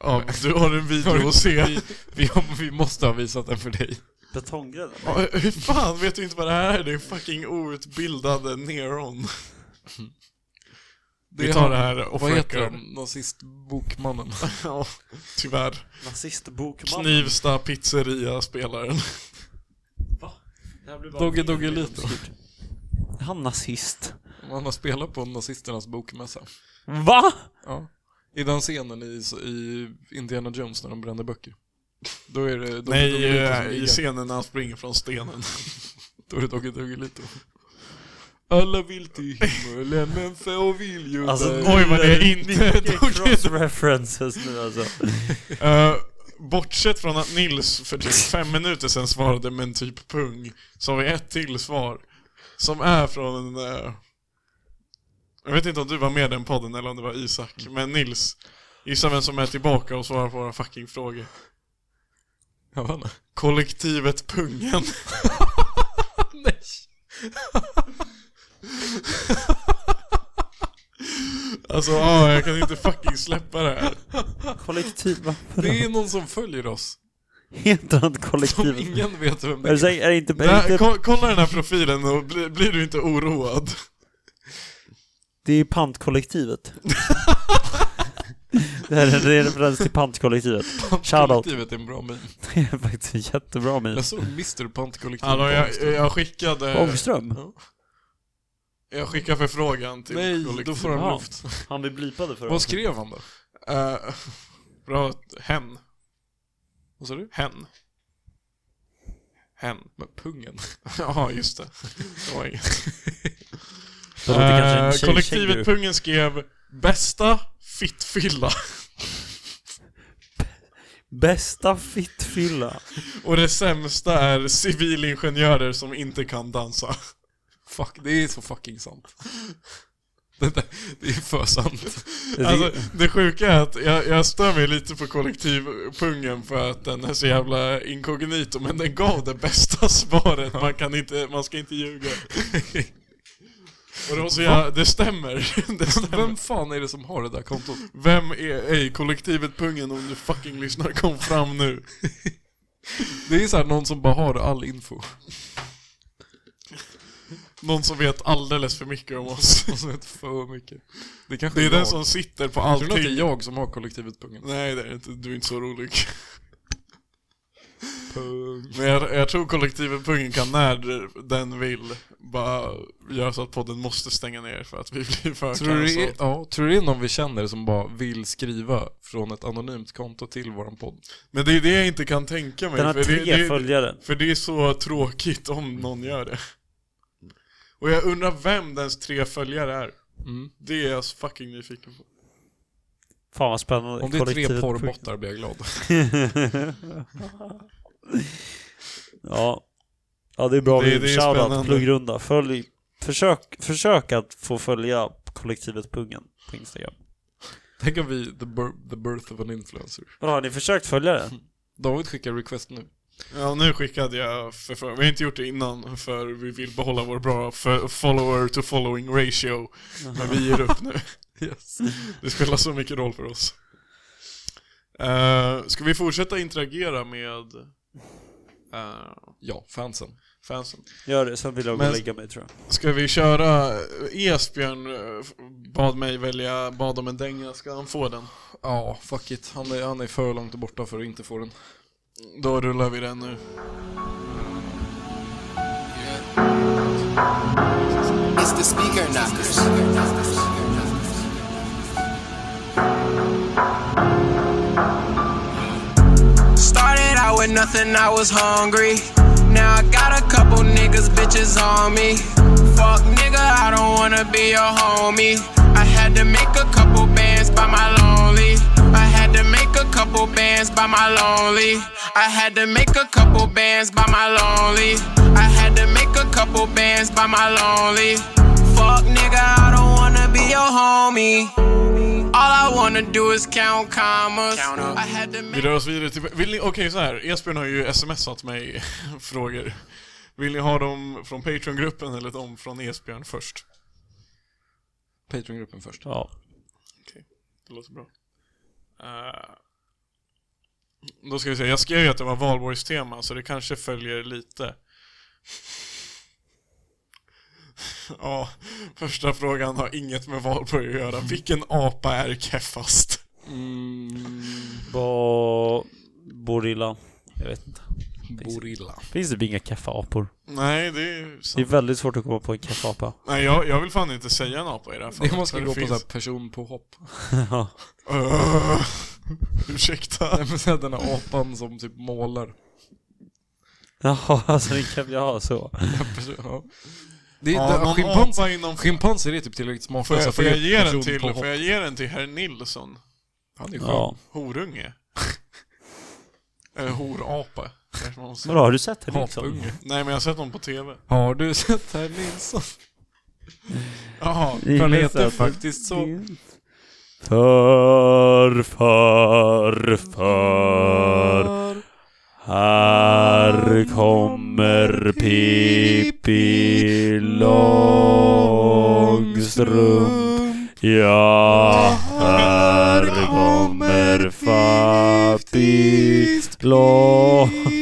Speaker 2: Ja, du har en video att se.
Speaker 1: Vi, vi, har- vi måste ha visat den för dig.
Speaker 9: Betonggrädde?
Speaker 2: Ja, Hur fan vet du inte vad det här är? Det är fucking outbildade neron. Vi
Speaker 1: är
Speaker 2: tar
Speaker 1: han-
Speaker 2: det här off
Speaker 1: Vad heter
Speaker 2: record.
Speaker 1: de? Nazistbokmannen.
Speaker 2: Ja, tyvärr.
Speaker 9: Nazistbokman?
Speaker 2: Knivsta pizzeria-spelaren.
Speaker 9: Det här blir bara
Speaker 1: Dogge
Speaker 9: mer och
Speaker 1: Dogge
Speaker 9: mer
Speaker 1: Lito.
Speaker 9: obskyrt. Är Han nazist.
Speaker 1: Han har spelat på nazisternas bokmässa.
Speaker 9: Va?
Speaker 1: Ja. I den scenen i, i Indiana Jones när de brände böcker. Då är det Dogge
Speaker 2: Nej,
Speaker 1: Dogge Lito som
Speaker 2: eh,
Speaker 1: ligger.
Speaker 2: i scenen när han springer från stenen.
Speaker 1: Då är det Dogge Dogge Lito. Alla vill till himmelen men få vill ju
Speaker 9: Alltså,
Speaker 1: där.
Speaker 2: Oj, vad det är
Speaker 9: Vilka
Speaker 2: inte Dogge
Speaker 9: cross-references nu alltså.
Speaker 2: Eh, bortsett från att Nils för typ fem minuter sedan svarade med en typ pung, så har vi ett till svar. Som är från en... eh, jag vet inte om du var med i den podden eller om det var Isak, men Nils. Gissa vem som är tillbaka och svarar på våra fucking frågor.
Speaker 1: Jag vet inte.
Speaker 2: Kollektivet Pungen.
Speaker 1: Nej.
Speaker 2: Alltså, ja, jag kan inte fucking släppa det här.
Speaker 9: Kollektiv, varför
Speaker 1: Det är någon som följer oss.
Speaker 9: heter han
Speaker 1: Som
Speaker 9: kollektiv?
Speaker 1: ingen vet vem det är.
Speaker 9: Är det, säkert- är det inte...
Speaker 2: det
Speaker 9: Är det,
Speaker 2: här
Speaker 9: inte
Speaker 2: ko- kolla den här profilen och bli, blir du inte oroad.
Speaker 9: det är pantkollektivet. det här är det är en referens till pantkollektivet. Shoutout.
Speaker 1: Kollektivet är en bra meme.
Speaker 9: Det är faktiskt en jättebra meme.
Speaker 1: Jag såg Mr. Pantkollektivet
Speaker 2: Hallå, jag,
Speaker 1: på Instagram.
Speaker 2: jag skickade...
Speaker 9: Ångström?
Speaker 2: Jag skickade förfrågan till
Speaker 1: Nej, då
Speaker 2: kollektivet.
Speaker 1: får han
Speaker 9: Ja.
Speaker 1: luft.
Speaker 9: Han blev blipade för
Speaker 1: Vad skrev han då?
Speaker 2: Eh, bra, hen.
Speaker 1: Vad sa du?
Speaker 2: Hen. Hen.
Speaker 1: Med pungen.
Speaker 2: Ja, just det. det var inget.
Speaker 9: Det låter kanske en
Speaker 2: Eh,
Speaker 9: tjej-
Speaker 2: kollektivet
Speaker 9: tjejgrupp.
Speaker 2: Pungen skrev Bästa fittfylla.
Speaker 9: Bästa fittfylla.
Speaker 2: Och det sämsta är civilingenjörer som inte kan dansa.
Speaker 1: Fuck, det är så fucking sant. Det, där, det är för sant.
Speaker 2: Alltså, det sjuka är att jag, jag stör mig lite på kollektivpungen för att den är så jävla inkognito, men den gav det bästa svaret. Man, kan inte, man ska inte ljuga. Och det, var så jag, det stämmer. Det stämmer.
Speaker 1: Vem fan är det som har det där kontot?
Speaker 2: Vem är ej kollektivet pungen om du fucking lyssnar kom fram nu.
Speaker 1: Det är så här någon som bara har all info.
Speaker 2: Någon som vet alldeles för mycket om oss.
Speaker 1: Och så vet för mycket. Det kanske
Speaker 2: Det är
Speaker 1: jag.
Speaker 2: den som sitter på
Speaker 1: Tror du att det är
Speaker 2: allting.
Speaker 1: jag som har kollektivet pungen?
Speaker 2: Nej det är det inte, du är inte så rolig.
Speaker 1: Pung.
Speaker 2: Men jag, jag tror kollektivet pungen kan när den vill bara göra så att podden måste stänga ner för att vi blir för
Speaker 1: Tror du, det är,
Speaker 2: kaosat.
Speaker 1: ja, tror du det är någon vi känner som bara vill skriva från ett anonymt konto till våran podd?
Speaker 2: Men det är det jag inte kan tänka mig.
Speaker 9: Den har
Speaker 2: för det,
Speaker 9: tre
Speaker 2: det,
Speaker 9: följare.
Speaker 2: För det är så tråkigt om någon gör det. Och jag undrar vem dens tre följare är.
Speaker 1: Mm.
Speaker 2: Det är jag så fucking nyfiken på.
Speaker 9: Fan vad spännande.
Speaker 1: Om det är tre
Speaker 9: Kollektivet-
Speaker 1: porrbottar blir jag glad.
Speaker 9: ja. ja, det är bra.
Speaker 2: Det-
Speaker 9: Det,
Speaker 2: det är
Speaker 9: Shoutout,
Speaker 2: spännande.
Speaker 9: pluggrunda. Följ, försök, försök att få följa kollektivet Pungen på Instagram.
Speaker 1: Tänk om vi, the, bir- the birth of an influencer.
Speaker 9: Vadå, har ni försökt följa det?
Speaker 1: David skickar request nu.
Speaker 2: Ja, nu skickade jag förfrågan. Vi har inte gjort det innan för vi vill behålla vår bra f- follower to following ratio. Men vi ger upp nu. Yes. Det spelar så mycket roll för oss. Uh, ska vi fortsätta interagera med eh,
Speaker 1: Ja, fansen.
Speaker 2: fansen?
Speaker 9: Gör det, sen vill jag gå
Speaker 2: Men-
Speaker 9: och lägga mig tror jag.
Speaker 2: Ska vi köra... Esbjörn eh, bad mig välja, bad om en dänga, ska han få den?
Speaker 1: Ja, fuck it. Han är, han är för långt borta för att inte få den.
Speaker 2: Då rullar vi den nu.
Speaker 10: It's the speaker knockers. Started out with nothing, I was hungry. Now I got a couple niggas, bitches on me. Fuck nigga, I don't wanna be your homie. I had to make a couple bands by my lonely. I had to make a couple bands by my lonely. I had to make a couple bands by my lonely. I had to make a couple bands by my lonely. Fuck nigga, I don't wanna be your homie. All I wanna do is count commas. I had to
Speaker 2: Vi
Speaker 10: make
Speaker 2: rör oss vidare till... Vill ni... Okej, så här. Esbjörn har ju smsat mig frågor. Vill ni ha dem från Patreon-gruppen eller de från Esbjörn först?
Speaker 1: Patreon-gruppen först.
Speaker 9: Ja.
Speaker 2: Det låter bra. Eh, då ska vi se. Jag skrev ju att det var valborgstema, så det kanske följer lite. ja, första frågan har inget med valborg att göra. Vilken apa är keffast?
Speaker 9: Bo... Borilla. Jag vet inte.
Speaker 1: Borilla.
Speaker 9: Finns det typ inga kaffeapor?
Speaker 2: Nej, det är
Speaker 9: Det är
Speaker 2: sant.
Speaker 9: väldigt svårt att komma på en kaffeapa.
Speaker 2: Nej, jag, jag vill fan inte säga en apa i det här fallet.
Speaker 1: Det måste
Speaker 2: för
Speaker 1: gå på
Speaker 2: finns-
Speaker 1: så här person på hopp.
Speaker 9: Ja.
Speaker 2: Öh, ursäkta.
Speaker 1: Nej men så här, den här apan som typ målar.
Speaker 9: Jaha, alltså det kan... Jaha, så.
Speaker 1: Ja. Det är,
Speaker 2: Ja,
Speaker 1: ja,
Speaker 2: någon
Speaker 1: schimpanser,
Speaker 2: apa inom...
Speaker 1: schimpanser är typ tillräckligt smarta
Speaker 2: Får
Speaker 1: så
Speaker 2: jag, får, jag
Speaker 1: det är
Speaker 2: ge den
Speaker 1: person
Speaker 2: till,
Speaker 1: på hopp.
Speaker 2: får jag ge den till herr Nilsson?
Speaker 1: Han är skön.
Speaker 9: Ja.
Speaker 2: Horunge? Eller horapa? kanske man måste säga.
Speaker 9: Vadå, har du sett det liksom?
Speaker 1: Apunge.
Speaker 2: Nej men jag har sett dem på TV.
Speaker 1: Har du sett herr Nilsson?
Speaker 2: Jaha.
Speaker 1: Han
Speaker 9: Ingen
Speaker 1: heter
Speaker 9: sett.
Speaker 1: faktiskt så.
Speaker 9: För, för, för. Här kommer Pippi Långstrump. Ja, här kommer Fattig Långstrump.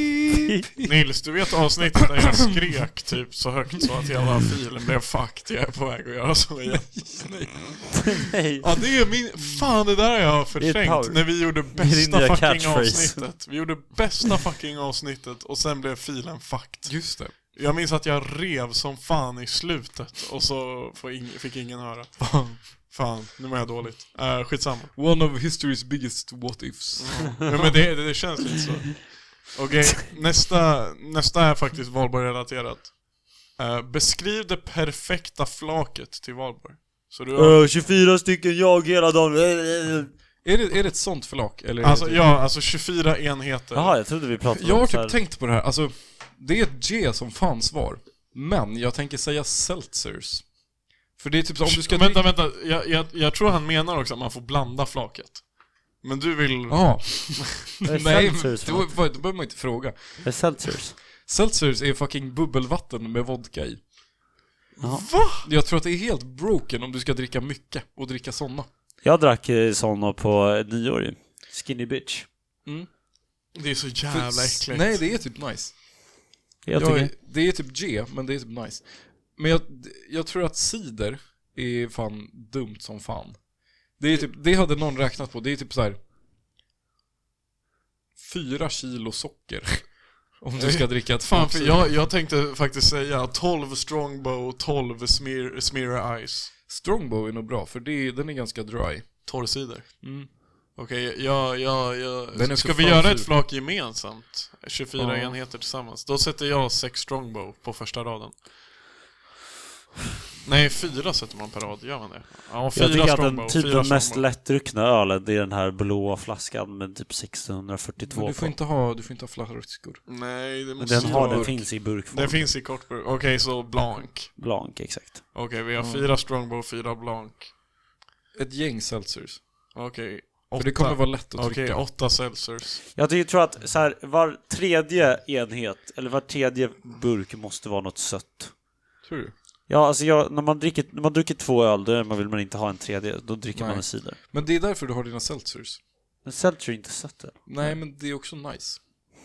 Speaker 2: Nils, du vet avsnittet där jag skrek typ så högt så att hela filen blev fucked. Jag är på väg att göra så igen. Nej. Ja det är min... Fan det där har jag
Speaker 9: Det är power.
Speaker 2: förträngt. När vi gjorde
Speaker 9: din nya
Speaker 2: bästa fucking
Speaker 9: catchphrase.
Speaker 2: avsnittet. Vi gjorde bästa fucking avsnittet och sen blev filen fucked.
Speaker 1: Just det.
Speaker 2: Jag minns att jag rev som fan i slutet och så får ing- fick ingen höra. Fan, nu mår jag dåligt. Uh, skitsamma.
Speaker 1: One of history's biggest what-ifs.
Speaker 2: Ja, men det, det känns lite så. Okej, nästa, nästa är faktiskt Valborg-relaterat. Eh, beskriv det perfekta flaket till Valborg. Så du
Speaker 1: Äh.
Speaker 2: har,
Speaker 9: 24 Eh, stycken jag hela dagen.
Speaker 1: Är, det, är det ett sånt förlag? Eller är det
Speaker 2: alltså,
Speaker 1: typ-
Speaker 2: ja, alltså 24 enheter.
Speaker 9: Jaha, jag trodde vi pratade
Speaker 1: Jag har
Speaker 9: om så
Speaker 1: typ
Speaker 9: här.
Speaker 1: tänkt på det här, alltså det är ett G som fan svar. Men jag tänker säga seltzers. För det är typ så om du ska...
Speaker 2: Vänta, vänta. Jag, jag, jag tror han menar också att man får blanda flaket. Men du vill...
Speaker 1: Ja.
Speaker 9: är
Speaker 1: Nej, men
Speaker 9: seltzers för
Speaker 1: då, då behöver man inte fråga.
Speaker 9: Är Seltzers?
Speaker 1: Seltzers är fucking bubbelvatten med vodka i.
Speaker 9: Jaha.
Speaker 1: Va? Jag tror att det är helt broken om du ska dricka mycket och dricka såna.
Speaker 9: Jag drack eh, såna på eh, nyår ju. Skinny bitch.
Speaker 2: Det är så
Speaker 1: För-
Speaker 2: jävla äckligt.
Speaker 1: Nej, det är typ nice.
Speaker 9: Jag
Speaker 1: Jag-
Speaker 9: tycker...
Speaker 1: det är typ G, men det är typ nice. Men jag, jag tror att cider är fan dumt som fan. Det, är typ, det hade någon räknat på, det är typ så här. Fyra kilo socker. Om du ska dricka ett
Speaker 2: Fan,
Speaker 1: fan
Speaker 2: för jag, jag tänkte faktiskt säga 12 strongbow, 12 smear, smear ice.
Speaker 1: Strongbow är nog bra, för det, är- den är ganska dry.
Speaker 2: Torrsidor.
Speaker 1: Mm.
Speaker 2: Okej, ja, ja, ja.
Speaker 1: Den är
Speaker 2: Ska
Speaker 1: för
Speaker 2: vi
Speaker 1: fan
Speaker 2: göra
Speaker 1: sur.
Speaker 2: ett flak gemensamt? 24
Speaker 1: Ja.
Speaker 2: enheter tillsammans. Då sätter jag sex strongbow på första raden. Nej, fyra sätter man per rad, gör man det? Ja, fyra
Speaker 9: Jag tycker att
Speaker 2: strongbow,
Speaker 9: den, typ
Speaker 2: fyra
Speaker 9: den mest
Speaker 2: strongbow.
Speaker 9: lättdruckna ölen, det är den här blåa flaskan med typ 642
Speaker 1: Men du får
Speaker 9: på.
Speaker 1: inte ha, du får inte ha flaskor.
Speaker 2: Nej, det
Speaker 9: Men
Speaker 2: måste
Speaker 9: Den
Speaker 2: ju
Speaker 9: har,
Speaker 2: vara-
Speaker 9: den finns i burkform.
Speaker 2: Den finns i kortburk. Okej, så blanc.
Speaker 9: Blanc, exakt.
Speaker 2: Okej, vi har fyra strongbow, fyra blanc.
Speaker 1: Ett gäng seltzers.
Speaker 2: Okej.
Speaker 1: För det kommer vara lätt att
Speaker 2: Okej,
Speaker 1: trycka.
Speaker 2: åtta Celsius.
Speaker 3: Jag tycker- tror att så här, var tredje enhet, eller var tredje burk måste vara något sött.
Speaker 1: Tror du?
Speaker 3: Ja, alltså jag, när, man dricker, när man dricker två öl, då är man- vill man inte ha en tredje. Då dricker
Speaker 1: Nej.
Speaker 3: man en cider.
Speaker 1: Men det är därför du har dina seltzers.
Speaker 3: Men seltzer är inte sött än.
Speaker 1: Nej, men det är också nice.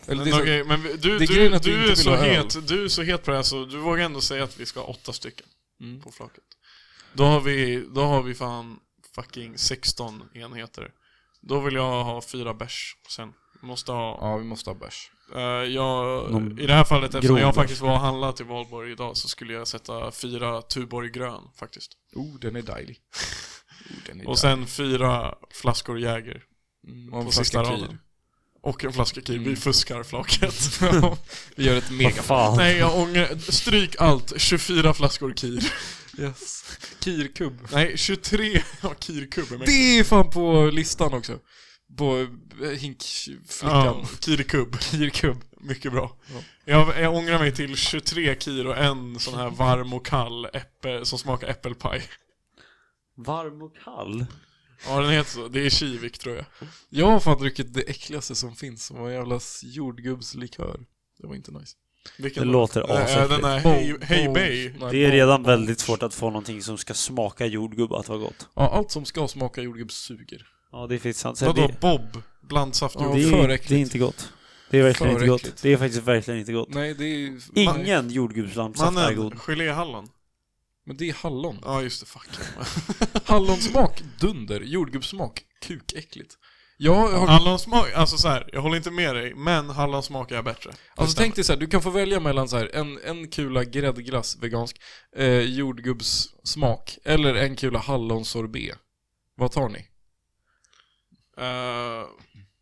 Speaker 1: Eller
Speaker 2: Men,
Speaker 1: det är så-
Speaker 2: okej, men vi- du,
Speaker 1: det
Speaker 2: du,
Speaker 1: är grejen
Speaker 2: du,
Speaker 1: att du inte
Speaker 2: är
Speaker 1: vill
Speaker 2: så
Speaker 1: ha öl.
Speaker 2: het, du är så het på det här så du vågar ändå säga att vi ska ha åtta stycken
Speaker 1: Mm.
Speaker 2: på flaket. Då har, vi, då har vi fan fucking 16 enheter. Då vill jag ha fyra bärs sen. Måste ha...
Speaker 1: Ja, vi måste ha bärs.
Speaker 2: Eh, jag,
Speaker 3: Någon
Speaker 2: I det här fallet, eftersom
Speaker 3: grov
Speaker 2: jag
Speaker 3: bärs.
Speaker 2: faktiskt var och handlade till Valborg idag, så skulle jag sätta fyra Tuborg grön faktiskt.
Speaker 1: Oh, den är dejlig. Oh, den är
Speaker 2: Och sen fyra flaskor Jäger
Speaker 1: dejlig.
Speaker 2: på sista raden. Och en flaska Kiwi.
Speaker 1: Mm.
Speaker 2: Vi fuskar flaket.
Speaker 1: Vi gör ett
Speaker 3: Vad
Speaker 1: mega...
Speaker 3: fan.
Speaker 2: Nej, jag ångrar... Stryk allt. 24 flaskor Kir.
Speaker 1: Yes. Kirkubb.
Speaker 2: Nej, 23 ja, Kirkubbe. men-
Speaker 1: Det är fan på listan också. På eh, hinkflickan.
Speaker 2: Ja, Kirkubb.
Speaker 1: Kirkubb.
Speaker 2: Mycket bra. Jag, jag ångrar mig till 23 Kir och en sån här varm och kall äpple, som smakar äppelpaj.
Speaker 3: Varm och kall?
Speaker 2: Ja, den heter så. Det är Kivik tror jag.
Speaker 1: Jag har fan druckit det äckligaste som finns, som var en jävla jordgubbslikör. Det var inte nice.
Speaker 2: Vilken
Speaker 3: Det
Speaker 2: då?
Speaker 3: låter
Speaker 2: Nej,
Speaker 3: asäckligt.
Speaker 2: Den här Hey,
Speaker 1: Bo-
Speaker 2: hey
Speaker 1: bo-
Speaker 2: Bay.
Speaker 1: nej,
Speaker 3: Det är
Speaker 1: bo-
Speaker 3: redan väldigt svårt att få någonting som ska smaka jordgubbe att vara gott.
Speaker 1: Ja, allt som ska smaka jordgubb suger.
Speaker 3: Ja, det finns sant.
Speaker 2: Vadå
Speaker 3: det,
Speaker 2: Bob? Blandsaft och
Speaker 1: Ja,
Speaker 3: det,
Speaker 1: för
Speaker 3: är,
Speaker 1: äckligt.
Speaker 3: det är inte gott. Det är verkligen
Speaker 1: För
Speaker 3: inte gott.
Speaker 1: äckligt.
Speaker 3: Det är faktiskt verkligen inte gott.
Speaker 1: Nej, det är... Nej.
Speaker 3: Ingen jordgubbslampsaft är god.
Speaker 2: Mannen, geléhallon.
Speaker 1: Men det är hallon.
Speaker 2: Ja just det, fuck.
Speaker 1: Hallonsmak, dunder. Jordgubbssmak, kukäckligt. Jag har...
Speaker 2: Hallonsmak, alltså så här, jag håller inte med dig, men hallonsmak är bättre.
Speaker 1: Alltså tänk dig så här, du kan få välja mellan så här, en, en kula gräddglass, vegansk, eh, jordgubbssmak, eller en kula hallonsorbet. Vad tar ni?
Speaker 2: Eh,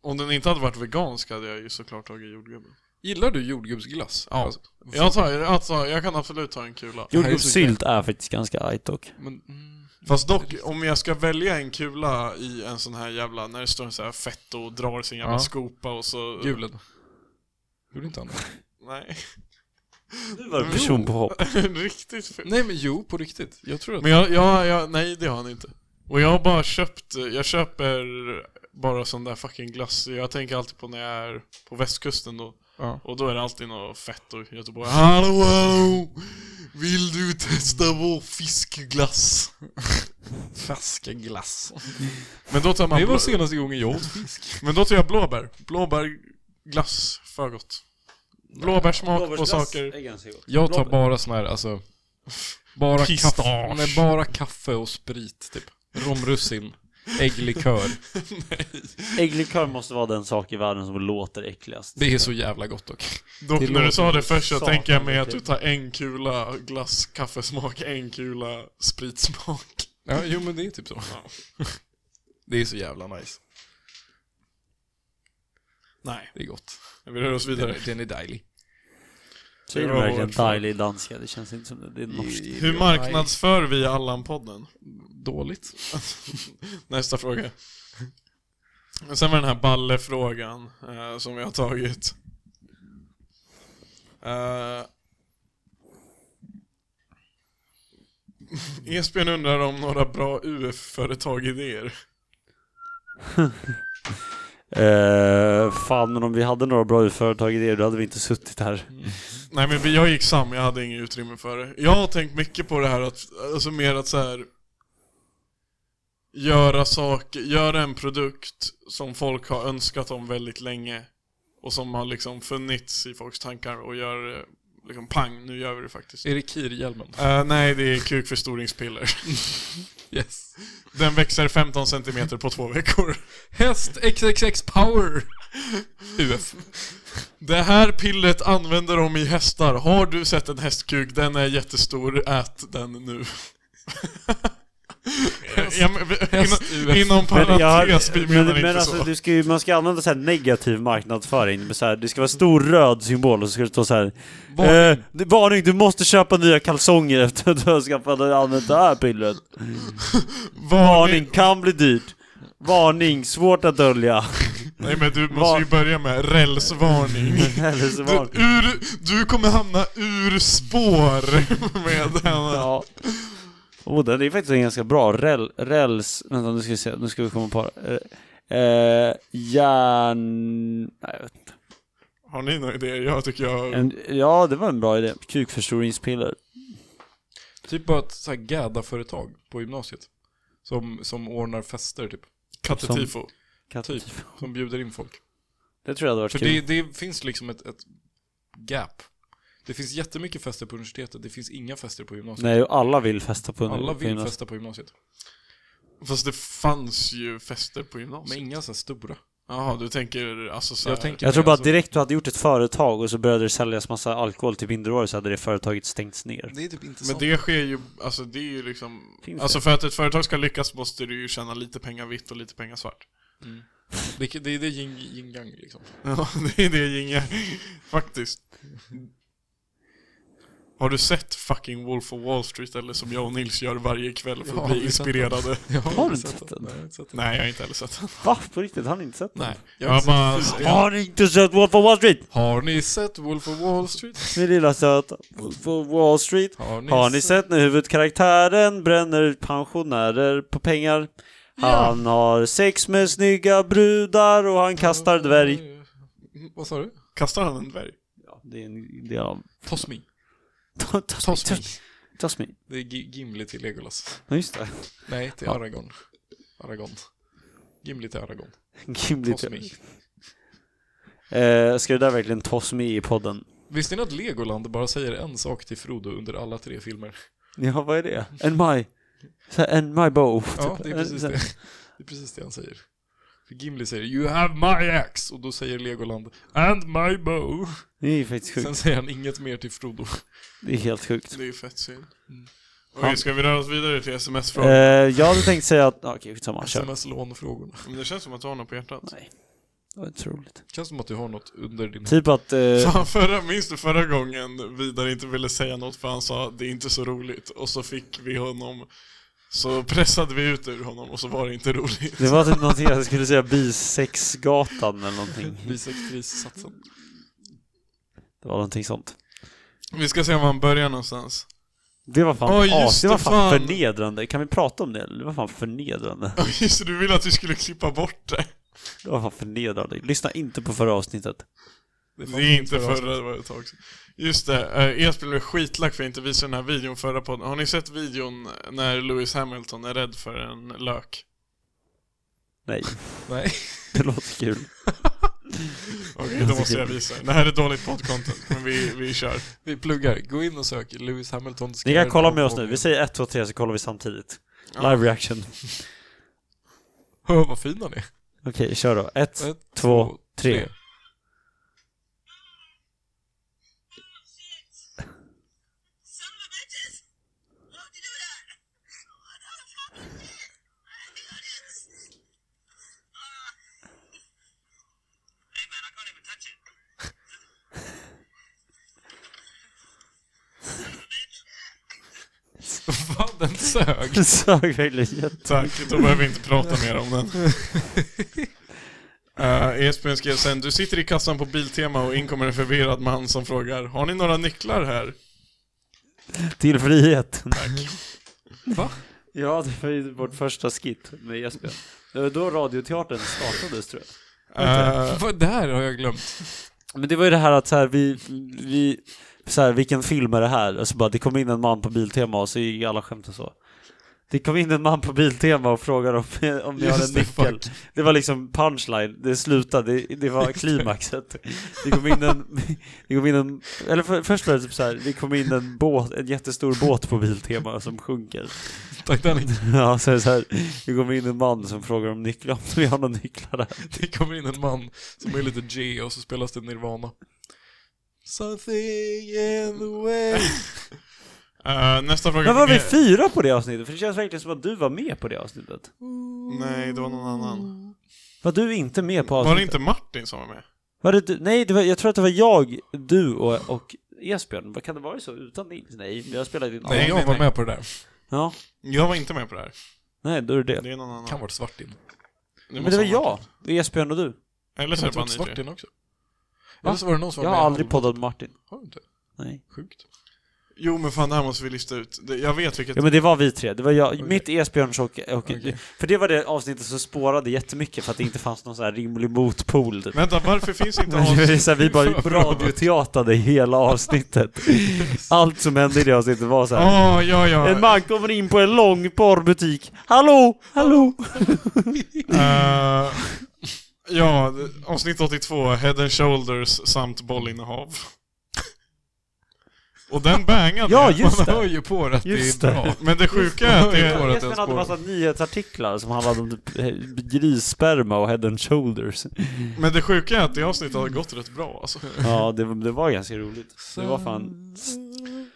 Speaker 2: om den inte hade varit vegansk hade jag ju såklart tagit jordgubbe.
Speaker 1: Gillar du jordgubbsglass?
Speaker 2: Ja.
Speaker 1: Alltså,
Speaker 2: Jag, tar, alltså, jag kan absolut ta en kula.
Speaker 3: Jordgubbssylt är faktiskt ganska ajt dock.
Speaker 1: men, mm,
Speaker 2: Fast dock, om jag ska välja en kula i en sån här jävla, när det står en sån här fett och drar sin jävla
Speaker 1: Ja.
Speaker 2: skopa och så...
Speaker 1: julen. Gjorde inte han det?
Speaker 2: Nej.
Speaker 3: Nu var det personpåhopp.
Speaker 2: Riktigt fult.
Speaker 1: Nej men jo, på riktigt. Jag tror att...
Speaker 2: Men jag, jag, jag, nej det har han inte. Och jag har bara köpt, jag köper bara sån där fucking glass. Jag tänker alltid på när jag är på västkusten då.
Speaker 1: Ja.
Speaker 2: Och då är det alltid något fett och Göteborg. Hallå hallå! Vill du testa vår fiskglass?
Speaker 1: Flaskeglass.
Speaker 2: Men då tar man
Speaker 1: Det var
Speaker 2: blå,
Speaker 1: senaste gången jag åt fisk.
Speaker 2: men då tar jag blåbär. Blåbärglass, för gott. Blåbärsmak på saker.
Speaker 1: Jag tar bara sån här, alltså... Bara
Speaker 2: Pistage.
Speaker 1: kaffe, nej, bara kaffe och sprit typ. Romrussin, ägglikör.
Speaker 3: Ägglikör måste vara den sak i världen som låter äckligast.
Speaker 1: Det är så jävla gott dock.
Speaker 2: Dock
Speaker 3: Det
Speaker 2: när du sa
Speaker 3: låter
Speaker 2: det först så
Speaker 3: satan
Speaker 2: tänker jag mig att du
Speaker 3: äckligt.
Speaker 2: tar en kula glass, kaffesmak, en kula spritsmak.
Speaker 1: Ja, jo men det är typ så. Det är så jävla nice.
Speaker 2: Nej,
Speaker 1: Det är gott.
Speaker 2: vi rör oss
Speaker 1: Den
Speaker 2: vidare.
Speaker 1: är, den är dejlig.
Speaker 3: Säger
Speaker 2: det
Speaker 3: du
Speaker 2: var
Speaker 3: verkligen
Speaker 2: vårt svar.
Speaker 3: dejlig danska? Det känns inte som det. Det är norskt.
Speaker 2: Hur marknadsför vi Allan-podden?
Speaker 1: Dåligt.
Speaker 2: Nästa fråga. Och Sen var den här ballefrågan eh, som vi har tagit. Eh, Esbjörn undrar om några bra UF-företag-idéer.
Speaker 3: Eh, fan, men om vi hade några bra företag i det, då hade vi inte suttit här.
Speaker 2: Nej men vi- jag gick sam, jag hade inget utrymme för det. Jag har tänkt mycket på det här att, alltså mer att så här göra saker, göra en produkt som folk har önskat om väldigt länge och som har liksom funnits i folks tankar och gör det, liksom pang, nu gör vi det faktiskt.
Speaker 1: Är det Kir-hjälmen?
Speaker 2: Eh, nej, det är kukförstoringspiller.
Speaker 1: Yes.
Speaker 2: Den växer 15 centimeter på två veckor.
Speaker 1: Häst XXX power! UF.
Speaker 2: Det här pillret använder de i hästar. Har du sett en hästkuk? Den är jättestor. Ät den nu. Ja, men, inom, inom parentes, vi menar
Speaker 3: men,
Speaker 2: inte
Speaker 3: men alltså,
Speaker 2: så.
Speaker 3: du ska ju, man ska använda så här negativ marknadsföring. Men så här, det ska vara stor röd symbol och så ska det stå så här. Varning. Eh, det- varning, du måste köpa nya kalsonger efter att du har skaffat använt det här pillret. Varning, kan bli dyrt. Varning, svårt att dölja.
Speaker 2: Nej men du måste
Speaker 3: Var-
Speaker 2: ju börja med rälsvarning.
Speaker 3: Eller så
Speaker 2: Du,
Speaker 3: var...
Speaker 2: ur, du kommer hamna ur spår med den.
Speaker 3: Ja. Oh, den är faktiskt en ganska bra. Räl, räls... Vänta, nu ska vi se. Nu ska vi komma på... eh, Eh, järn... Nej, jag vet inte.
Speaker 2: Har ni några idéer? Jag tycker jag...
Speaker 3: En, ja, det var en bra idé. Kukförstoringspiller.
Speaker 1: Typ bara ett så här gädda-företag på gymnasiet. Som, som ordnar fester typ.
Speaker 2: Kattetifo.
Speaker 1: Typ. Som bjuder in folk.
Speaker 3: Det tror jag hade varit
Speaker 1: För
Speaker 3: kul.
Speaker 1: det, det finns liksom ett, ett gap. Det finns jättemycket fester på universitetet, det finns inga fester på gymnasiet.
Speaker 3: Nej, och alla vill festa på
Speaker 1: Alla vill
Speaker 3: på-
Speaker 1: festa på gymnasiet.
Speaker 2: Fast det fanns ju fester på
Speaker 1: Men
Speaker 2: gymnasiet.
Speaker 1: inga så här stora.
Speaker 2: Jaha, du tänker alltså så här,
Speaker 1: Jag tänker
Speaker 3: Jag tror bara att
Speaker 1: alltså,
Speaker 3: direkt du hade gjort ett företag och så började det säljas massa alkohol till minderåriga så hade det företaget stängts ner.
Speaker 1: Det är typ inte
Speaker 2: Men
Speaker 1: sant.
Speaker 2: det sker ju, alltså det är ju liksom...
Speaker 3: Finns det?
Speaker 2: Alltså för att ett företag ska lyckas måste du ju tjäna lite pengar vitt och lite pengar svart.
Speaker 1: Det, det är det yin, yin yang liksom.
Speaker 2: Ja, det är det Jinge. Faktiskt. Har du sett fucking Wolf of Wall Street eller som jag och Nils gör varje kväll för
Speaker 1: Ja,
Speaker 2: att
Speaker 1: vi
Speaker 2: bli
Speaker 1: har sett
Speaker 2: inspirerade?
Speaker 1: Jag
Speaker 3: Har du inte sett den?
Speaker 1: Nej, jag har inte sett den.
Speaker 2: Nej, jag har inte heller sett den.
Speaker 3: Va? På riktigt? Har ni inte sett den?
Speaker 2: Nej.
Speaker 1: Jag
Speaker 2: Jag
Speaker 1: har
Speaker 2: har bara...
Speaker 3: Har ni inte sett Wolf of Wall Street?
Speaker 1: Har ni sett Wolf of Wall Street?
Speaker 3: Min lilla söta. Wolf of Wall Street.
Speaker 1: Har ni,
Speaker 3: Har ni sett när huvudkaraktären bränner ut pensionärer på pengar? Han har sex med snygga brudar och han kastar dvärg.
Speaker 1: Vad sa du?
Speaker 2: Kastar han en dvärg?
Speaker 3: Ja, det är en del av...
Speaker 1: Toss me.
Speaker 3: Toss me,
Speaker 1: Toss me.
Speaker 3: toss- Toss me.
Speaker 1: Det är Gi- Gimli till Legolas.
Speaker 3: Ja, just det.
Speaker 1: Nej, till Aragorn. Aragorn. Gimli till Aragorn.
Speaker 3: Gimli
Speaker 1: Toss me.
Speaker 3: Eh, ska det där verkligen toss me i podden?
Speaker 1: Visste ni att Legoland bara säger en sak till Frodo under alla tre filmer?
Speaker 3: Ja, vad är det? And my... så här, And my bow.
Speaker 1: Ja,
Speaker 3: typ.
Speaker 1: det är precis
Speaker 3: Så här,
Speaker 1: det. Det är precis det han säger. För Gimli säger 'You have my axe' och då säger Legoland 'And my bow'
Speaker 3: Det är ju faktiskt sjukt.
Speaker 1: Sen säger han inget mer till Frodo. Mm.
Speaker 3: Det är helt sjukt.
Speaker 2: Det är ju fett synd. Okej, ska vi röra oss vidare till
Speaker 3: Eh,
Speaker 2: sms-frågan?
Speaker 3: jag hade tänkt säga att... Okej, skitsamma. Kör.
Speaker 1: Sms-lånfrågorna.
Speaker 2: Men Det känns som att du har något på hjärtat.
Speaker 3: Nej. Det var inte så roligt.
Speaker 1: Känns som att du har något under din...
Speaker 3: Typ att... Eh,
Speaker 2: Fan, förra, minns du förra gången Vidar inte ville säga något för han sa det är inte så roligt och så fick vi honom så pressade vi ut ur honom och så var det inte roligt.
Speaker 3: Det var typ någonting jag skulle säga Bisexgatan eller någonting.
Speaker 1: Bisexkrissatsen.
Speaker 3: Det var någonting sånt.
Speaker 2: Vi ska se var han börjar någonstans.
Speaker 3: Det var fan,
Speaker 2: Åh, just
Speaker 3: as, det var
Speaker 2: det,
Speaker 3: fan,
Speaker 2: fan.
Speaker 3: förnedrande. Kan vi prata om det eller? Det var fan förnedrande.
Speaker 2: Ja, Just det, du ville att vi skulle klippa bort det.
Speaker 3: Det var fan förnedrande. Lyssna inte på förra avsnittet.
Speaker 2: Det är inte förra, det var ett tag sedan. Just det, eh, Esbjörn blev skitlack för att inte visa den här videon förra podden. Har ni sett videon när Lewis Hamilton är rädd för en lök?
Speaker 3: Nej,
Speaker 1: Nej.
Speaker 3: det låter kul.
Speaker 2: Okej, då måste jag visa. Det här är dåligt poddcontent, men vi, vi kör.
Speaker 1: Vi pluggar. Gå in och sök Lewis Hamilton.
Speaker 3: Ni kan kolla med oss nu. Vi säger 1, 2, 3 så kollar vi samtidigt. Live reaction.
Speaker 1: Hör vad fin han är.
Speaker 3: Okej, kör då. 1,
Speaker 1: Ett,
Speaker 3: 2, 3.
Speaker 1: tre. Fan, den sög.
Speaker 3: Det sög verkligen jätte...
Speaker 2: Tack, då behöver vi inte prata mer om den. Uh, Esbjörn skrev sen, du sitter i kassan på Biltema och inkommer en förvirrad man som frågar Har ni några nycklar här?
Speaker 3: Till frihet.
Speaker 1: Va?
Speaker 3: Ja, det var ju vårt första skit med Jesper. Det var då radioteatern startades tror jag.
Speaker 2: Eh,
Speaker 1: Vad det här har jag glömt.
Speaker 3: Men det var ju det här att så här, vi, vi så här, vilken film är det här? Alltså bara, det kom in en man på Biltema och så gick alla skämt och så. Det kom in en man på Biltema och frågade om, om ni har en
Speaker 1: Just det,
Speaker 3: nyckel. Det var liksom punchline, det slutade, det, det var klimaxet. Det kom in en, det kom in en eller för, först var det typ så här, det kom in en båt, en jättestor båt på Biltema som sjunker.
Speaker 1: Titanic.
Speaker 3: Ja, så är det så här, det kom in en man som frågar om nycklar, om vi har några nycklar där.
Speaker 1: Det kommer in en man som är lite G och så spelas det Nirvana. Something in the way.
Speaker 2: eh, nästa fråga
Speaker 3: Men var vi
Speaker 2: fick-
Speaker 3: fyra på det avsnittet? För det känns verkligen som att du var med på det avsnittet.
Speaker 2: Nej, det var någon annan.
Speaker 3: Var du inte med på avsnittet?
Speaker 2: Var det inte Martin som var med?
Speaker 3: Var det du? Nej, det var, jag tror att det var jag, du och, och Esbjörn. Vad Kan det vara så utan Nils? Nej, jag spelade in
Speaker 1: Nej,
Speaker 2: Nej,
Speaker 1: jag
Speaker 2: nej,
Speaker 1: var
Speaker 2: nej.
Speaker 1: med på det där.
Speaker 3: Ja,
Speaker 2: Jag var inte med på det här.
Speaker 3: nej då är det det.
Speaker 2: Det är någon annan.
Speaker 1: Kan varit Svartin.
Speaker 3: Men det
Speaker 2: måste
Speaker 3: var
Speaker 2: ha
Speaker 3: jag,
Speaker 2: Martin.
Speaker 3: Esbjörn och du.
Speaker 2: Eller så
Speaker 1: Kan
Speaker 2: är
Speaker 1: det varit
Speaker 2: det bara ni tre.
Speaker 1: Svartin också? Eller så var det någon som
Speaker 3: Jag
Speaker 1: var
Speaker 3: har
Speaker 1: med.
Speaker 3: aldrig poddat med Martin.
Speaker 1: Har du inte?
Speaker 3: Nej.
Speaker 1: Sjukt.
Speaker 2: Jo men fan det här måste vi lista ut. Det- Jag vet vilket...
Speaker 9: Ja men det var vi tre, det var jag, mitt Esbjörns och... och För det var det avsnittet som spårade jättemycket för att det inte fanns någon så här rimlig motpol. typ.
Speaker 2: Vänta, varför finns inte
Speaker 9: Men det är så här, Vi bara
Speaker 2: avsnitt-
Speaker 9: radioteatade hela avsnittet. Allt som hände i det avsnittet var så här.
Speaker 2: Åh, Ah, ja, ja.
Speaker 9: En man kommer in på en lång porrbutik. Hallå, hallå!
Speaker 2: Eh, ja, det- avsnitt 82, Head and Shoulders samt bollinnehav. Och den bangade.
Speaker 9: Ja, just
Speaker 2: Man
Speaker 9: det.
Speaker 2: hör ju på det att
Speaker 9: Just
Speaker 2: det är bra. Men det sjuka
Speaker 9: Just
Speaker 2: är att det
Speaker 9: Man hör ju på det att
Speaker 2: är...
Speaker 9: Esbjörn hade massa nyhetsartiklar som handlade om typ, eh, grissperma och head and shoulders.
Speaker 2: Men det sjuka är att det avsnittet har gått rätt bra alltså.
Speaker 9: Ja, det, det var ganska roligt. Det var fan...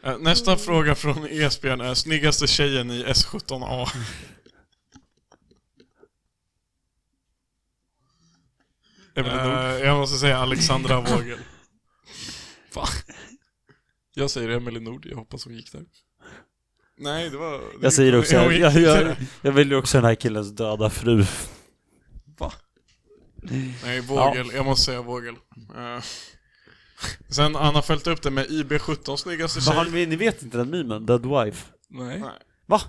Speaker 2: Eh, Nästa fråga från E Esbjörn är snyggaste tjejen i S17A. Eh, jag måste säga Alexandra Vogel.
Speaker 1: Fan. Jag säger Emelie Nord, jag hoppas hon gick där.
Speaker 2: Nej, det var...
Speaker 9: Jag säger också,
Speaker 2: Jag-
Speaker 9: jag, jag, jag, jag vill ju också den här killens döda fru.
Speaker 2: Nej, Vågel. Jag måste säga Vågel. Eh, Sen han har följt upp det med IB17 snyggaste
Speaker 9: Men
Speaker 2: tjej.
Speaker 9: har ni, ni vet inte den memen, Dead Wife?
Speaker 1: Nej.
Speaker 9: Va?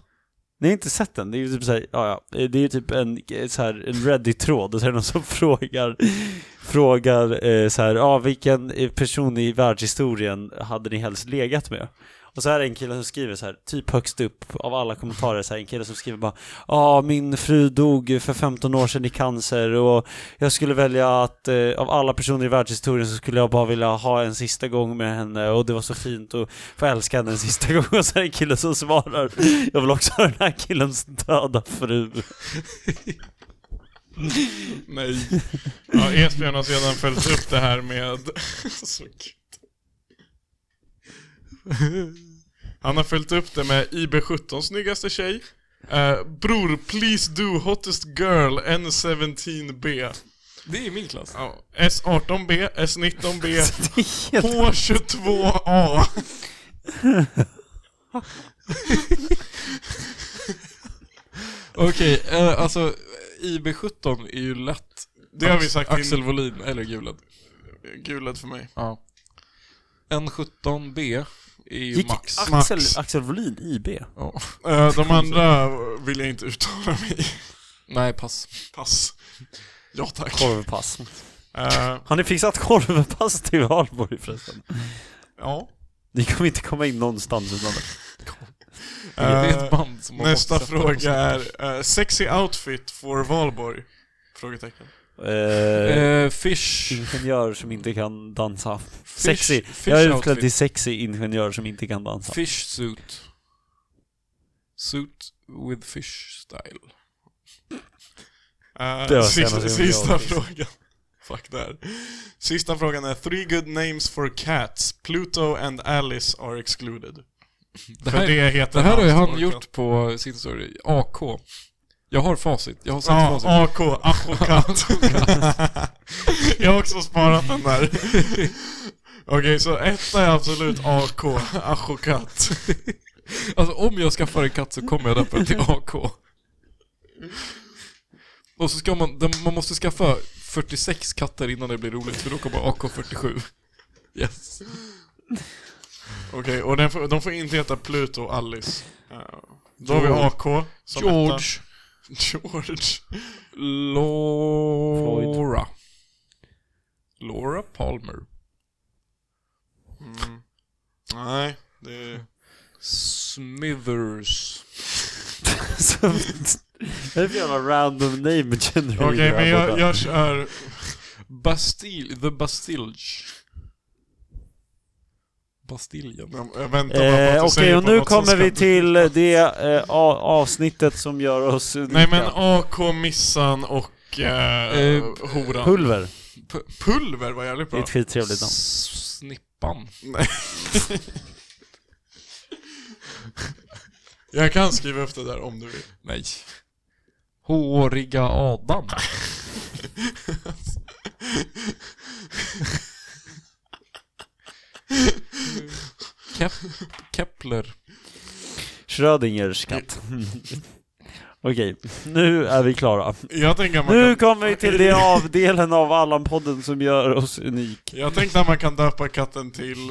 Speaker 9: Ni har inte sett den? Det är ju typ såhär, ja, ja. Det är ju typ en, så här, en Reddit-tråd och så är det någon som frågar, frågar eh, så här, ja vilken eh, person i världshistorien hade ni helst legat med? Och så här är det en kille som skriver så här, typ högst upp av alla kommentarer, så här, en kille som skriver bara Ja, min fru dog för 15 år sedan i cancer och jag skulle välja att eh, av alla personer i världshistorien så skulle jag bara vilja ha en sista gång med henne och det var så fint och få älska henne en sista gång och så är det en kille som svarar Jag vill också ha den här killens döda fru.
Speaker 2: Nej. Ja, Esbjörn har sedan följt upp det här med... Så gud. Han har följt upp det med IB17 snyggaste tjej. Eh, bror, please do hottest girl N17B.
Speaker 1: Det är min klass.
Speaker 2: Ja, S18B, S19B, H22A.
Speaker 1: Okej, eh, alltså IB17 är ju lätt.
Speaker 2: Det har vi sagt in-
Speaker 1: Axel Wåhlin, eller Gulad.
Speaker 2: Gulad för mig.
Speaker 1: Ja. N17B är ju
Speaker 9: Gick
Speaker 1: max.
Speaker 9: Axel,
Speaker 2: Max.
Speaker 9: Axel Wåhlin IB?
Speaker 1: Ja.
Speaker 2: Eh, de andra vill jag inte uttala mig i.
Speaker 1: Nej, pass.
Speaker 2: Pass. Ja tack.
Speaker 9: Korvpass.
Speaker 2: Eh,
Speaker 9: Har ni fixat korvpass till Valborg förresten?
Speaker 2: ja.
Speaker 9: Ni kommer inte komma in någonstans utan det.
Speaker 1: Det är ett band som har
Speaker 2: Eh, Nästa
Speaker 1: motsatt
Speaker 2: fråga är eh, sexy outfit for Valborg? Frågetecken.
Speaker 9: Eh,
Speaker 1: Eh, fish.
Speaker 9: Ingenjör som inte kan dansa.
Speaker 1: Fish-
Speaker 9: sexy.
Speaker 1: fish
Speaker 9: Jag är utklädd
Speaker 1: outfit.
Speaker 9: till sexy ingenjör som inte kan dansa.
Speaker 1: Fish suit. Suit with fish style.
Speaker 2: Eh,
Speaker 9: var
Speaker 2: sista
Speaker 9: senaste
Speaker 2: sista
Speaker 9: jag
Speaker 2: frågan. Fuck där. Sista frågan är three good names for cats. Pluto and Alice are excluded.
Speaker 1: Det
Speaker 2: För
Speaker 1: här,
Speaker 2: det heter
Speaker 1: det här har ju
Speaker 2: hans
Speaker 1: han
Speaker 2: orkan.
Speaker 1: gjort på sin story. AK. Jag har facit. Jag har sett
Speaker 2: Ja,
Speaker 1: facit.
Speaker 2: AK, Achokat. jag har också sparat den där. Okej, så etta är absolut AK, Achokat.
Speaker 1: Alltså om jag skaffar en katt så kommer jag döpa den till AK. Och så ska man, den- man måste skaffa 46 katter innan det blir roligt för då kommer AK47. Yes.
Speaker 2: Okej, och den får, de får inte heta Pluto och Alice. Ja. Då har vi AK som etta.
Speaker 1: George.
Speaker 2: George.
Speaker 1: Laura. Laura Palmer.
Speaker 2: Nej, det är...
Speaker 1: Smithers.
Speaker 9: Så- Det är för jävla random name generator
Speaker 2: Okej,
Speaker 9: här
Speaker 2: men jag,
Speaker 9: borta.
Speaker 2: jag kör...
Speaker 1: Bastille, the Bastilge. Bastiljen.
Speaker 2: Jag väntar bara på att
Speaker 9: Eh, Okej,
Speaker 2: du säger
Speaker 9: och
Speaker 2: på
Speaker 9: nu
Speaker 2: något som
Speaker 9: kommer vi
Speaker 2: ska-
Speaker 9: till det eh, a- avsnittet som gör oss unika.
Speaker 2: Nej men AK, Missan och eh,
Speaker 1: Eh,
Speaker 2: Horan.
Speaker 9: Pulver.
Speaker 2: Pulver var jävligt
Speaker 9: Det är
Speaker 2: bra.
Speaker 9: ett skittrevligt namn.
Speaker 1: Snippan.
Speaker 2: Jag kan skriva upp det där om du vill.
Speaker 1: Nej. Håriga Adam. Kep Kepler.
Speaker 9: Schrödingers katt. Okej, nu är vi klara.
Speaker 2: Jag tänker att man
Speaker 9: Nu
Speaker 2: kan...
Speaker 9: kommer vi till den avdelen av Allan-podden som gör oss unik.
Speaker 2: Jag tänkte att man kan döpa katten till...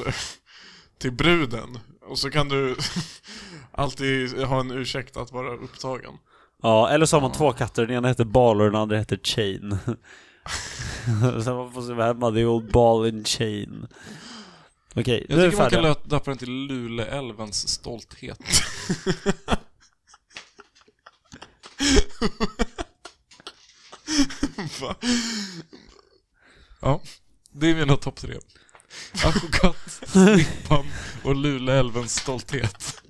Speaker 2: Till bruden. Och så kan du alltid ha en ursäkt att vara upptagen.
Speaker 9: Ja, eller så har man två katter, den ena heter Ball och den andra heter Chain. Sen man får se vad hemma, det är old ball and chain. Okej,
Speaker 1: Jag
Speaker 9: nu är vi
Speaker 1: tycker man kan
Speaker 9: färdiga.
Speaker 1: lö- döpa den till Luleälvens stolthet.
Speaker 2: Va?
Speaker 1: Ja, det är mina topp tre. Aschokatt, Snippan och Luleälvens stolthet.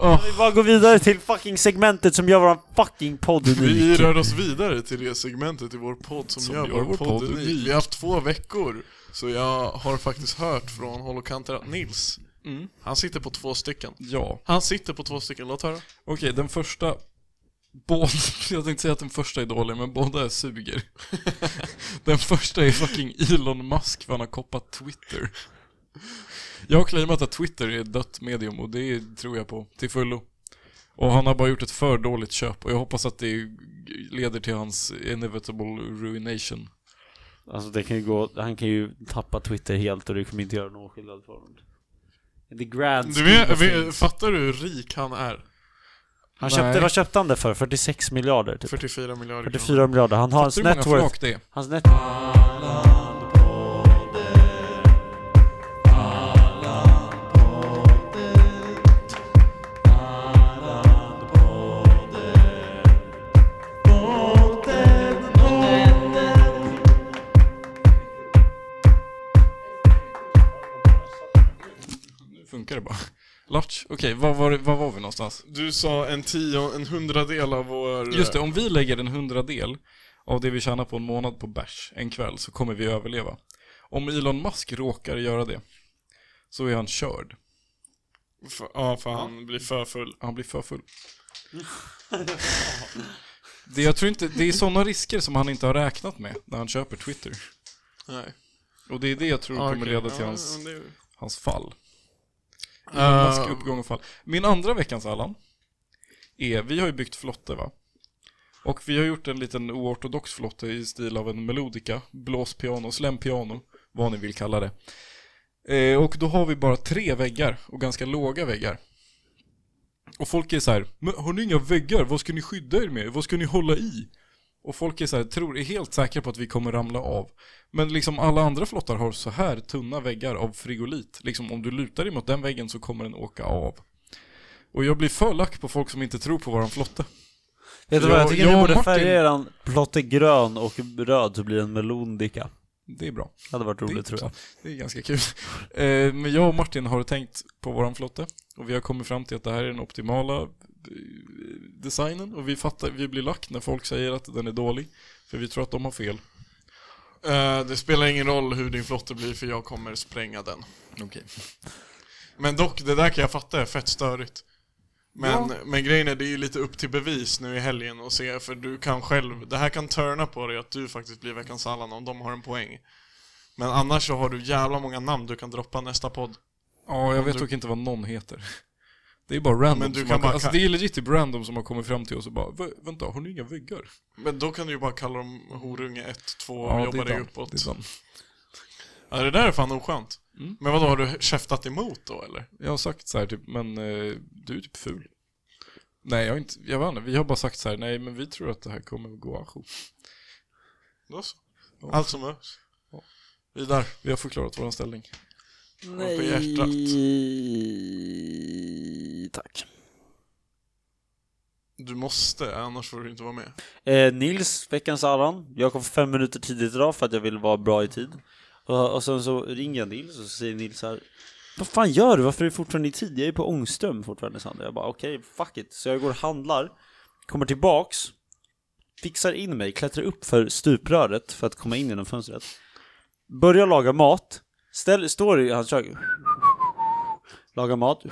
Speaker 9: Vi bara går vidare till fucking segmentet som gör våran fucking podd
Speaker 2: Vi
Speaker 9: unik.
Speaker 2: rör oss vidare till det segmentet i vår podd som, gör, vår podd unik. Vi har haft två veckor, så jag har faktiskt hört från Holocanter att Nils, han sitter på två stycken.
Speaker 1: Ja.
Speaker 2: Han sitter på två stycken, låt höra.
Speaker 1: Okej, den första... Båda, jag tänkte säga att den första är dålig, men båda är suger. den första är fucking Elon Musk för han har koppat Twitter. Jag har claimat att Twitter är ett dött medium och det tror jag på till fullo. Och han har bara gjort ett för dåligt köp och jag hoppas att det leder till hans inevitable ruination.
Speaker 9: Alltså det kan ju gå, han kan ju tappa Twitter helt och det kommer inte göra någon skillnad för honom. In The grand
Speaker 2: Du
Speaker 9: scheme
Speaker 2: vet,
Speaker 9: of
Speaker 2: vet,
Speaker 9: things.
Speaker 2: fattar du hur rik han är?
Speaker 9: Han
Speaker 1: Nej.
Speaker 9: köpte, vad köpte han det för? 46 miljarder typ?
Speaker 2: 44 miljarder
Speaker 9: 44 miljarder. Han har hans
Speaker 1: Fattar du hur
Speaker 9: net
Speaker 1: många
Speaker 9: worth.
Speaker 1: flak det är?
Speaker 9: Hans net
Speaker 1: Nu funkar det bara. Latch, okej, vad, var, det- vad var vi någonstans?
Speaker 2: Du sa en tio, en hundradel av vår...
Speaker 1: Just det, om vi lägger en hundradel av det vi tjänar på en månad på bärs en kväll så kommer vi överleva. Om Elon Musk råkar göra det så är han körd.
Speaker 2: F- Ja, för eh, han blir för full.
Speaker 1: Han blir för full. Det, jag tror inte, det är sådana risker som han inte har räknat med när han köper Twitter.
Speaker 2: Nej.
Speaker 1: Och det är det jag tror
Speaker 2: Ja,
Speaker 1: kommer
Speaker 2: okej.
Speaker 1: leda till
Speaker 2: Ja,
Speaker 1: hans,
Speaker 2: ja, det-
Speaker 1: hans fall.
Speaker 2: Eh,
Speaker 1: Mm. Mask, uppgång och fall. Min andra veckans Allan är, vi har ju byggt flotte va? Och vi har gjort en liten oortodox flotte i stil av en melodika, blåspiano, slämpiano, vad ni vill kalla det. Eh, och då har vi bara tre väggar och ganska låga väggar. Och folk är så här, men har ni inga väggar? Vad ska ni skydda er med? Vad ska ni hålla i? Och folk är så här, tror, är helt säkra på att vi kommer ramla av. Men liksom alla andra flottar har så här tunna väggar av frigolit. Liksom om du lutar dig mot den väggen så kommer den åka av. Och jag blir för lack på folk som inte tror på våran flotte.
Speaker 9: Vet du vad, jag
Speaker 1: Jag-
Speaker 9: tycker ni
Speaker 1: jag och
Speaker 9: borde
Speaker 1: Martin-
Speaker 9: färga eran plotte grön och röd så blir det en melondika.
Speaker 1: Det är bra.
Speaker 9: Det hade varit
Speaker 1: Det är
Speaker 9: roligt tror jag.
Speaker 1: intressant. Det är ganska kul. Eh, Men jag och Martin har tänkt på våran flotte och vi har kommit fram till att det här är den optimala eh, designen och vi fattar, vi blir lack när folk säger att den är dålig. För vi tror att de har fel.
Speaker 2: eh, det spelar ingen roll hur din flotte blir för jag kommer spränga den.
Speaker 1: Okej.
Speaker 2: Men dock, det där kan jag fatta är fett störigt. Men, men grejen är, det är ju lite upp till bevis nu i helgen och se, för du kan själv, det här kan turna på dig att du faktiskt blir veckans Allan om de har en poäng. Men annars så har du jävla många namn du kan droppa nästa podd.
Speaker 1: Ja, jag vet dock inte vad någon heter. Det är bara random
Speaker 2: Men du
Speaker 1: som
Speaker 2: kan
Speaker 1: har,
Speaker 2: bara-
Speaker 1: alltså, Det är legit typ random som har kommit fram till oss och bara "Vä- Vänta, har ni inga väggar?
Speaker 2: Men då kan du ju bara kalla dem horunge 1, 2 och jobba dig
Speaker 1: done.
Speaker 2: uppåt.
Speaker 1: Det är done.
Speaker 2: ja, det där är fan oskönt. Men vadå, har du käftat emot då eller?
Speaker 1: Jag har sagt så här typ, men eh, du är typ ful. Nej, jag har inte, jag vet inte, vi har bara sagt så här, nej men vi tror att det här kommer att gå ajo.
Speaker 2: Då så. Allt som behövs. Vidare.
Speaker 1: Vi har förklarat vår ställning.
Speaker 2: Nej. På hjärtat.
Speaker 9: Tack.
Speaker 2: Du måste, annars får du inte vara med.
Speaker 9: Eh, Nils, veckans Allan. Jag kom fem minuter tidigt idag för att jag ville vara bra i tid. Och, och sen så ringer jag Nils och så säger Nils så här. Vad fan gör du? Varför är du fortfarande i tid? Jag är på Ångström fortfarande Sandra. Jag bara okej, fuck it. Så jag går och handlar, kommer tillbaks, fixar in mig, klättrar upp för stupröret för att komma in genom fönstret. Börjar laga mat, ställ, står i hans kök, lagar mat,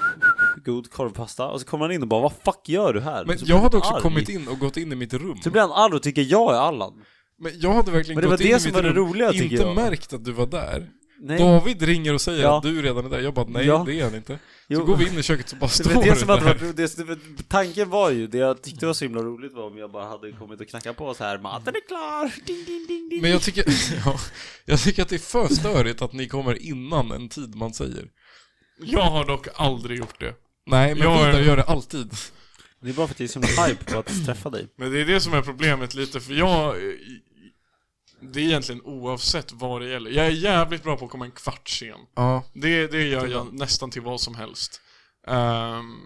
Speaker 9: god korvpasta och så kommer han in och bara vad fuck gör du här?
Speaker 1: Men
Speaker 9: Så
Speaker 1: jag
Speaker 9: blir
Speaker 1: hade
Speaker 9: han
Speaker 1: också
Speaker 9: arg.
Speaker 1: kommit in och gått in i mitt rum.
Speaker 9: Så blir han arg och tycker jag är Allan.
Speaker 1: Men jag hade verkligen
Speaker 9: Men det var
Speaker 1: gått in
Speaker 9: det
Speaker 1: i
Speaker 9: som
Speaker 1: mitt
Speaker 9: var det
Speaker 1: rum,
Speaker 9: roliga, tycker
Speaker 1: inte
Speaker 9: jag.
Speaker 1: märkt att du var där.
Speaker 3: Nej.
Speaker 1: David ringer och säger
Speaker 3: Ja.
Speaker 1: att du redan är där. Jag bara, nej
Speaker 3: Ja.
Speaker 1: det är han inte.
Speaker 3: Jo.
Speaker 1: Så går vi in i köket så bara
Speaker 3: Det
Speaker 1: står
Speaker 3: var det som hade
Speaker 1: där.
Speaker 3: varit, det, det, tanken var ju, det jag tyckte var så himla roligt var om jag bara hade kommit och knackat på så här maten är klar! Ding, ding, ding, ding.
Speaker 1: Men jag tycker, ja, jag tycker att det är för störigt att ni kommer innan en tid man säger.
Speaker 2: Jag har dock aldrig gjort det.
Speaker 1: Nej, men
Speaker 2: Jag-
Speaker 1: Vidar gör det alltid.
Speaker 3: Det är bara för att det är sån hype på att träffa dig.
Speaker 2: Men det är det som är problemet lite, för jag... Det är egentligen oavsett vad det gäller. Jag är jävligt bra på att komma en kvart sen.
Speaker 1: Ja,
Speaker 2: Det, det gör jag nästan till vad som helst. Ehm,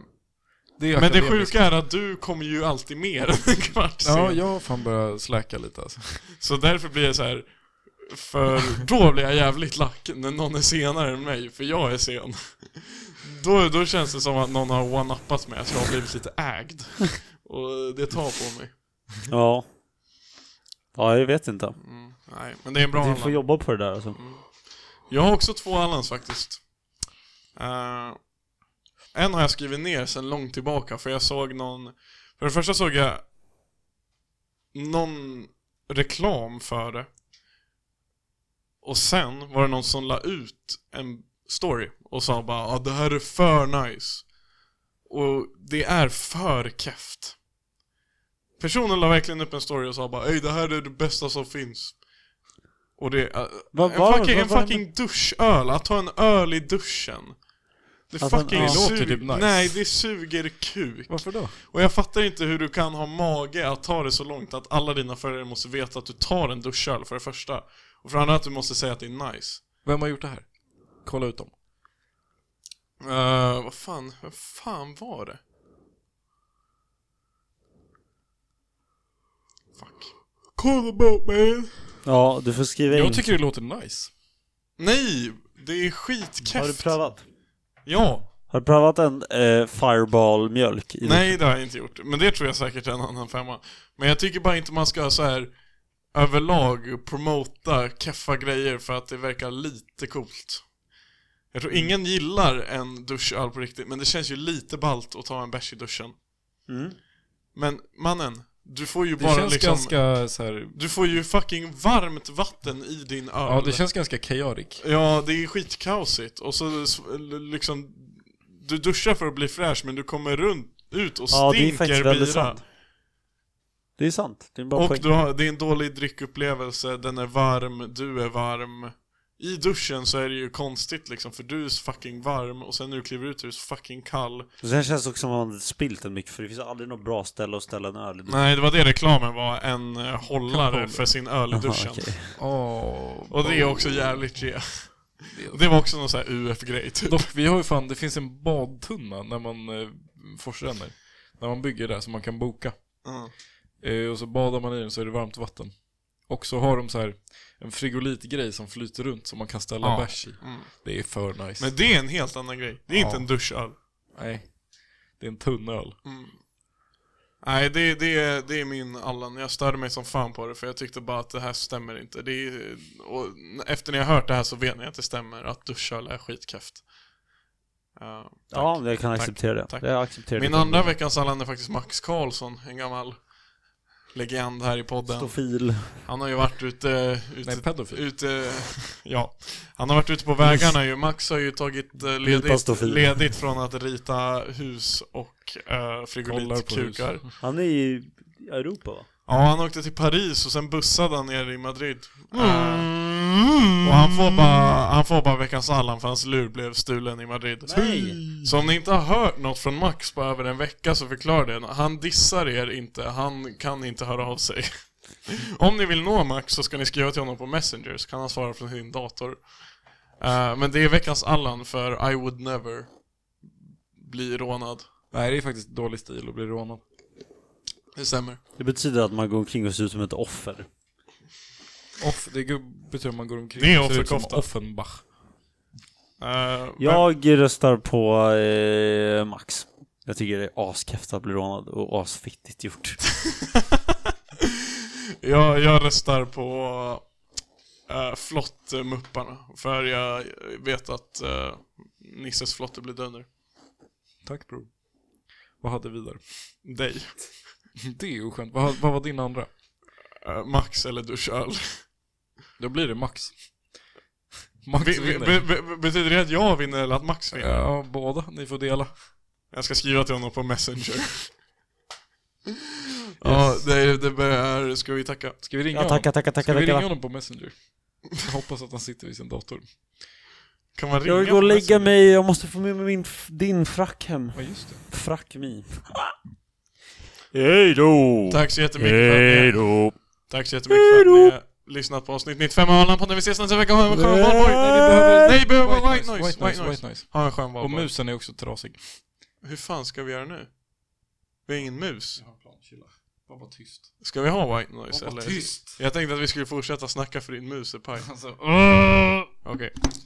Speaker 1: det är
Speaker 2: men det
Speaker 1: akademiskt.
Speaker 2: sjuka är att du kommer ju alltid mer än en kvart sen.
Speaker 1: Ja, jag har fan börjat släcka lite alltså.
Speaker 2: Så därför blir jag så här. För då blir jag jävligt lack när någon är senare än mig, för jag är sen. Då, då känns det som att någon har one-uppat mig, så jag har blivit lite ägd. Och det tar på mig.
Speaker 3: Ja. Ja, jag vet inte.
Speaker 2: Nej, men det är en bra
Speaker 3: Vi
Speaker 2: Allan.
Speaker 3: får jobba på det där alltså.
Speaker 2: Jag har också två Allans faktiskt. Eh, en har jag skrivit ner sedan långt tillbaka för jag såg någon... För det första såg jag någon reklam för det. Och sen var det någon som la ut en story och sa bara ah, det här är för nice. Och det är för keft. Personen la verkligen upp en story och sa bara Ey, det här är det bästa som finns. Och det... eh,
Speaker 3: Vad
Speaker 2: en
Speaker 3: var det?
Speaker 2: fucking,
Speaker 3: Vad
Speaker 2: en
Speaker 3: var det?
Speaker 2: fucking duschöl, att ta en öl i duschen. Det
Speaker 3: Att han-
Speaker 2: fucking
Speaker 3: Alltså, ja.
Speaker 1: Det låter
Speaker 2: suger...
Speaker 1: typ nice.
Speaker 2: Nej, det suger kuk.
Speaker 1: Varför då?
Speaker 2: Och jag fattar inte hur du kan ha mage att ta det så långt att alla dina följare måste veta att du tar en duschöl för det första. Och för det andra att du måste säga att det är nice.
Speaker 1: Vem har gjort det här? Kolla ut dem.
Speaker 2: Eh, vad fan, vad fan var det? Fuck. Call about man!
Speaker 3: Ja, du får skriva in.
Speaker 1: Jag tycker det låter nice.
Speaker 2: Nej! Det är skitkeft!
Speaker 3: Har du prövat?
Speaker 2: Ja!
Speaker 3: Har du prövat en eh, fireball-mjölk? i-
Speaker 2: Nej, det har jag inte gjort. Men det tror jag säkert är en annan femma. Men jag tycker bara inte man ska så här överlag promota keffa grejer för att det verkar lite coolt. Jag tror ingen gillar en duschöl på riktigt, men det känns ju lite balt att ta en bärs i duschen.
Speaker 3: Mm.
Speaker 2: Men mannen, du får ju
Speaker 1: Det
Speaker 2: bara
Speaker 1: känns
Speaker 2: liksom...
Speaker 1: ganska så här,
Speaker 2: Du får ju fucking varmt vatten i din öl.
Speaker 1: ja det känns ganska chaotic.
Speaker 2: Ja, det är skitkaosigt. Och så s- l- liksom... Du duschar för att bli fräsch, men du kommer runt, ut och
Speaker 3: Ja, det är
Speaker 2: stinker
Speaker 3: faktiskt väldigt
Speaker 2: bira.
Speaker 3: sant. Det är sant. Det är en bra
Speaker 2: Och
Speaker 3: poäng.
Speaker 2: du har, det är en dålig dryckupplevelse, den är varm, du är varm. I duschen så är det ju konstigt liksom, för du är så fucking varm och sen när du kliver ut är du så fucking kall.
Speaker 3: Och Sen känns det också som att man hade spilt den mycket för det finns aldrig något bra ställe att ställa en öl i.
Speaker 2: Nej, det var det reklamen var, en eh, hållare för sin öl i
Speaker 3: Aha,
Speaker 2: duschen.
Speaker 3: okej.
Speaker 1: Åh.
Speaker 2: Och det är också jävligt G. Det var också någon sån här UF-grej typ.
Speaker 1: Dock, vi har ju fan, det finns en badtunna när man eh, forsränner. När man bygger där som man kan boka.
Speaker 2: Mm.
Speaker 1: Eh, och så badar man i den så är det varmt vatten. Och så har de så här en frigolitgrej som flyter runt som man kan ställa
Speaker 2: Ja.
Speaker 1: bärs i.
Speaker 2: Mm.
Speaker 1: Det är för nice.
Speaker 2: Men det är en helt annan grej. Det är
Speaker 1: Ja.
Speaker 2: inte en duschöl.
Speaker 1: Nej. Det är en tunn öl.
Speaker 2: Nej, det, det, det är min Allan. Jag störde mig som fan på det för jag tyckte bara att det här stämmer inte. Det är, och efter ni har hört det här så vet ni att det stämmer, att duschöl är skitkeft. Ja,
Speaker 3: Ja, jag kan
Speaker 2: Tack.
Speaker 3: acceptera det.
Speaker 2: Tack.
Speaker 3: Jag accepterar
Speaker 2: min
Speaker 3: det.
Speaker 2: andra veckans Allan är faktiskt Max Karlsson, en gammal legend här i podden.
Speaker 3: Stofil.
Speaker 2: Han har ju varit ute... ute
Speaker 1: Nej, pedofil.
Speaker 2: ute, ja. Han har varit ute på vägarna ju. Max har ju tagit eh, ledigt,
Speaker 3: Lipastofi.
Speaker 2: ledigt från att rita hus och uh,
Speaker 1: Kollar på hus.
Speaker 2: frigolitkukar.
Speaker 3: Han är i Europa va?
Speaker 2: Ja, han åkte till Paris och sen bussade han ner i Madrid. Eh, och han får, bara, han får bara veckans Allan för hans lur blev stulen i Madrid.
Speaker 3: Nej.
Speaker 2: Så om ni inte har hört något från Max på över en vecka så förklara det. Han dissar er inte, han kan inte höra av sig. Om ni vill nå Max så ska ni skriva till honom på Messenger så kan han svara från sin dator. Eh, men det är veckans Allan för I would never bli rånad.
Speaker 1: Nej, det är faktiskt dålig stil att bli rånad.
Speaker 2: Det stämmer.
Speaker 3: Det betyder att man går omkring och ser ut som ett offer.
Speaker 1: Off, det gu- betyder att man går omkring
Speaker 2: Det är
Speaker 1: och ser ut som
Speaker 2: offerkofta.
Speaker 1: Offenbach.
Speaker 2: Eh,
Speaker 3: Jag röstar på eh, Max. Jag tycker det är askeft att bli rånad och asfittigt gjort.
Speaker 2: Jag, jag röstar på äh, flottmupparna, för jag vet att eh, Nisses flotte blir dunder.
Speaker 1: Tack bror. Vad hade vi där?
Speaker 2: Dig.
Speaker 1: Det är ju skönt. Vad, vad var din andra?
Speaker 2: Eh, Max eller duschöl.
Speaker 1: Då blir det Max. Max
Speaker 2: Vi- vi-
Speaker 1: vinner.
Speaker 2: be- be- Betyder det att jag vinner eller att Max vinner?
Speaker 1: Ja, båda. Ni får dela.
Speaker 2: Jag ska skriva till honom på Messenger. Ja, det, det börjar... Ska vi tacka?
Speaker 1: Ska vi ringa
Speaker 2: Ja,
Speaker 1: honom?
Speaker 2: tacka, tacka, tacka,
Speaker 1: Ska vi
Speaker 2: tacka.
Speaker 1: ringa honom på Messenger? Jag hoppas att han sitter vid sin dator.
Speaker 2: Kan man
Speaker 3: Jag vill gå och lägga mig, jag måste få med mig min, f- din frack hem.
Speaker 1: Ja, just det.
Speaker 3: Frack min.
Speaker 2: Hej då! Tack så jättemycket för
Speaker 3: Hej
Speaker 2: att ni... Tack så jättemycket för att ni har lyssnat på avsnitt 95 av Allan-podden. Vi ses nästa vecka. Ha en skön valborg!
Speaker 1: Nej, vi behöver...
Speaker 2: Nej, vi behöver
Speaker 1: White
Speaker 2: white,
Speaker 1: noise,
Speaker 2: noise! White noise! Ha en skön
Speaker 1: Och
Speaker 2: valborg.
Speaker 1: musen är också trasig.
Speaker 2: Hur fan ska vi göra nu? Vi har ingen mus.
Speaker 1: Var bara tyst.
Speaker 2: Ska vi ha white noise
Speaker 1: Var bara
Speaker 2: eller?
Speaker 1: tyst.
Speaker 2: Jag tänkte att vi skulle fortsätta snacka för din mus är paj.
Speaker 1: Alltså,
Speaker 2: Okej.